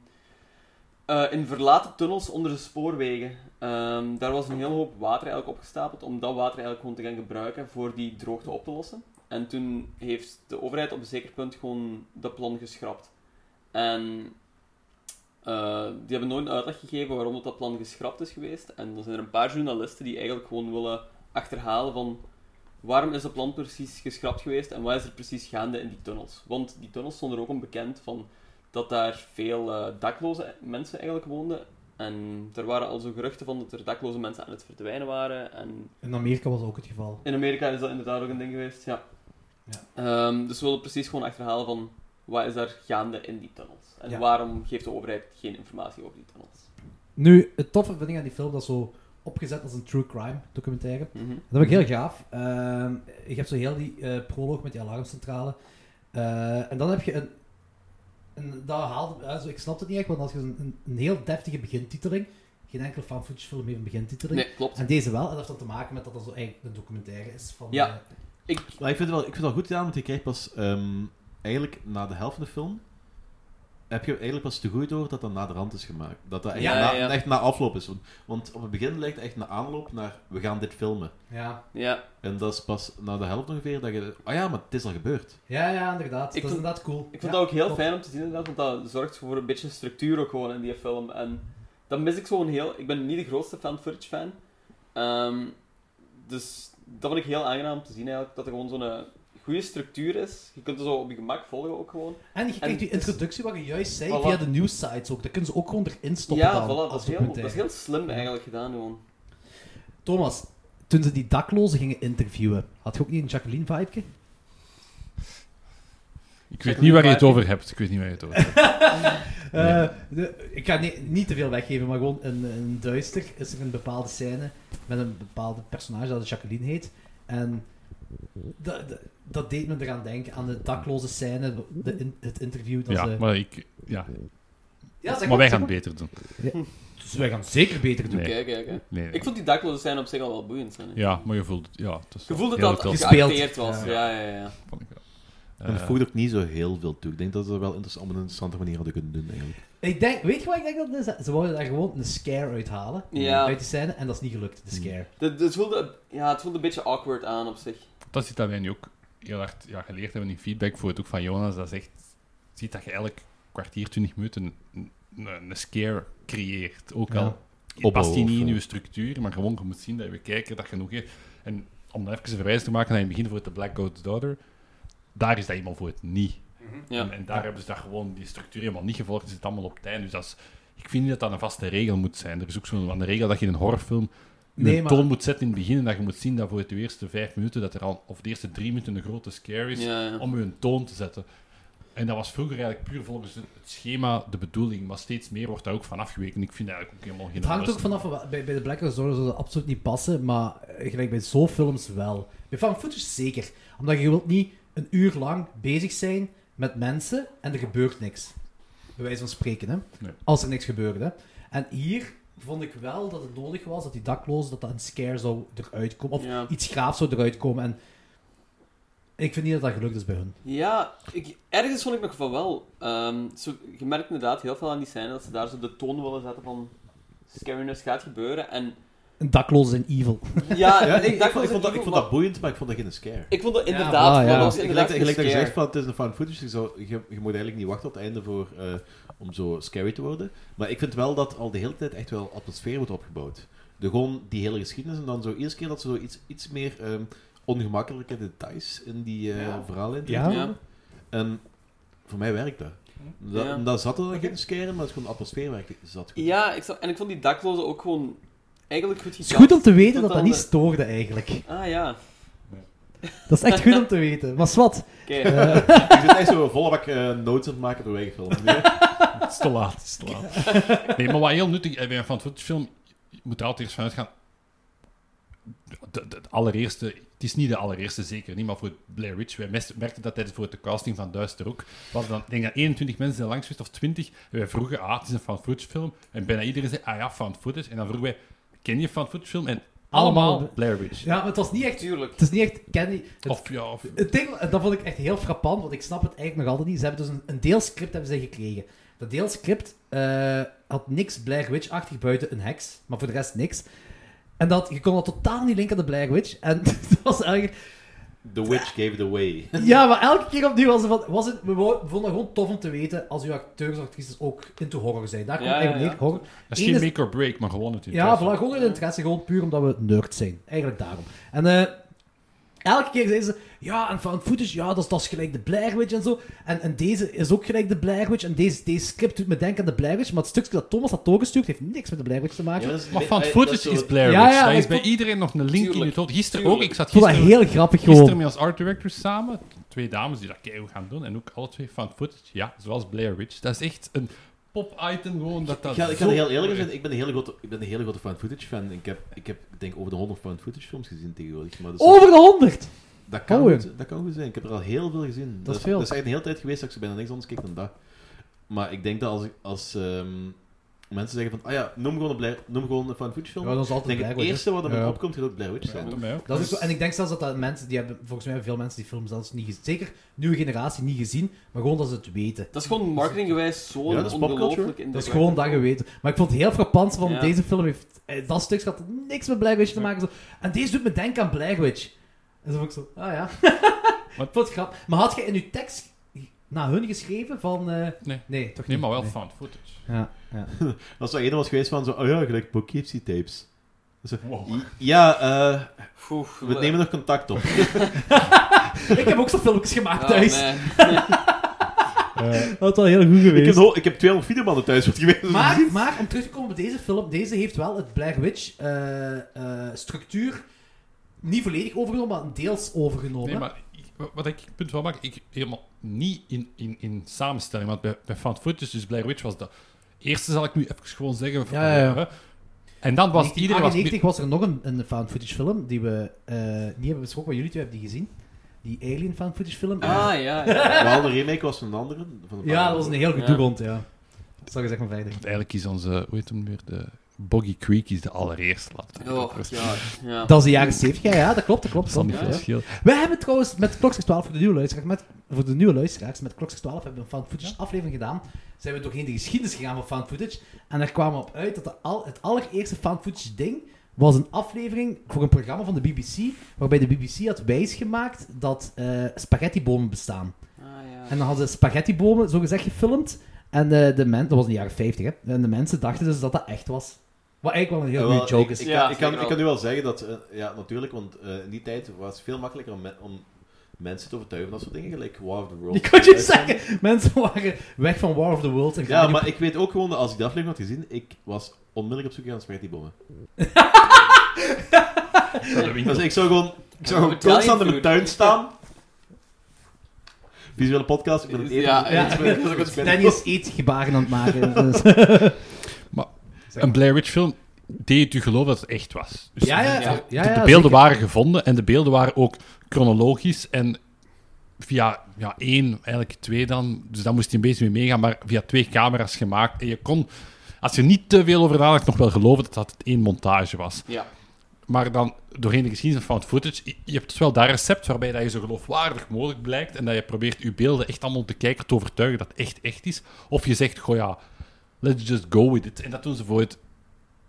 eh, in verlaten tunnels onder de spoorwegen, ehm, daar was een hele hoop water eigenlijk opgestapeld, om dat water eigenlijk gewoon te gaan gebruiken voor die droogte op te lossen. En toen heeft de overheid op een zeker punt gewoon dat plan geschrapt. En eh, die hebben nooit een uitleg gegeven waarom dat, dat plan geschrapt is geweest. En dan zijn er een paar journalisten die eigenlijk gewoon willen achterhalen van waarom is dat plan precies geschrapt geweest en wat is er precies gaande in die tunnels. Want die tunnels stonden er ook onbekend van dat daar veel eh, dakloze mensen eigenlijk woonden. En er waren al zo geruchten van dat er dakloze mensen aan het verdwijnen waren. En
In Amerika was ook het geval.
in Amerika is dat inderdaad ook een ding geweest, ja. Ehm, dus we willen precies gewoon achterhalen van wat is er gaande in die tunnels. En
Ja.
waarom geeft de overheid geen informatie over die tunnels.
Nu, het toffe vind ik aan die film, dat is zo opgezet als een true crime documentaire.
Mhm.
Dat vind ik heel gaaf. Ehm, je hebt zo heel die eh, proloog met die alarmcentrale. Eh, en dan heb je een... een dat haalt, also, ik snap het niet echt, want als je een, een, een heel deftige begintiteling... Geen enkele fan footage film heeft een begintiteling.
Nee, klopt.
En deze wel. En dat heeft dan te maken met dat dat zo eigenlijk een documentaire is van...
Ja.
eh,
Ik,
Maar ik vind het wel, ik vind het wel goed gedaan, want je krijgt pas ehm, eigenlijk na de helft van de film. Heb je eigenlijk pas te goed door dat dat na de rand is gemaakt? Dat dat echt,
Ja,
na,
ja, ja.
echt na afloop is. Want, want op het begin lijkt het echt een aanloop naar we gaan dit filmen.
ja.
ja,
En dat is pas na de helft ongeveer dat je. Ah ja, maar het is al gebeurd.
ja, ja, inderdaad.
Ik
dat is
vond-
inderdaad cool.
ik vond
Ja,
dat ook heel
klopt.
fijn om te zien inderdaad, want dat zorgt voor een beetje structuur ook gewoon in die film. En dat mis ik zo'n heel... Ik ben niet de grootste fan footage fan. Ehm, dus dat vond ik heel aangenaam om te zien eigenlijk, dat er gewoon zo'n eh, goede structuur is. Je kunt het zo op je gemak volgen ook gewoon.
En je
en
krijgt die
het is-
introductie wat je juist zei
Voilà.
via de nieuwsites ook. Dat kunnen ze ook gewoon erin stoppen
ja,
dan,
voilà, dat
als
is, heel, dat is
documentaire.
heel slim eigenlijk gedaan gewoon.
Thomas, toen ze die daklozen gingen interviewen, had je ook niet een Jacqueline-vibe?
Ik weet niet waar je het over hebt. Ik weet niet waar je het over hebt.
Eh, de- ik ga ni- niet te veel weggeven, maar gewoon in, in Duister is er een bepaalde scène met een bepaalde personage dat Jacqueline heet. En dat, dat, dat deed me eraan denken aan de dakloze scène, de in- het interview. Dat
Ja,
ze...
maar, ik, ja.
Ja, zeg
maar wij
zeg
gaan het beter doen.
Dus wij gaan het zeker beter doen.
Nee.
Kijk, kijk, kijk.
Nee, nee.
Ik vond die daklozen zijn op zich al wel boeiend. Hè.
Ja, maar je voelt... Ja, het is
Je voelde
heel
dat
veel-
het
Gespeeld.
geacteerd was. Ja, ja, ja.
vond ik wel.
en het
Eh,
voegt ook niet zo heel veel toe. Ik denk dat ze dat wel interessant, op een interessante manier hadden kunnen doen. Eigenlijk.
Ik denk, weet je wat ik denk dat het is? Ze wilden daar gewoon een scare uithalen
Ja.
uit die scène en dat is niet gelukt, de scare.
Dat, dat voelde, ja, het voelde een beetje awkward aan op zich.
dat is iets dat wij nu ook heel hard ja, geleerd hebben in feedback voor het ook van Jonas. Dat zegt, ziet dat je elk kwartier, twintig minuten een, een, een scare creëert. Ook
Ja.
al
Opbouw
past die niet
of,
in
eh.
je structuur, maar gewoon je moet zien dat je kijker dat genoeg heeft. En om dan even een verwijzing te maken naar in het begin voor de Black Goat's Daughter, daar is dat iemand voor het niet.
Ja.
En, en daar hebben ze daar gewoon die structuur helemaal niet gevolgd. Ze zit allemaal op het einde. Dus dat is, ik vind niet dat dat een vaste regel moet zijn. Er is ook zo'n van de regel dat je in een horrorfilm je
Nee,
een
maar-
toon moet zetten in het begin. En dat je moet zien dat voor de eerste vijf minuten, dat er al, of de eerste drie minuten een grote scare is.
Ja, ja.
Om je een toon te zetten. En dat was vroeger eigenlijk puur volgens het het schema de bedoeling. Maar steeds meer wordt daar ook van afgeweken. Ik vind eigenlijk ook helemaal geen
Het hangt ook
rust.
vanaf, wa- bij, bij de Black Ops Zorgen zou dat absoluut niet passen, maar eh, gelijk bij zo'n films wel. Bij fan footage zeker, omdat je wilt niet een uur lang bezig zijn met mensen en er gebeurt niks. Bij wijze van spreken, hè.
Nee.
Als er niks gebeurde. hè. En hier vond ik wel dat het nodig was dat die daklozen, dat dat een scare zou eruit komen. Of
Ja.
iets graafs zou eruit komen. En ik vind niet dat dat gelukt is bij hun.
Ja, ik, ergens vond ik nog van wel. Ehm, zo, je merkt inderdaad heel veel aan die scène dat ze daar zo de toon willen zetten van scariness gaat gebeuren. En
Een dakloze zijn evil.
ja,
Ja,
ik, dacht
vond,
wel
ik, vond dat, ik
zo
vond
van-
dat boeiend, maar ik vond dat geen scare.
Ik vond dat
Ja,
inderdaad,
voilà,
ja,
ja.
dat was
Gelijk-
inderdaad
Gelijk dat je
een
zegt,
scare.
van, het is een found footage, je, zou, je, je moet eigenlijk niet wachten tot het einde voor, eh, om zo scary te worden. Maar ik vind wel dat al de hele tijd echt wel atmosfeer wordt opgebouwd. De, gewoon die hele geschiedenis en dan zo eerste keer dat ze zo iets, iets meer ehm, ongemakkelijke details in die eh
Ja.
verhalen
Ja.
Ja.
En voor mij werkt dat. Dat,
Ja.
dat zat er dan geen scare in, maar het is gewoon de atmosfeer werkte, zat goed.
Ja, ik zag- en ik vond die daklozen ook gewoon eigenlijk goed
Het
gedaan.
is goed om te weten dat
Tot
dat
aan
niet
de-
stoorde eigenlijk.
Ah ja,
Dat is echt goed om te weten. Maar zwart.
oké.
Ik zit echt zo volle bak eh, notes aan het maken door eigen film. Nee.
Het is te laat, het is te laat. Nee, maar wat heel nuttig eh, is bij een fan film, je moet er altijd eerst vanuit gaan. De, de- het allereerste, het is niet de allereerste, zeker niet, maar voor Blair Witch, wij mes- merkten dat tijdens voor de casting van Duister ook. We hadden dan, ik denk dat 21 mensen zijn langs geweest, of 20, en wij vroegen, ah, het is een fan film. En bijna iedereen zei, ah ja, fan footage. En dan vroegen wij, ken je fan film? En allemaal,
Allemaal.
Blair Witch.
Ja, maar het was niet echt...
Tuurlijk.
Het is niet echt Kenny... Het,
Of, ja, of...
het ding, dat vond ik echt heel frappant, want ik snap het eigenlijk nog altijd niet. Ze hebben dus een, een deelscript hebben ze gekregen. Dat deelscript eh, had niks Blair Witch-achtig buiten een heks, maar voor de rest niks. En dat, je kon dat totaal niet linken aan de Blair Witch. En dat was eigenlijk...
The Witch gave it away.
Ja, maar elke keer opnieuw was het van... Was het, we wou- we vonden het gewoon tof om te weten als uw acteurs of actrices ook into horror zijn. Daar komt
Ja, ja,
eigenlijk neer,
ja.
horror.
Dat is geen
Eén is-
make or break, maar gewoon het
Ja,
interesse.
voilà, gewoon uit interesse, gewoon puur omdat we nerds zijn. Eigenlijk daarom. En eh, elke keer zeiden ze, ja, en found footage, ja, dat is, dat is gelijk de Blair Witch en zo. En, en deze is ook gelijk de Blair Witch. En deze, deze script doet me denken aan de Blair Witch. Maar het stukje dat Thomas had doorgestuurd, heeft niks met de Blair Witch te maken.
Ja,
Ik
dat is-
Maar van
eh, dat
footage
zo-
is Blair Witch.
Ja, ja,
Daar is
ik
bij
vond-
iedereen nog een link in
Tuurlijk,
het hoofd. Gisteren
tuurlijk.
ook. Ik zat
vond dat
gisteren,
heel grappig
gisteren
gewoon.
met ons art directors samen. Twee dames die dat keihard gaan doen. En ook alle twee van footage. Ja, zoals Blair Witch. Dat is echt een pop-item gewoon. Dat
Oh,
dat
Ik ga, ik ga
zo-
heel eerlijk zijn, ik ben een hele grote, ik ben een hele grote found footage fan. Ik heb, ik heb ik denk over de 100 found footage films gezien tegenwoordig. Maar dus dat,
Over de 100!
dat kan
Oh,
goed, dat kan goed zijn. Ik heb er al heel veel gezien. Dat,
is veel.
Dat is eigenlijk de hele tijd geweest dat ik zo bijna niks anders keek dan dat. Maar ik denk dat als, ik- als ehm, mensen zeggen van, ah ja, noem gewoon een, Blair, noem gewoon een found footage
Ja, dat
film.
is
ik denk
altijd
het
Blair Witch, hè.
eerste wat er
Ja.
opkomt, gaat ook Blair Witch zijn.
Ja, bij mij ook.
Dat is zo, en ik denk zelfs dat, dat mensen, die hebben, volgens mij hebben veel mensen die film zelfs niet gezien. Zeker nieuwe generatie niet gezien, maar gewoon dat ze het weten.
Dat is gewoon marketinggewijs zo
Ja, dat is popculture.
ongelooflijk in
Dat is Dus gewoon dat geweten. Maar ik vond het heel frappant van
Ja.
deze film heeft... eh, Dat stuk had niks met Blair Witch te maken. Zo. En deze doet me denken aan Blair Witch. En zo vond ik zo, ah ja.
Wat?
Wat? vond het grap. Maar had je in je tekst naar hun geschreven van... eh,
Nee.
Nee, toch
Nee,
niet.
maar wel found footage.
Ja, ja.
Als er één was geweest van zo, oh ja, gelijk Poughkeepsie tapes. Zo,
Oh.
Wow.
"I- Ja, eh,
Oef,
we nemen nog contact op.
ik heb ook zo'n filmpjes gemaakt
ah,
thuis.
Eh,
Dat had wel heel goed
ik, heb,
geweest.
nog- ik heb 200 videobanden thuis wat geweest.
Maar, maar om terug te komen op deze film, deze heeft wel het Blair Witch eh, eh, structuur niet volledig overgenomen, maar deels overgenomen.
Nee, maar ik- wat ik het punt wel maak, ik helemaal niet in, in, in samenstelling. Want bij, bij Found Footage, dus Blair Witch was dat. Eerste zal ik nu even gewoon zeggen. van,
Ja, ja, ja.
hè. En dan was iedereen... Was,
1998 was er nog een, een found footage film die we eh, niet hebben besproken, maar jullie twee hebben die gezien. Die Alien found footage film.
Ah ja, ja.
Wel, de remake was van een andere. Van een paar
ja, dat was een heel goed
Ja.
doelrond, ja. Dat zal ik zeggen van verder.
Want eigenlijk is onze... Hoe heet hem weer? De Boggy Creek is de allereerste. laat het
Oh,
even-
ja, ja.
Dat is de jaren 70, ja, ja, dat klopt, dat klopt.
Dat zal niet
Ja.
veel schelen.
We hebben trouwens met Klokzicht 12 voor de nieuwe luisteraars, met, voor de nieuwe luisteraars, met Klokzicht 12 hebben we een found footage aflevering gedaan. Zijn we doorheen de geschiedenis gegaan van found footage. En daar kwamen we op uit dat de al, het allereerste found footage ding was een aflevering voor een programma van de BBC, waarbij de BBC had wijsgemaakt dat eh spaghettibomen bestaan.
Ah, ja.
En dan hadden ze spaghettibomen, zogezegd, gefilmd. En eh, de men, dat was in de jaren 50, hè. En de mensen dachten dus dat dat echt was. Wat eigenlijk wel een
Ja,
heel
wel,
goede joke is.
ik, ik,
Ja,
kan, ik, kan,
zeker
ik kan
wel.
nu wel zeggen dat, eh, ja, natuurlijk, want eh, in die tijd was het veel makkelijker om, me- om mensen te overtuigen van dat soort dingen, gelijk War of the World.
Je kunt je zeggen, mensen waren weg van War of the Worlds. En
Ja,
gaan
maar ik weet ook gewoon dat als ik de aflevering had gezien, ik was onmiddellijk op zoek naar spaghetti-bommen. dus ik zou gewoon, ik zou gewoon
Italian
constant in mijn
food.
tuin staan. Visuele podcast, ik ben het eten.
Ja,
ik ben
ja.
het spaghetti- ik ben het spaghetti-
Dennis eet gebaren aan het maken. Dus-
Een Blair Witch film deed u geloven dat het echt was. Dus
ja, ja,
de-
ja. ja,
de,
ja,
beelden
zeker.
waren gevonden en de beelden waren ook chronologisch en via ja, één, eigenlijk twee dan, dus daar moest hij een beetje mee meegaan, maar via twee camera's gemaakt. En je kon, als je niet te veel over nadacht, nog wel geloven dat dat één montage was.
Ja.
Maar dan, doorheen de geschiedenis van found footage, je- je hebt dus wel dat recept waarbij dat je zo geloofwaardig mogelijk blijkt en dat je probeert je beelden echt allemaal de kijker te overtuigen dat het echt echt is. Of je zegt, goh ja, let's just go with it. En dat doen ze voor het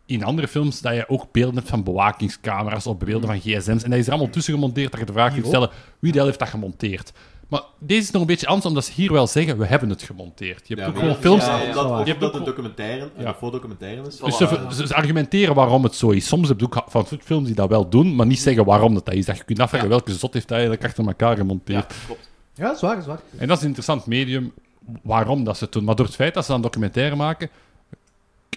in andere films dat je ook beelden hebt van bewakingscamera's of beelden
Hmm.
van gsm's. En dat is er allemaal tussen gemonteerd dat je de vraag kunt stellen wie de hel heeft dat gemonteerd. Maar deze is nog een beetje anders, omdat ze hier wel zeggen, we hebben het gemonteerd. Je hebt
Ja,
ook
maar
gewoon
dat-
films...
Ja,
Je
omdat, of
hebt
omdat
ook-
het documentaire en
Ja.
een voordocumentaire is.
Dus
Voilà.
ze, ze- ze argumenteren waarom het zo is. Soms heb je ook van films die dat wel doen, maar niet zeggen waarom dat, dat is. Dat je kunt afvragen
Ja.
welke zot heeft dat eigenlijk achter elkaar
Ja,
gemonteerd.
klopt.
Ja, zwaar, is waar.
En dat is een interessant medium waarom dat ze het doen. Maar door het feit dat ze dan documentaire maken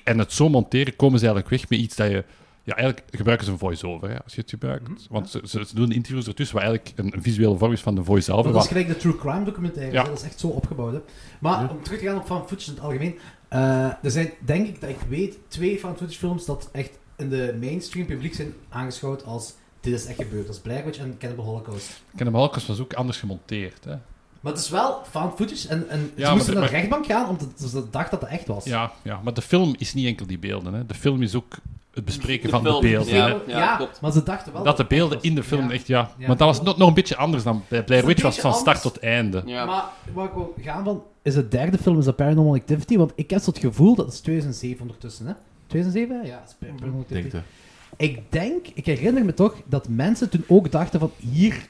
en het zo monteren, komen ze eigenlijk weg met iets dat je. Ja, eigenlijk gebruiken ze een voice-over hè, als je het gebruikt. Want ze, ze, ze doen interviews ertussen, wat eigenlijk een, een visuele vorm is van de voice-over.
Maar dat is
wat-
gelijk de true crime documentaire.
Ja.
hè. Dat is echt zo opgebouwd. Hè. Maar om terug te gaan op fan footage in het algemeen. eh, er zijn, denk ik, dat ik weet, twee fan footage films dat echt in de mainstream publiek zijn aangeschouwd als dit is echt gebeurd. Dat is Blair Witch en Cannibal Holocaust.
Cannibal Holocaust was ook anders gemonteerd. Hè.
Maar het is wel fan footage en, en
maar
ze
de-
moesten naar de
maar-
rechtbank gaan omdat ze dachten dat het echt was.
Ja, ja, maar de film is niet enkel die beelden. Hè. De film is ook het bespreken van
film,
de beelden.
ja.
hè.
ja,
ja, klopt.
maar ze dachten wel
Dat de
het echt
beelden
was.
in de film
Ja.
echt, ja.
Ja.
Maar dat was nog, nog een beetje anders dan bij Blair
Een
Witch, was
beetje
van start
anders.
tot einde.
Ja.
Maar waar ik wil gaan van, is de derde film is dat Paranormal Activity, want ik heb zo het gevoel dat het is 2007 ondertussen, hè? 2007? Ja, het is Paranormal Activity.
Denk je.
Ik denk, ik herinner me toch dat mensen toen ook dachten van hier.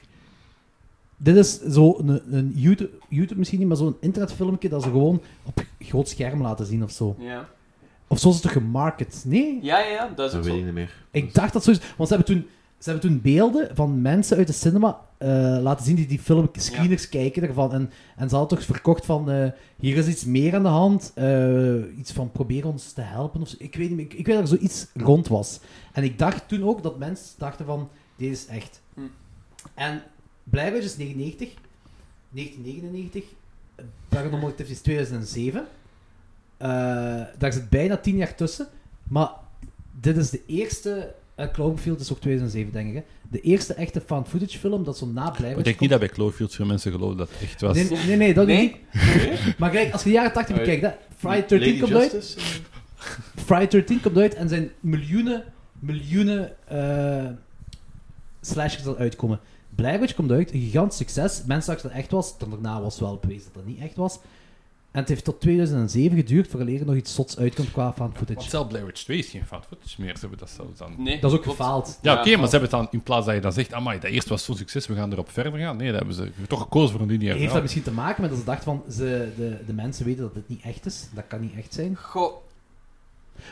Dit is zo'n een, een YouTube, YouTube misschien niet, maar zo'n internetfilmpje dat ze gewoon op groot scherm laten zien of zo.
Ja.
Of zo is het toch gemarket? Nee,
Ja, ja, ja, dat is
Dat
ook
weet ik
zo.
niet meer.
ik dacht dat zo is. Want ze hebben toen, ze hebben toen beelden van mensen uit de cinema eh, laten zien die die film screeners kijken ervan. En, en ze hadden toch verkocht van, eh, hier is iets meer aan de hand. eh, iets van probeer ons te helpen. Of zo. Ik, weet, niet meer, ik, ik weet dat er zoiets rond was. En ik dacht toen ook dat mensen dachten van, dit is echt.
Hm.
En blijkbaar is 99, 1999, eh, Paranormal Activity is 2007. Eh, daar zit bijna tien jaar tussen. Maar dit is de eerste. eh, Cloverfield is ook 2007, denk ik. Hè? De eerste echte fan footage film dat zo na blijft.
Ik denk niet dat bij Cloverfield veel mensen geloven dat het echt was.
Nee, nee, nee, dat
Nee?
niet. Maar kijk, als je de jaren 80
Eh,
bekijkt, hè, Friday 13 komt uit. Friday 13 komt uit en zijn miljoenen, miljoenen eh slashers dat uitkomen. Blair Witch komt uit, een gigantisch succes. Mensen dachten dat het echt was, dan daarna was wel bewezen dat het niet echt was. En het heeft tot 2007 geduurd vooraleer er nog iets zots uitkomt qua fan
Want
footage.
zelf Blair Witch 2 is geen fout footage meer. Ze hebben dat zelfs dan...
Nee,
Dat is ook
klopt.
gefaald.
Ja,
Ja.
oké, maar ze hebben het dan, in plaats dat je dan zegt, amai, dat eerst was zo'n succes, we gaan erop verder gaan. Nee, dat hebben ze toch gekozen voor een lineair
Heeft dat
verhaal.
misschien te maken met dat ze dachten van ze, de, de mensen weten dat dit niet echt is? Dat kan niet echt zijn.
Goh,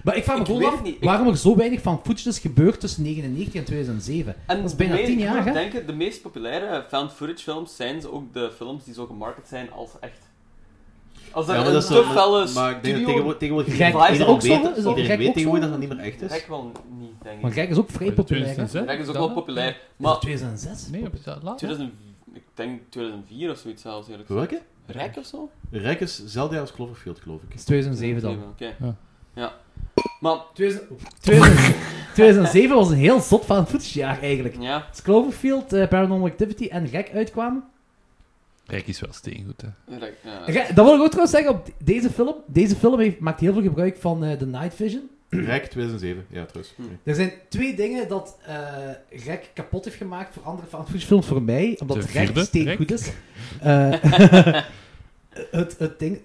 Maar ik vraag me
Ik
gewoon
weet
af
het niet. Ik-
waarom er zo weinig van footage is gebeurd tussen 1999 en 2007.
En
dat is bijna
de me-
10
ik moet
jaar, hè?
nog denken, de meest populaire found footage films zijn ze ook de films die zo gemarket zijn als echt. Als dat
Ja, maar
een
dat is zo-
te felle
Maar ik denk dat
studio...
tegenwoordig, tegenwoordig
Gek.
iedereen
Is dat ook
zo?
weet,
Is dat
iedereen
gek
weet
ook
tegenwoordig
zo?
dat dat niet meer echt
Rek
is.
wel niet, denk
Maar
ik.
kijk, is ook vrij populair. hè? Is
Rek is ook wel populair, maar...
dat 2006?
Nee, op dat laat.
2000, ik denk 2004 of zoiets zelfs, eerlijk gezegd.
Welke?
Rek of zo?
Rek is hetzelfde jaar als Cloverfield, geloof ik.
Het is 2007 dan.
Oké.
Ja.
Ja. Maar,
2007 was een heel zot van footagejaar eigenlijk.
ja,
Als Cloverfield, eh, Paranormal Activity en Gek uitkwamen.
Rijk is wel steengoed, hè.
Rek, ja.
Gek- dat wil ik ook trouwens zeggen op deze film. Deze film heeft, maakt heel veel gebruik van eh, de Night Vision.
Rek 2007, ja, trouwens.
Hm.
Er zijn twee dingen dat eh Rek kapot heeft gemaakt voor andere films voor mij, omdat
De
Rek
vierde,
steen
Rek.
goed is. Eh, het, het ding...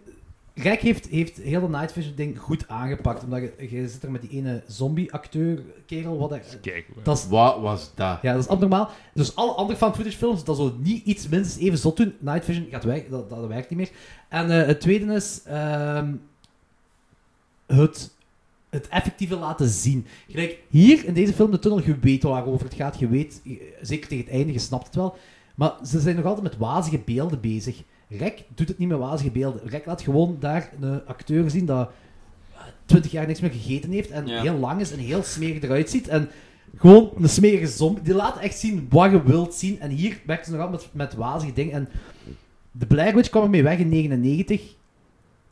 Rek heeft, heeft heel de Night Vision ding goed aangepakt, omdat je, je zit er met die ene zombie-acteur, kerel, wat dat...
Kijk, hoor.
Dat is,
Wat was dat?
ja, dat is abnormaal. Dus alle andere fan footage films, dat zo niet iets minstens even zot doen. Night Vision gaat weg, dat, dat, dat werkt niet meer. En eh, het tweede is ehm, het, het effectieve laten zien. Gelijk, hier in deze film, de tunnel, je weet waarover het gaat. Je weet, je- zeker tegen het einde, je snapt het wel. Maar ze zijn nog altijd met wazige beelden bezig. Rek doet het niet met wazige beelden. Rek laat gewoon daar een acteur zien dat eh, twintig jaar niks meer gegeten heeft en
Ja.
heel lang is en heel smerig eruit ziet. En gewoon een smerige zombie. Die laat echt zien wat je wilt zien. En hier werkt ze nog altijd met, met wazige dingen. En de Blair Witch kwam ermee weg in 99.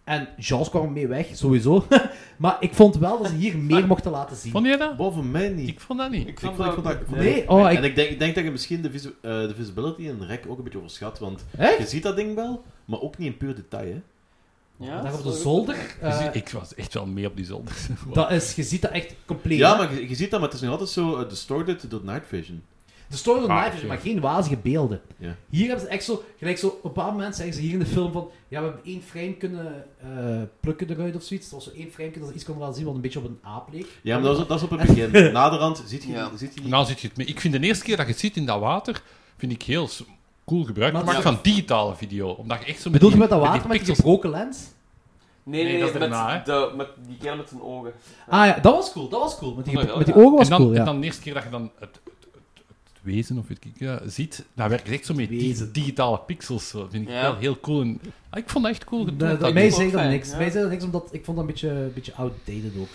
En Jaws kwam mee weg, sowieso. maar ik vond wel dat ze hier meer mochten laten zien.
Vond jij dat?
Boven mij niet.
Ik vond dat niet.
Ik vond, ik vond dat... ik vond
Nee,
dat-
oh, ik-
En ik denk, ik denk dat je misschien de, visu- eh, de visibility en de rek ook een beetje overschat, want
Echt?
je ziet dat ding wel, maar ook niet in puur detail, hè.
Ja,
Daar op de
sorry.
zolder. eh,
Dus ik was echt wel mee op die zolder.
dat is, je ziet dat echt compleet.
Ja,
hè.
maar je, je ziet dat, maar het is nog altijd zo eh, distorted door night vision.
De story of
Ah,
Night
oké.
Vision, maar geen wazige beelden.
Ja.
Hier hebben ze echt zo, gelijk zo, op een bepaald moment zeggen ze hier in de film van, ja, we hebben één frame kunnen eh, plukken eruit of zoiets. Er was zo één frame dat ze iets konden laten zien wat een beetje op een aap leek.
Ja, maar dat is, dat is op het begin. Naderhand ziet je,
Ja.
ziet je niet.
Nou zit je het mee. Ik vind de eerste keer dat je het ziet in dat water, vind ik heel s- cool gebruik
Maar
gemaakt
ja.
van digitale video. Omdat je echt zo met
Bedoelt je
die-
met dat
die
water met die
pixels-
gebroken lens?
Nee, nee,
Nee, dat is
met,
daarna, hè.
de, met die kerel met zijn ogen.
Ah ja, dat was cool, dat was cool. Met die,
Oh, ja,
met die
ja.
ogen was
en dan,
cool, ja.
en dan de eerste keer dat je dan het, het, het, het wezen of weet ik, ja, ziet, dan werkt het echt zo met die
Wezen.
digitale pixels. zo. Dat vind ik
Ja.
wel heel cool. En, ah, ik vond dat echt cool
Nee,
gedaan.
dat-
dat
mij
is
zei
ook
dat
fijn,
niks.
ja.
Mij zei dat niks, omdat ik vond dat een beetje, een beetje outdated ook.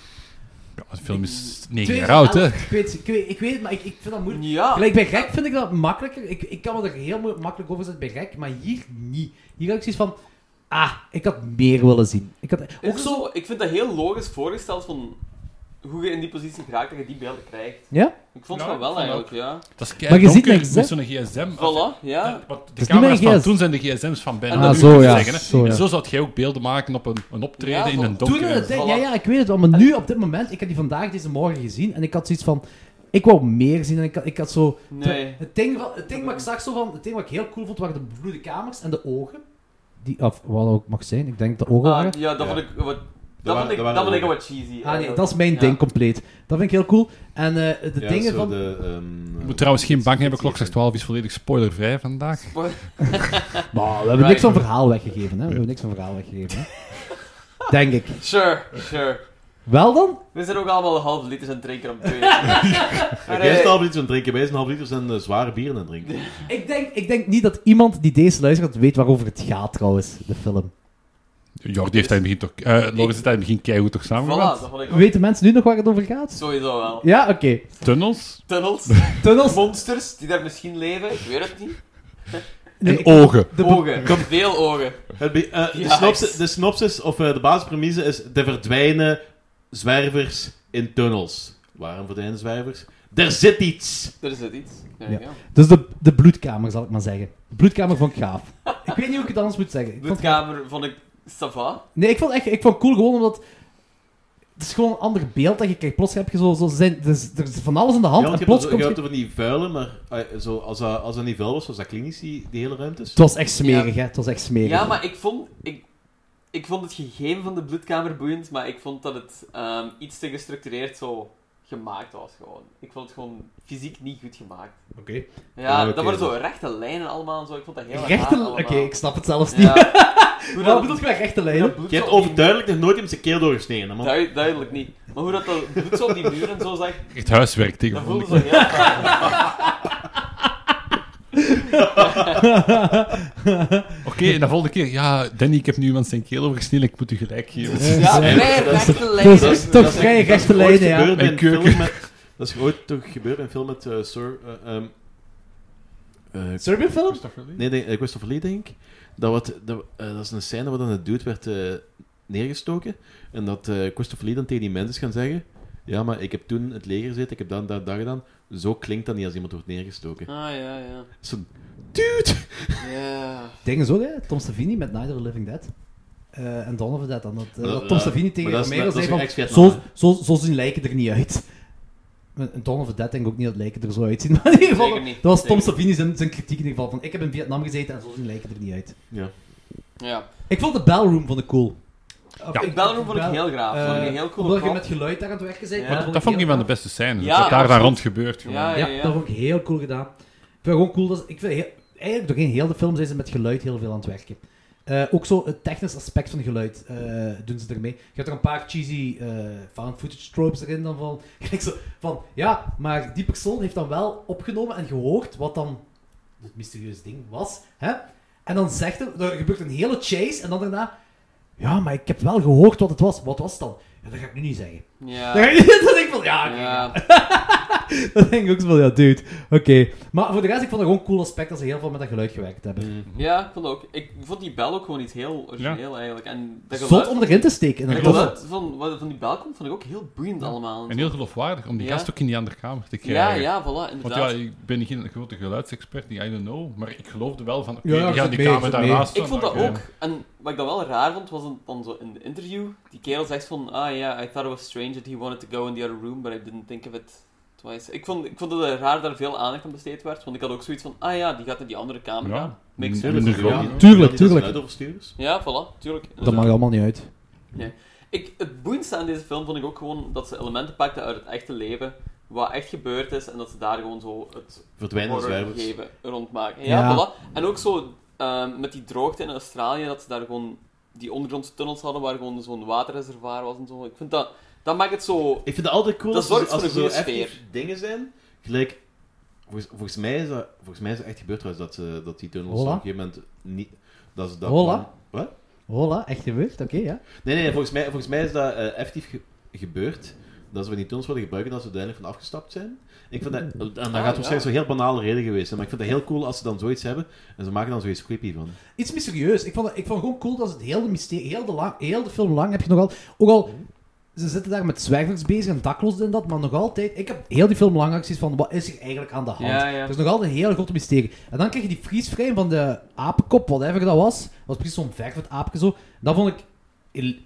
Ja, de film is negen jaar oud, hè.
2011, Ik weet, ik weet, ik weet het, maar ik, ik vind dat moeilijk.
Ja.
Gelijk bij gek vind ik dat makkelijker. Ik, ik kan me er heel mo- makkelijk over zetten bij gek, maar hier niet. Hier had ik zoiets van... Ah, ik had meer willen zien. Ik had,
Is
ook
het
zo...
zo, ik vind dat heel logisch voorgesteld van hoe je in die positie geraakt dat je die beelden krijgt.
Ja?
Ik vond
Ja,
het wel
ik vond
eigenlijk, ja.
Dat is
Maar je ziet
keidonker
niks, hè.
met zo'n gsm.
Voilà, ja.
Ja, want de
is niet
camera's
mijn
van
GS.
toen zijn de gsm's van bijna
Ah,
nu,
zo,
moet ik
ja,
zeggen, hè.
zo, ja.
En zo zou jij ook beelden maken op een, een optreden
Ja,
in een
van-
Toen
eh,
donkere...
het ding- ja,
voilà.
ja, ik weet het wel. Maar nu, op dit moment, ik heb die vandaag, deze morgen gezien. En ik had zoiets van... Ik wou meer zien en ik had, ik had zo...
Nee.
Het ding, van, het ding wat ik zag zo van... Het ding wat ik heel cool vond, waren de bebloede kamers en de ogen. Die, of wat dat ook mag zijn. Ik denk de ogen waren.
Ah, ja, dat
Ja.
vond ik wat...
Dat
Dat,
waren-
vond ik,
dat
dat,
waren
vond ik
ogen.
wat
Ah nee,
cheesy. eigenlijk.
dat is mijn
Ja.
ding compleet. Dat vind ik heel cool. En eh, de
Ja,
dingen
zo
van...
de, ehm,
Je moet trouwens geen bang hebben, klok zegt
zegt
12 is volledig spoilervrij vandaag.
Maar we hebben niks van verhaal weggegeven, hè? We hebben niks van verhaal weggegeven, hè? Denk ik.
Sure, sure.
Wel dan?
We zijn ook allemaal half liters aan het drinken op twee.
Jij
eh,
is een half liter aan het drinken, wij zijn half liters en eh, zware bieren aan het drinken.
Ik denk, ik denk niet dat iemand die deze luistert weet waarover het gaat, trouwens, de film.
Jordi heeft daar in het begin toch... eh Loris heeft daar in het begin keigoed toch
Voilà,
samengewerkt.
dat vond ik ook.
Weten mensen nu nog waar het over gaat?
Sowieso wel.
Ja, oké.
Tunnels
Tunnels,
Tunnels.
monsters die daar misschien leven, ik weet het niet.
Nee,
en
ik-
ogen.
de be-
Ogen, veel ogen.
Het be- eh, de,
Ja,
synopsis,
ik-
de synopsis, of eh, de basispremise is... Er verdwijnen zwervers in tunnels. Waarom verdwijnen zwervers? Er zit iets!
Er zit iets. Ja,
Ja.
ja.
Dus de, de bloedkamer, zal ik maar zeggen. De bloedkamer vond ik gaaf. Ik weet niet hoe ik het anders moet zeggen. Ik
De
vond-
kamer vond ik sava.
Nee, ik vond echt, ik vond het cool gewoon omdat... Het is gewoon een ander beeld dat je krijgt. Plots heb je zo... zo zijn, er is er is van alles aan de hand
ja, want
en
je
plots
hebt, er zo-
komt...
je
je-
hebt er van die vuilen, maar eh, zo, als, dat, als dat niet vuil was, was dat klinisch, die, die hele ruimtes.
Het was echt smerig, hè. Het was echt smerig.
Ja, maar ik vond, ik, ik vond het gegeven van de bloedkamer boeiend, maar ik vond dat het ehm, iets te gestructureerd zo gemaakt was gewoon. Ik vond het gewoon fysiek niet goed gemaakt.
Oké.
Ja,
Ah, oké,
dat waren zo
dus-
rechte lijnen allemaal en zo. Ik vond dat heel raar
Rechte...
allemaal.
Oké, ik snap het zelfs niet.
Ja. Hoe
Wat
dat,
bedoel je met rechte
hoe dat
lijnen?
bloed
Je hebt
zo op die-
overduidelijk nog nooit iemand zijn keel doorgesneden, hè, man.
Duid- duidelijk niet. Maar hoe dat, dat bloed zo op die muur en zo zag,
Echt huiswerk
dat
tegenwoordig.
voelde zo heel raar.
Oké, en de volgende keer. Ja, Danny, ik heb nu iemand zijn keel overgesneden, ik moet u gelijk geven.
Ja,
dat
vrij
dat is-
rechte
is
lijnen.
echt toch vrij
Dat is
rechte
ooit
lijnen, ja.
gebeurd bij
Mijn
een
keuken.
film met- Dat is ooit toch gebeurd in een film met eh, Sir... eh, ehm, eh,
Serbian film?
Nee, nee, eh, Christopher Lee, denk ik. Dat, wat, dat, eh, dat is een scène waar dan een dude werd eh, neergestoken. En dat eh, Christopher Lee dan tegen die mensen is gaan zeggen... Ja, maar ik heb toen in het leger gezeten, ik heb dan dat, dat gedaan. Zo klinkt dat niet als iemand wordt neergestoken.
Ah, ja, ja.
Zo, dude!
Ja.
Dingen zo, hè. Tom Savini met Night of the Living Dead. Eh, en Dawn of the Dead. dan dat, eh,
Maar
dat
dat-
Tom
ja,
Savini
maar
tegen
dat is-
Romero
dat is
zei
een
van...
ex-Vietnam,
Zo, zo, zo zien lijken er niet uit. En en Dawn of the Dead denk ik ook niet dat lijken er zo uitzien. Maar in ieder geval,
Zeker
dat
niet.
was Tom
Zeker
Savini zijn, zijn kritiek in ieder geval. Van, ik heb in Vietnam gezeten en zo zien lijken er niet uit.
Ja.
ja.
Ik vond de bellroom vond ik cool.
Ja.
Ik Bellroom vond ik
Bell-
heel graaf. Vond ik een
Eh,
heel cool
Omdat je
kop.
met geluid daar aan het werken bent.
Ja.
maar
Dat
Dat vond ik een
heel
van de
gaaf.
beste scènes.
Ja,
wat daar dan
absoluut.
rond gebeurt. Gewoon.
Ja,
Ja, dat vond ik heel cool gedaan. Ik vind het gewoon cool dat ze- ik vind heel, eigenlijk doorheen heel de film zijn ze met geluid heel veel aan het werken. Eh, ook zo het technisch aspect van geluid eh, doen ze ermee. Je hebt er een paar cheesy eh, found footage tropes erin dan van, gelijk zo van ja, maar die persoon heeft dan wel opgenomen en gehoord wat dan het mysterieuze ding was, hè? En dan zegt er, er gebeurt een hele chase en dan daarna ja, maar ik heb wel gehoord wat het was. Wat was het dan? Ja, dat ga ik nu niet zeggen.
Ja.
Dan ga ik, dan denk ik van ja, oké,
Ja.
dat denk ik ook zo van, ja, dude. Oké. Maar voor de rest, ik vond het gewoon een cool aspect dat ze heel veel met dat geluid gewerkt hebben.
Ja, ik vond ook. Ik vond die bel ook gewoon iets heel origineel eigenlijk. En dat
Zot
geluid-
om erin te steken.
het
inderdaad.
geluid van, wat van die bel komt, vond ik ook heel boeiend allemaal.
En heel geloofwaardig om die
Ja.
gast ook in die andere kamer te
ja,
krijgen.
ja, voilà,
Want
inderdaad.
ja, ik ben geen grote geluidsexpert, die I don't know, maar ik geloofde wel van, oké,
Ja, ja,
die gaan
zit
die
mee,
kamer
zit mee.
daarnaast.
Ik vond dat
maken.
ook. En wat ik dan wel raar vond, was dan- dan zo in de interview. Die kerel zegt van, ah ja, I thought it was strange that he wanted to go in the other room, but I didn't think of it twice. Ik vond, ik vond het eh, raar dat er veel aandacht aan besteed werd, want ik had ook zoiets van, ah ja, die gaat naar die andere kamer
Ja.
gaan.
Mm.
Makes
Ja,
sense.
minder
Ja,
groot.
die-
tuurlijk,
die- die
tuurlijk.
geluidoverstuurders.
Ja, voilà, tuurlijk.
Dat maakt allemaal niet uit.
Ik, het boeiendste aan deze film vond ik ook gewoon dat ze elementen pakten uit het echte leven, wat echt gebeurd is, en dat ze daar gewoon zo het
Verdwijnen
horror
zwervers.
gegeven rondmaken. Ja,
Ja.
voilà. En ook zo ehm, met die droogte in Australië, dat ze daar gewoon die ondergrondse tunnels hadden waar gewoon zo'n waterreservoir was en zo. Ik vind dat, dat maakt het zo.
Ik vind het altijd cool
Dat
als,
zorgt
als
voor
er
een
zo
goede
effectief dingen zijn. Gelijk, volgens, volgens, mij is dat, volgens mij is dat echt gebeurd trouwens, dat, ze, dat die tunnels
Hola.
op een gegeven moment niet... Dat ze dat
Hola.
Wat?
Hola, echt gebeurd? Oké, ja.
Nee, nee, volgens mij, volgens mij is dat eh, effectief ge- gebeurd. Dat ze van die tunnels worden gebruikt en dat ze uiteindelijk van afgestapt zijn. Ik vind dat,
Mm.
en
Ah,
dat gaat waarschijnlijk
ja.
zo'n heel banale reden geweest zijn. Maar ik vind dat heel cool als ze dan zoiets hebben en ze maken dan zoiets creepy van.
Iets mysterieus. Ik vond, ik vond gewoon cool dat ze het heel de, mysterie, heel, de lang, heel de film lang heb je nogal... Ook al, ze zitten daar met zwervers bezig en daklozen en dat, maar nog altijd... Ik heb heel die film lang acties van, wat is er eigenlijk aan de hand?
Ja, ja.
Er is nog altijd een heel grote mysterie. En dan krijg je die freeze-frame van de apenkop, whatever dat was. Dat was precies zo'n verfd aapje zo. Dat vond ik,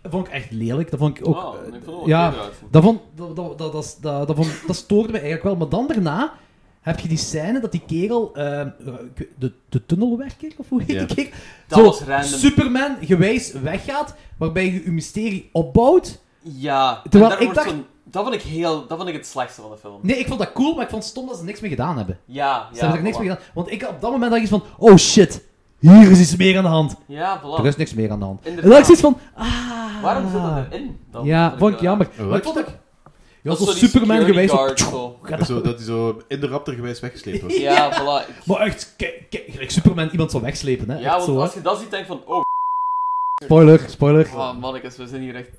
dat vond ik echt lelijk. Dat vond ik ook...
Wow,
eh,
Oh, ik vond het wel
ja,
oké eruit.
Dat, vond, dat, dat, dat, dat, dat, dat vond- dat stoorde me eigenlijk wel. Maar dan daarna heb je die scène dat die kerel, ehm, ik- de, de tunnelwerker of hoe heet
Ja.
die kerel?
Dat
Zo
was random.
Superman gewijs weggaat, waarbij je je mysterie opbouwt.
Ja, en
Terwijl
daar
ik
wordt
dacht-
zo'n- dat vond ik heel. Dat vond ik het slechtste van de film.
Nee, ik vond dat cool, maar ik vond het stom dat ze niks mee gedaan hebben.
Ja,
Ze
ja.
hebben er niks
voilà.
mee gedaan. Want ik op dat moment dacht ik van, oh shit, hier is iets meer aan de hand.
Ja,
Er is
voilà.
niks meer aan de hand. En dan
Ah. Inderdaad.
dacht ik zoiets van, ah.
Waarom zit dat erin? dan?
Ja, vond ik
wel-
jammer.
Wat?
Maar ik vond ook... Ja,
Dat
zo
is zo die
Superman
security
gewijs. zo-
guard, zo.
Dat, Dus zo, dat hij zo in de raptor gewijs weggesleept wordt.
Ja, voilà. Ik-
Maar echt, kijk, kijk, gelijk Superman iemand zal wegslepen, hè.
Ja,
echt zo,
want
hè.
als je dat ziet, denk je van, oh,
Spoiler, spoiler.
oh mannetjes, we zijn hier echt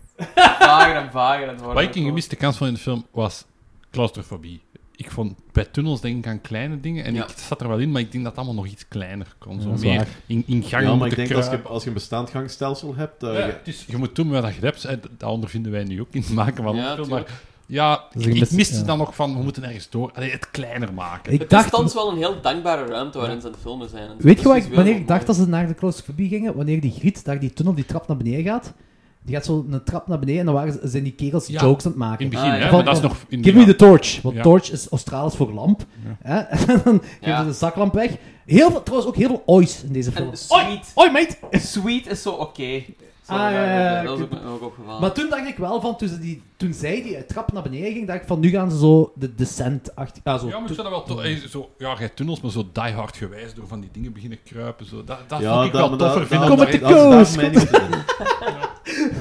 vager en vager aan het worden.
Wat ik een gemiste kans van in de film was claustrofobie. Ik vond bij tunnels denk ik aan kleine dingen en
Ja.
ik zat er wel in, maar ik denk dat het allemaal nog iets kleiner kon. Zo
dat is
meer
waar.
in, in gang
Ja, maar ik
moeten
denk als je,
kruipen.
als je een bestaand gangstelsel hebt, dat je-
Je moet doen wat je hebt. En Dat ondervinden wij nu ook in het maken van
Ja,
een film.
tuurlijk.
Maar ja,
Dus
ik,
je
ik
mist-
miste
ja.
dan nog van, we moeten ergens door. Allee, het kleiner maken.
Ik
Het is
dacht,
thans wel een heel dankbare ruimte waarin ze aan het filmen zijn. En
weet
het
je
is dus
wat, ik-
visueel
wanneer
ook
ik dacht
mooi.
dat ze naar de claustrofobie gingen? Wanneer die Griet daar die tunnel, die trap naar beneden gaat. Die gaat zo een trap naar beneden en dan waren, ze- zijn die kerels
Ja.
jokes aan het
in
maken.
het begin,
Ah, ja.
hè.
Van-
Maar dat is
van-
nog... In
Give me the torch, want
Ja.
torch is Australisch voor lamp. hè? En dan geven
Ja.
ze de zaklamp weg. Heel veel, trouwens ook heel veel ois in deze film.
En sweet,
Oi, mate!
sweet is zo oké. Zo,
Ah,
ja,
ja, ja, ja,
dat is ook,
ik-
ook
Ah.
opgevallen.
Maar toen dacht ik wel van, toen, ze die, toen zij die trap naar beneden ging, dacht ik van, nu gaan ze zo de descent achter... Ja, zo,
Ja, maar ik zou dat wel... to- eh, Zo, ja, jij tunnels, maar zo diehard gewijs door van die dingen beginnen kruipen. Zo. Dat, dat vond ik
dat-
wel
maar
toffer
dat-
vinden.
dat-
Kom met de
dat- dat- dat
koos,
is mij niet te doen.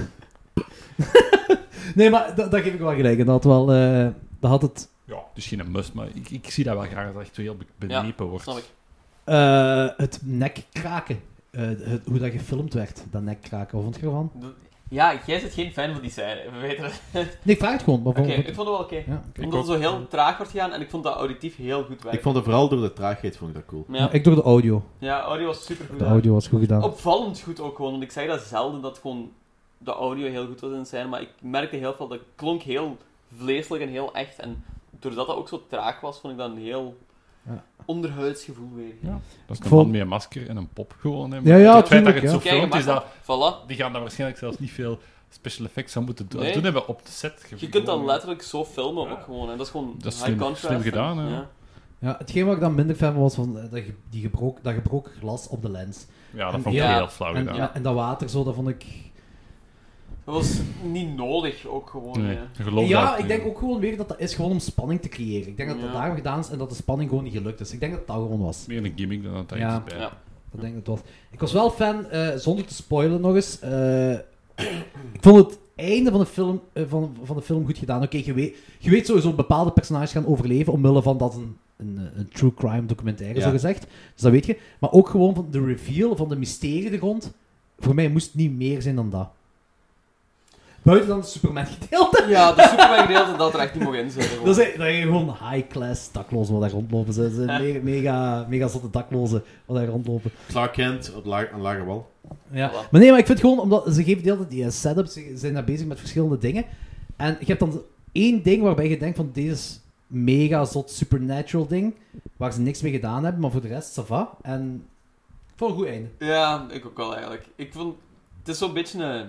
Nee, maar dat, dat geef ik wel gelijk. En dat had wel... eh, dat had het...
Ja, dus geen must, maar ik, ik zie dat wel graag dat dat echt heel be- benepen wordt.
snap ik.
eh, het nek kraken. Eh, het, hoe dat gefilmd werd, dat nek kraken. Wat vond je ervan?
De- Ja, jij zit geen fan van die scène, we weten het.
Nee, ik vraag het gewoon. Maar
Oké,
voor-
ik vond het wel oké.
ja.
Ik
Omdat
ook.
het zo heel traag wordt gegaan en ik vond dat auditief heel goed
Ik
werken.
vond het vooral door de traagheid vond ik dat cool.
Ja,
Ik door de audio.
ja, audio was super goed.
De audio was goed gedaan.
Opvallend goed ook gewoon, want ik zei dat zelden dat gewoon de audio heel goed was in de scène, maar ik merkte heel veel dat het klonk heel vleeselijk en heel echt. En doordat dat ook zo traag was, vond ik dat een heel
Ja.
onderhuidsgevoel weer.
Dat is
Ik
een
vond-
man met een masker en een pop gewoon. Hè.
Ja, ja,
het feit dat
tuurlijk,
je het zo
ja.
filmt, is dat...
gemakkelijk. Voilà.
Die gaan daar waarschijnlijk zelfs niet veel special effects aan moeten do-
Nee.
doen hebben op de set.
Je kunt dat
gewoon-
letterlijk zo filmen
Ja.
ook gewoon. En dat is gewoon
Dat is
high
slim-
contrast.
slim
en-
gedaan, hè.
Ja, hetgeen wat ik dan minder fan van was, van eh, dat, ge- die gebroken, dat gebroken glas op de lens.
Ja, dat
En-
vond ik
ja.
heel flauw
En,
Oh, gedaan.
en, en dat water zo, dat vond ik...
Dat was niet nodig ook gewoon.
Nee,
hè.
geloof
ja,
dat,
ik
eh,
denk ook gewoon weer dat dat is gewoon om spanning te creëren. Ik denk dat dat
Ja.
daarom gedaan is en dat de spanning gewoon niet gelukt is. Ik denk dat dat gewoon was.
Meer een gimmick dan dat hij
Ja.
iets bij.
Ja.
Dat denk ik dat was. Ik was wel fan, eh, zonder te spoilen nog eens. eh, ik vond het einde van de film, eh, van, van de film goed gedaan. Oké, je, weet, je weet sowieso bepaalde personages gaan overleven omwille van dat een, een, eh, een true crime documentaire,
Ja.
zo gezegd. Dus dat weet je. Maar ook gewoon van de reveal van de mysterie de grond. Voor mij moest het niet meer zijn dan dat. buiten dan het Superman gedeelte.
Ja, de Superman gedeelte dat er echt niet mogen inzetten.
Dat zijn, dat zijn gewoon high-class daklozen wat daar rondlopen. Ze zijn me- mega, mega zotte daklozen wat daar rondlopen.
Clark Kent op laag, aan lage wal.
Ja.
Voilà.
Maar nee, maar ik vind gewoon, omdat ze geven de hele tijd die eh, setups, ze zijn daar bezig met verschillende dingen. En je hebt dan één ding waarbij je denkt van, deze is mega zot supernatural ding, waar ze niks mee gedaan hebben, maar voor de rest, ça va. En voor een goed einde.
Ja, ik ook wel eigenlijk. Ik vond, het is zo'n beetje een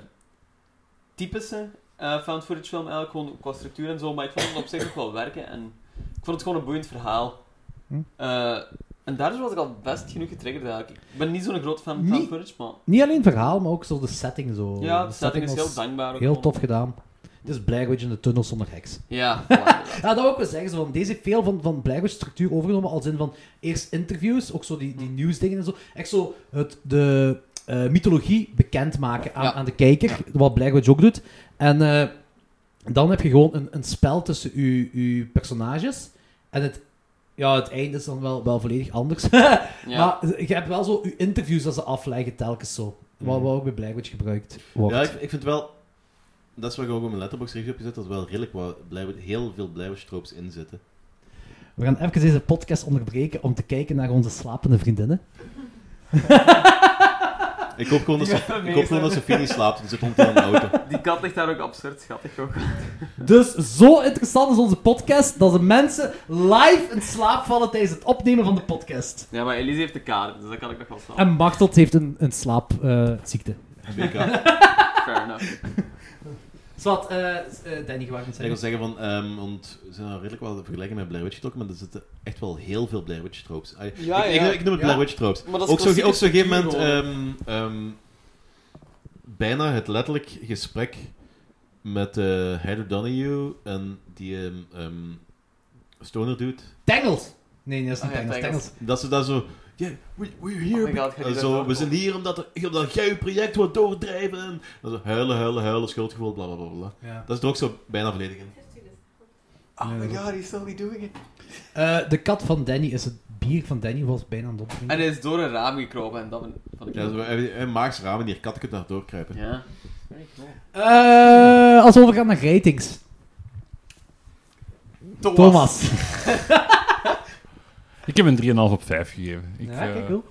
typische eh, found footage film eigenlijk, gewoon qua structuur en zo, maar ik vond het op zich ook wel werken en ik vond het gewoon een boeiend verhaal.
Hm.
Eh, en daardoor was ik al best genoeg getriggerd eigenlijk. Ik ben niet zo'n groot fan van
Niet-
found footage, maar
Niet alleen het verhaal, maar ook zo de setting. Zo.
ja, de setting is
was
heel dankbaar. ook
heel
gewoon.
tof gedaan. Het is Blair Witch in de tunnel zonder heks.
Ja, voilà, inderdaad.
Ja, dat wil ik wel zeggen. Zo, van, deze heeft veel van, van Blair Witch structuur overgenomen. Als in van eerst interviews, ook zo die, die nieuwsdingen en zo. Echt zo het, de eh, mythologie bekendmaken aan,
Ja.
aan de kijker. Wat Blair Witch ook doet. En eh, dan heb je gewoon een, een spel tussen uw, uw personages. En het, ja, het einde is dan wel, wel volledig anders.
ja.
Maar je hebt wel zo uw interviews dat ze afleggen telkens zo. Wat,
Mm.
wat ook bij Blair Witch gebruikt wordt.
Ja, ik, ik vind wel... Dat is waar ik ook op mijn letterbox review heb gezet, dat er wel redelijk wat Blair- heel veel Blair tropes in zitten.
We gaan even deze podcast onderbreken om te kijken naar onze slapende vriendinnen.
Ik hoop gewoon dat,
Ja,
Sof-
nee,
ik hoop gewoon dat Sophie niet slaapt, want ze zit onder een auto.
Die kat ligt daar ook absurd schattig ook.
Dus zo interessant is onze podcast dat de mensen live in slaap vallen tijdens het opnemen van de podcast.
Ja, maar Elise heeft de kaart, dus dat kan ik nog wel snappen.
En Martelt heeft een, een slaapziekte.
BK.
Fair enough.
Zwat, eh, eh, Danny, gewaagd moet
Ik
zeggen.
wil zeggen van, ehm, want ze zijn al redelijk wel vergelijken met Blair Witch getrokken, maar er zitten echt wel heel veel Blair Witch tropes. Ah,
Ja,
ik,
ja.
Ik, ik noem het
Ja.
Blair Witch tropes.
Maar dat is
Ook zo'n ook zo gegeven
klassieke
moment
cultuur
ehm, ehm, bijna het letterlijk gesprek met eh Heather Donahue en die ehm, ehm, stoner dude.
Tangles! Nee, nee, dat is niet
Oh ja,
Tangles.
Tangles.
Tangles.
Dat ze daar zo... Yeah, we, we're here.
Oh my god, ik ga die
en
daar
zo, we
doorkomen.
zijn hier omdat, er, omdat jij je project wordt doordrijven. En dan zo huilen, huilen, huilen, schuldgevoel, bla bla bla. bla.
Ja.
Dat is er ook zo bijna volledig in.
dus-
eh,
Oh my god, he's totally doing it.
Eh, de kat van Danny is het bier van Danny, was bijna aan het
En
opdrinken.
hij is door een raam gekropen en dat ben- vond ik...
Ja, zo, hij- hij maakt zijn ramen hier, katten kunnen naar doorkruipen.
ja.
Eh, als we overgaan naar ratings.
Thomas.
Thomas.
Ik heb een 3,5 op 5 gegeven. Ik,
ja,
eh,
kijk, cool.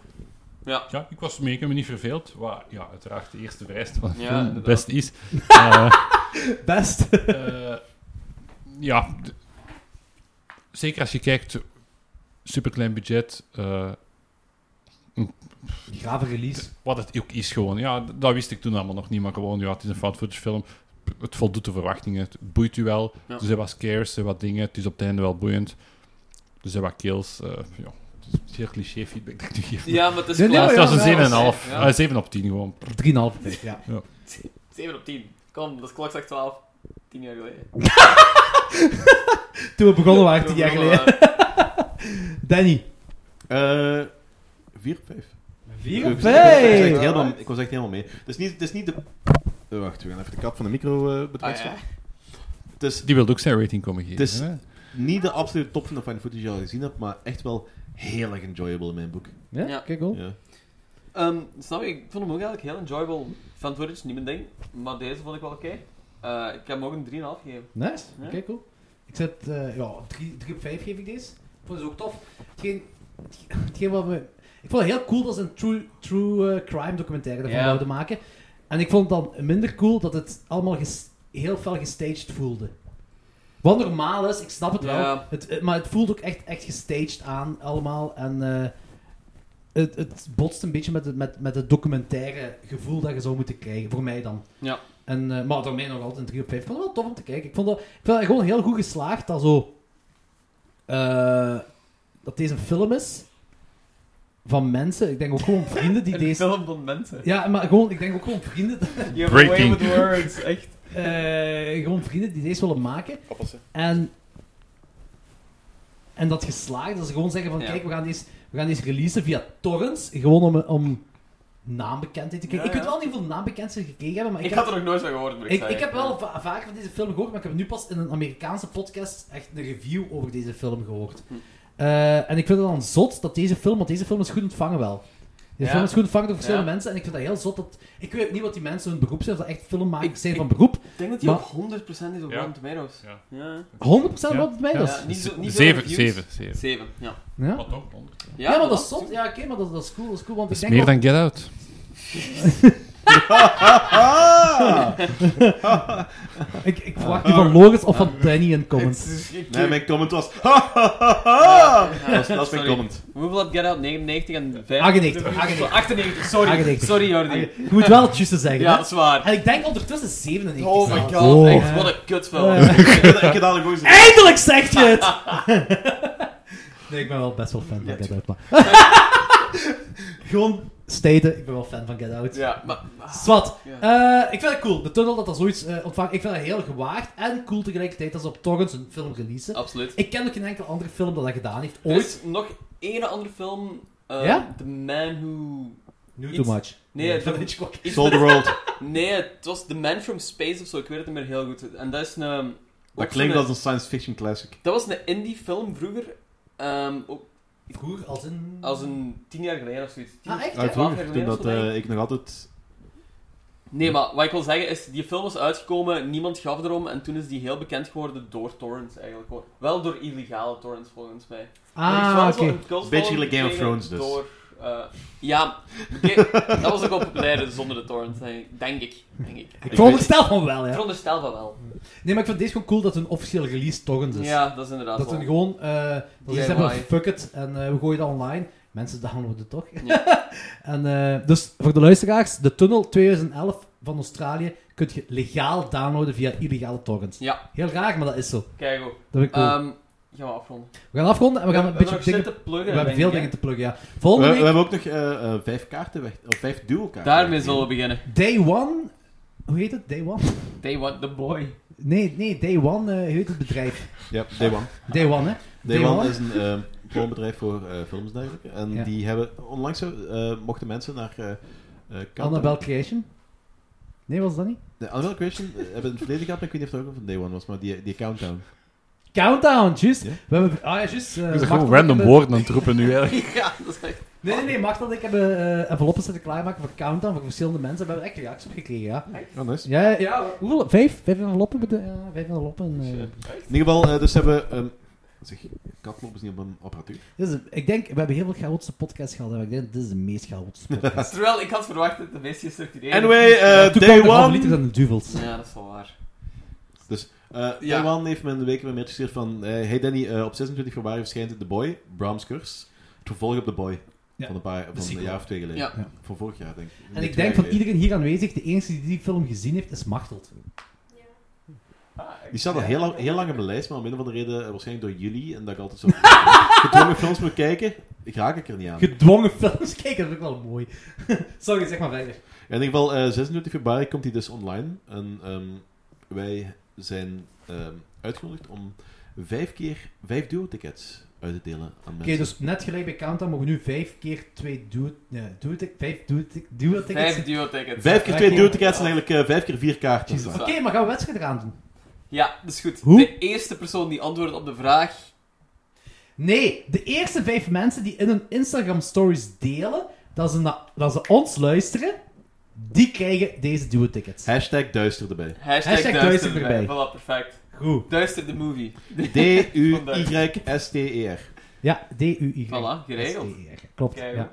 ja, ik was mee, ik heb me niet verveeld. Wat ja, uiteraard de eerste vereiste van de
Ja,
film het
inderdaad.
beste is. Eh,
Best.
eh, ja, d- zeker als je kijkt, superklein budget. eh,
Grave release.
wat het ook is gewoon. Ja, d- dat wist ik toen allemaal nog niet, maar gewoon, ja, het is een found footage film. P- Het voldoet de verwachtingen. Het boeit u wel.
Ja.
Er zijn wat scares, er zijn wat dingen. Het is op het einde wel boeiend. Er zijn wat kills. eh, ja, het is heel cliché feedback dat ik nu geef.
Ja, maar het is
Nee, nee,
Ja,
klaar.
maar
het was
ja,
een
ja,
7,5.
ja.
Ah, 7 op 10 gewoon.
3,5 op vijf, ja.
7 op 10. Kom, dat is klok zegt 12. 10 jaar geleden.
Toen we begonnen waren, 10 jaar
Begonnen
geleden.
waren.
Danny.
Eh, vier op vijf.
4
Ik
op
was echt- ik was echt
5.
helemaal- Ik was echt helemaal mee. Het is niet, het is niet de... Eh, wacht, we gaan even de kat van de micro eh
Ah,
bedrijven.
ja.
Het is
Die wilde ook zijn rating komen geven.
Het is-
hè?
niet de absolute top van de fine footage die ik al gezien heb, maar echt wel heel erg enjoyable in mijn boek.
Ja,
Ja.
kijk wel.
Ja.
Ehm, snap je, ik vond hem ook eigenlijk heel enjoyable. Fan footage, niet mijn ding. Maar deze vond ik wel oké. Eh, ik heb hem ook een 3,5 gegeven.
Nice,
Ja.
oké, cool. Ik zet, eh, ja, 3 op 5 geef ik deze. Ik vond het ook tof. Hetgeen, hetgeen wat we... Ik vond het heel cool dat ze een true, true eh, crime documentaire ervan
Ja.
wilden maken. En ik vond het dan minder cool dat het allemaal ges- heel fel gestaged voelde. Wat normaal is, ik snap het wel.
Ja.
Het, eh, maar het voelt ook echt, echt gestaged aan allemaal. En eh, het, het botst een beetje met het, met, met het documentaire gevoel dat je zou moeten krijgen. Voor mij dan.
Ja.
En, eh, maar daarmee nog altijd een 3 op 5. Ik vond het wel tof om te kijken. Ik vond dat, ik vond dat gewoon heel goed geslaagd dat zo... eh, dat deze een film is van mensen. Ik denk ook gewoon vrienden die deze...
film van mensen.
Ja, maar gewoon, ik denk ook gewoon vrienden,
You
have a way Breaking. with
words, echt.
eh, gewoon vrienden die deze willen maken. En, en dat geslaagd, dat ze gewoon zeggen van,
Ja.
kijk, we gaan, deze, we gaan deze releasen via torrents, gewoon om, om naambekendheid te krijgen.
Ja,
ik weet
ja.
wel niet hoeveel naambekendheid ze gekregen hebben, maar ik,
Ik
heb,
had er nog nooit van gehoord, moet ik,
ik,
zeggen.
ik heb wel va- vaker van deze film gehoord, maar ik heb nu pas in een Amerikaanse podcast echt een review over deze film gehoord.
Hm.
Eh, en ik vind het dan zot dat deze film, want deze film is goed ontvangen wel. Deze Die
Ja.
film is goed ontvangen door verschillende
Ja.
mensen. En ik vind dat heel zot. Dat, ik weet niet wat die mensen hun beroep zijn. Of dat echt filmmakers zijn van beroep. 100%
Ik denk dat die
Maar-
op 100% is op
Ja.
Rotten Tomatoes.
Ja.
Ja.
Ja.
wat bij mij dat is.
Ja, niet
Dus
zo, niet veel
Zeven,
reviews.
zeven, zeven.
Zeven, ja.
Ja.
Wat ook, honderd.
Ja, maar dat is
zot.
zot. Ja, oké, maar dat, dat is cool. Dat is cool want
Dat is
ik denk
meer dan Get Out.
Ah!
wel- ik, ik verwacht nu van Loris of van Danny een comment.
Nee, mijn comment was. Ha, ha, ha, ha. Dat is- dat is mijn
Ah! Sorry.
comment.
Hoeveel had Get Out? 99 en 5?
98,
98, sorry.
98.
Sorry, Jordi.
Je moet wel het juiste zeggen.
Ja,
hè?
dat is waar.
En ik denk ondertussen 97.
Oh my
zelfs.
god,
Oh.
echt, wat een kutfilm.
Eh.
Ik heb ik heb dadelijk ook gezegd.
Eindelijk zegt je het! nee, ik ben wel best wel fan van Get Out. Maar... Gewoon staten, ik ben wel fan van Get Out.
Ja, maar... maar-
Zwat.
Ja.
Eh, ik vind het cool. De tunnel dat dat zoiets eh, ontvangt. Ik vind dat heel gewaagd en cool tegelijkertijd dat ze op torrents een film releasen.
Absoluut.
Ik ken ook geen enkele andere film dat dat gedaan heeft.
Er
Ooit.
is nog één andere film. eh,
Ja?
The Man Who...
Nu
iets-
too much.
Nee,
Ja,
het-
van Hitchcock.
Iets
Sold the
met-
world.
Nee, het was The Man From Space of zo. Ik weet het niet meer heel goed. En dat is een... ehm, ook
Dat klinkt
zo'n-
als een science fiction classic.
Dat was een indie film vroeger. ehm, ook
Vroeger als een...
als een tien jaar geleden of zoiets. Tien-
Ah, echt?
Uit
twaalf
vroeger,
jaar
toen
geleden of
dat,
zo, denk ik.
eh, ik nog altijd...
Nee, maar wat ik wil zeggen is, die film was uitgekomen, niemand gaf erom, en toen is die heel bekend geworden door torrents eigenlijk. gewoon. Wel door illegale torrents volgens mij.
Ah, oké.
Beetje like Game of Thrones dus.
Door, eh, ja, oké, dat was ook wel populair zonder de torrents, denk ik. Denk ik. Denk ik.
Ik veronderstel van wel,
Ik
ja.
veronderstel van wel.
Nee, maar ik vind deze gewoon cool dat het een officiële release torrent is.
Ja, dat is inderdaad
Dus Dat
wel.
ze gewoon... eh dat ze
DIY.
hebben, fuck it, en eh, we gooien dat online. Mensen downloaden toch?
Ja.
en, eh, dus voor de luisteraars, de Tunnel 2011 van Australië kun je legaal downloaden via illegale torrents.
Ja.
Heel raar, maar dat is zo.
Kijk ook. Ehm,
Dat vind ik cool.
gaan we afronden.
we gaan afronden en we gaan een
hebben
beetje
nog
dingen...
zitten pluggen,
We hebben
denk
veel
ik, hè?
dingen te pluggen, ja.
We, we
Volgende week,
hebben ook nog eh, eh, vijf kaarten weg... Of vijf duo-kaarten.
Daarmee zullen we beginnen.
day one... Hoe heet het? Day one?
They want the boy.
Nee, nee, Day One, eh, hoe heet het bedrijf?
Ja, Day One.
Day One, hè?
Day,
Day
One,
One?
is een eh, filmbedrijf voor eh, films en dergelijke. En
Ja.
die hebben... Onlangs eh, mochten mensen naar... eh eh, Countdown-
Annabelle Creation? Nee, was dat niet?
De Annabelle Creation eh, hebben het verleden gehad, maar ik weet niet of het ook van Day One was, maar die, die Countdown.
Countdown, juist.
Ja.
We hebben... Ah ja, juist. eh,
Ik ben
Macht
gewoon
en ik
random
hebben-
woorden aan het roepen nu eigenlijk.
ja, dat is echt...
Nee, nee, nee. Macht en ik hebben eh enveloppen zitten klaarmaken voor Countdown, voor verschillende mensen. We hebben echt reacties op gekregen, ja.
Oh, nice.
Ja, ja, ja. Hoeveel? Vijf? Vijf enveloppen? bede- Ja, vijf enveloppen. eh.
In ieder geval, eh, dus hebben we... ehm, zeg, katlopen is niet op een apparatuur.
Dus, ik denk, we hebben heel veel chaotische podcasts gehad, maar ik denk, dit is de meest chaotische podcast.
Terwijl ik had verwacht dat de meest gestructureerde...
Anyway, eh,
Toen
Day
kwam de
One...
liter aan de duvels.
Ja, dat is wel waar.
Eh
Ja.
Taiwan heeft me in de week een mail gestuurd van... eh, hey Danny, eh, op 26 februari verschijnt The Boy, Brahms Curse. Het vervolg op The Boy.
Ja.
Van een, paar, van een
sequel.
jaar of twee geleden.
Ja.
Ja.
Van vorig jaar, denk ik.
En ik
Nee, twee
denk
jaar
van
geleden.
iedereen hier aanwezig, de enige die die film gezien heeft, is Machteld.
Die staat al heel, lang- heel lang op mijn lijst, maar om een of andere reden... eh, Waarschijnlijk door jullie. En dat ik altijd zo... gedwongen films moet kijken. Ik raak ik er niet aan.
Gedwongen films kijken, dat vind ik wel mooi. Sorry, zeg maar verder.
Ja, in ieder geval, eh 26 februari komt hij dus online. En ehm, wij zijn ehm, uitgenodigd om vijf keer vijf duo-tickets uit te delen aan mensen.
Oké, dus net gelijk bij Countdown mogen we nu vijf keer twee duo... Nee, duo tic- vijf duo tic- duo tickets...
Vijf duo-tickets.
Vijf keer
Ja,
twee
ja.
duo-tickets en eigenlijk eh, vijf keer vier kaartjes.
Oké, maar gaan we wedstrijd eraan doen?
Ja, dat is goed.
Hoe?
De eerste persoon die antwoordt op de vraag...
Nee, de eerste vijf mensen die in hun Instagram stories delen, dat ze, na- dat ze ons luisteren, die krijgen deze duo tickets.
Hashtag duister erbij.
Hashtag,
Hashtag
duister,
duister
erbij.
erbij.
Voilà, perfect.
Goed.
Duister de movie.
D-U-Y-S-T-E-R.
Ja, D-U-Y.
Voilà, geregeld.
S-E-R. Klopt,
Kijk.
ja.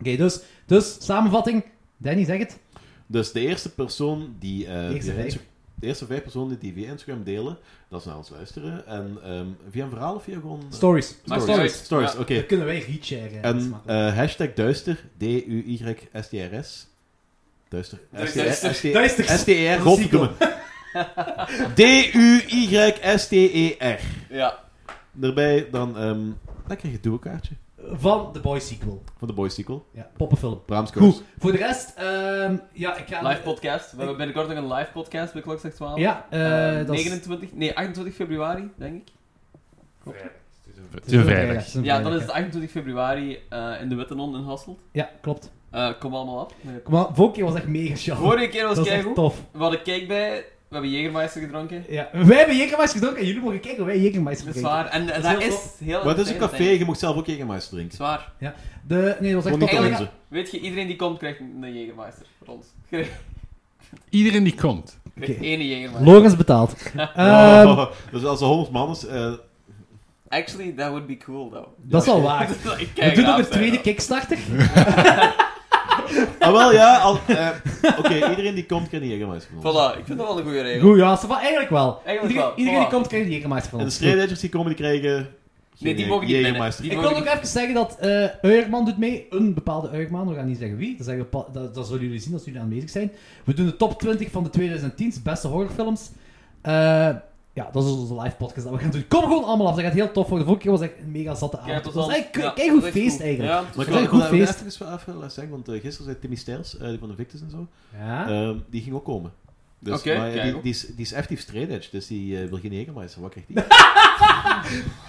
Oké, dus, dus, samenvatting. Danny, zeg het.
Dus de eerste persoon die... eh,
De eerste
via
vijf.
Insta- de eerste vijf personen die via Instagram delen, dat ze naar ons luisteren. En ehm, via een verhaal of via gewoon... eh,
Stories.
Maar
Stories,
stories.
Stories,
Ja.
oké.
Dan kunnen wij resharen. Dat is
En
makkelijk.
eh, hashtag duister, D-U-Y-S-T-R-S. E Duister.
eh,
E
Duister.
Duister.
S-T-R, S-T-R, E godverdomme. D-U-Y-S-T-E-R.
Ja.
Daarbij E dan, ehm dan krijg je een kaartje
Van de Boy sequel.
van de Boys sequel.
Ja, poppenfilm.
Braams Curse.
Goed, voor de rest, ehm, ja, ik ga...
Live podcast. We hebben binnenkort nog een live podcast bij Klokslag 12.
Ja, eh,
Eh,
dat is-
29, nee, 28 februari, denk ik.
Het is een vrijdag.
Het is een
Ja, dan is
vrijdag,
het 28 februari eh, in de Wittenon in Hasselt.
hè. Ja, klopt.
Eh, kom allemaal af.
Maar vorige keer was echt mega show.
Vorige keer was
dat was
kijk
echt tof.
We hadden kijk bij. We hebben Jägermeister gedronken.
Ja. Wij hebben Jägermeister gedronken en jullie mogen kijken hoe wij Jägermeister drinken.
Dat is waar. En eh,
Dat is
dat
heel
is heel...
Maar het is een
fijn,
café,
fijn.
je mocht zelf ook Jägermeister
Dat
drinken.
is waar.
De, nee, dat was echt...
Gewoon niet
eigenlijk-
onze.
Weet je, iedereen die komt krijgt een Jägermeister. Voor ons. Krijgt
Iedereen die komt.
krijgt
Oké.
één Jägermeister.
Logans betaald. Ehm,
Oh, dus als er 100 man is, eh,
Actually, that would be cool, though.
dat is al waar.
Ik
We
kijk
doen nog
eraan,
een tweede
zeg.
Kickstarter.
Ah, wel ja. al- eh, Oké, iedereen die komt krijgt een Jägermeister van ons.
Voilà, ik vind dat wel een goede regel.
Goed, ja, ze van- eigenlijk wel.
Eigenlijk
iedereen
wel,
iedereen die
voilà.
komt krijgt een Jägermeister van
En de
ons.
strijdedgers die komen, die krijgen...
Nee, die
geen
mogen niet winnen.
Jägermeister.
Die
Ik
mogen
wil ook even zeggen dat eh Uierman doet mee, een bepaalde Uierman, we gaan niet zeggen wie, dat, zeggen we pa- dat, dat zullen jullie zien als jullie aanwezig zijn. We doen de top 20 van de 2010's beste horrorfilms. Eh, ja, dat is onze live podcast dat we gaan doen. Kom gewoon allemaal af, dat gaat heel tof worden. Vorige keer was echt een mega zatte avond.
Kijk,
Het
tot
was
dan.
eigenlijk
Ja,
kei- keigoed
dat is
feest
goed.
eigenlijk.
Ja, het
Maar
is
Dat
ik wil
is
wel-
een goed
ik wil
feest.
even iets even laten zeggen, want eh, gisteren zei Timmy Stijls, eh, die van de Victors en zo,
Ja.
ehm, die ging ook komen. Dus,
Oké,
maar, eh,
kijk
die,
ook.
die, is, die is actief strijdedge, dus die eh, wil geen Jägermeister. Wat krijgt die?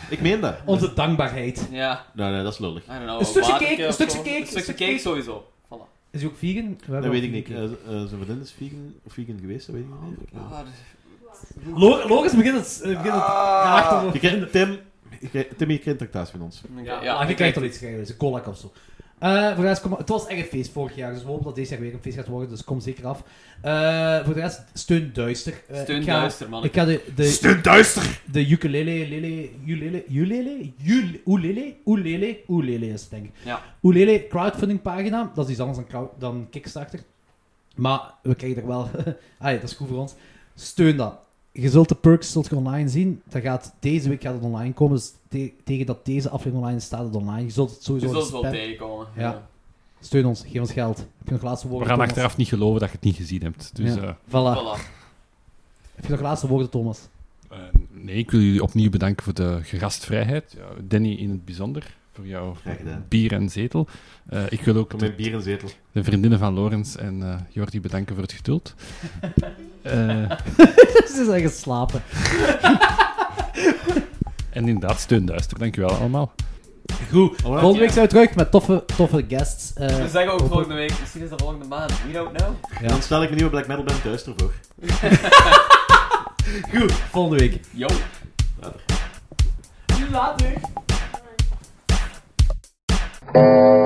ik meen dat.
Onze dankbaarheid.
Ja,
Nee, nee, dat is lullig.
I don't know.
Een stukje
waterke
cake, een
of
stukje
zo.
cake,
Een
een
stukje
stukje
cake
cake.
sowieso. Voilà.
Is hij ook vegan? We hebben
Dat weet
ook
ik niet.
vegan.
Eh, eh, zijn vriendin is vegan, of vegan geweest, dat weet ik niet.
Oh,
Ah,
Lo- Logisch begint het, eh, begint het graag te
Ah. Je krijgt, Tim, je krijgt- Timmy, je krijgt een tractatie van ons.
oké,
Ja,
ja,
je
ik
krijgt
kijk-
al iets, krijgen, dus een cola of zo. Eh, voor de rest, kom, het was echt een feest vorig jaar, dus we hopen dat deze jaar weer een feest gaat worden, dus kom zeker af. Eh, voor de rest, steun Duister. Eh,
Steun
ik ga,
duister, man.
Ik ga de, de,
Steun duister!
de ukulele, lele, ulele, ulele, Ul- ulele, ulele, ulele is het denk ik.
Ja.
Ulele crowdfunding pagina, dat is iets anders dan, crowd- dan Kickstarter. Maar we krijgen er wel, ah ja, dat is goed voor ons. Steun dat. Je zult de perks zult je online zien. Dat gaat, deze week gaat het online komen, dus te- tegen dat deze aflevering online is, staat het online. Je zult het
Je
sowieso
zult het wel
spam-
tegenkomen.
Ja. Steun ons, geef ons geld. Heb je nog laatste
We
woorden,
gaan
Thomas?
achteraf niet geloven dat je het niet gezien hebt. Dus,
Ja.
eh,
Voilà.
Voilà.
Heb je nog laatste woorden, Thomas?
eh, nee, ik wil jullie opnieuw bedanken voor de gastvrijheid. Ja, Danny in het bijzonder, voor jouw
Graag gedaan.
bier en zetel. Eh, ik wil ook
Kom
de,
met bier en zetel.
de vriendinnen van Lorenz en eh Jordi bedanken voor het geduld. Eh,
Ze zijn geslapen.
en inderdaad, steun duister. Dankjewel allemaal.
Goed. Volgende week zijn we terug met toffe, toffe guests. eh,
We zeggen ook
open-
volgende week, misschien is dat volgende maand. We don't know.
Ja.
Dan stel ik mijn nieuwe black metal band thuis ervoor.
Goed, volgende week.
Yo.
Later.
Later.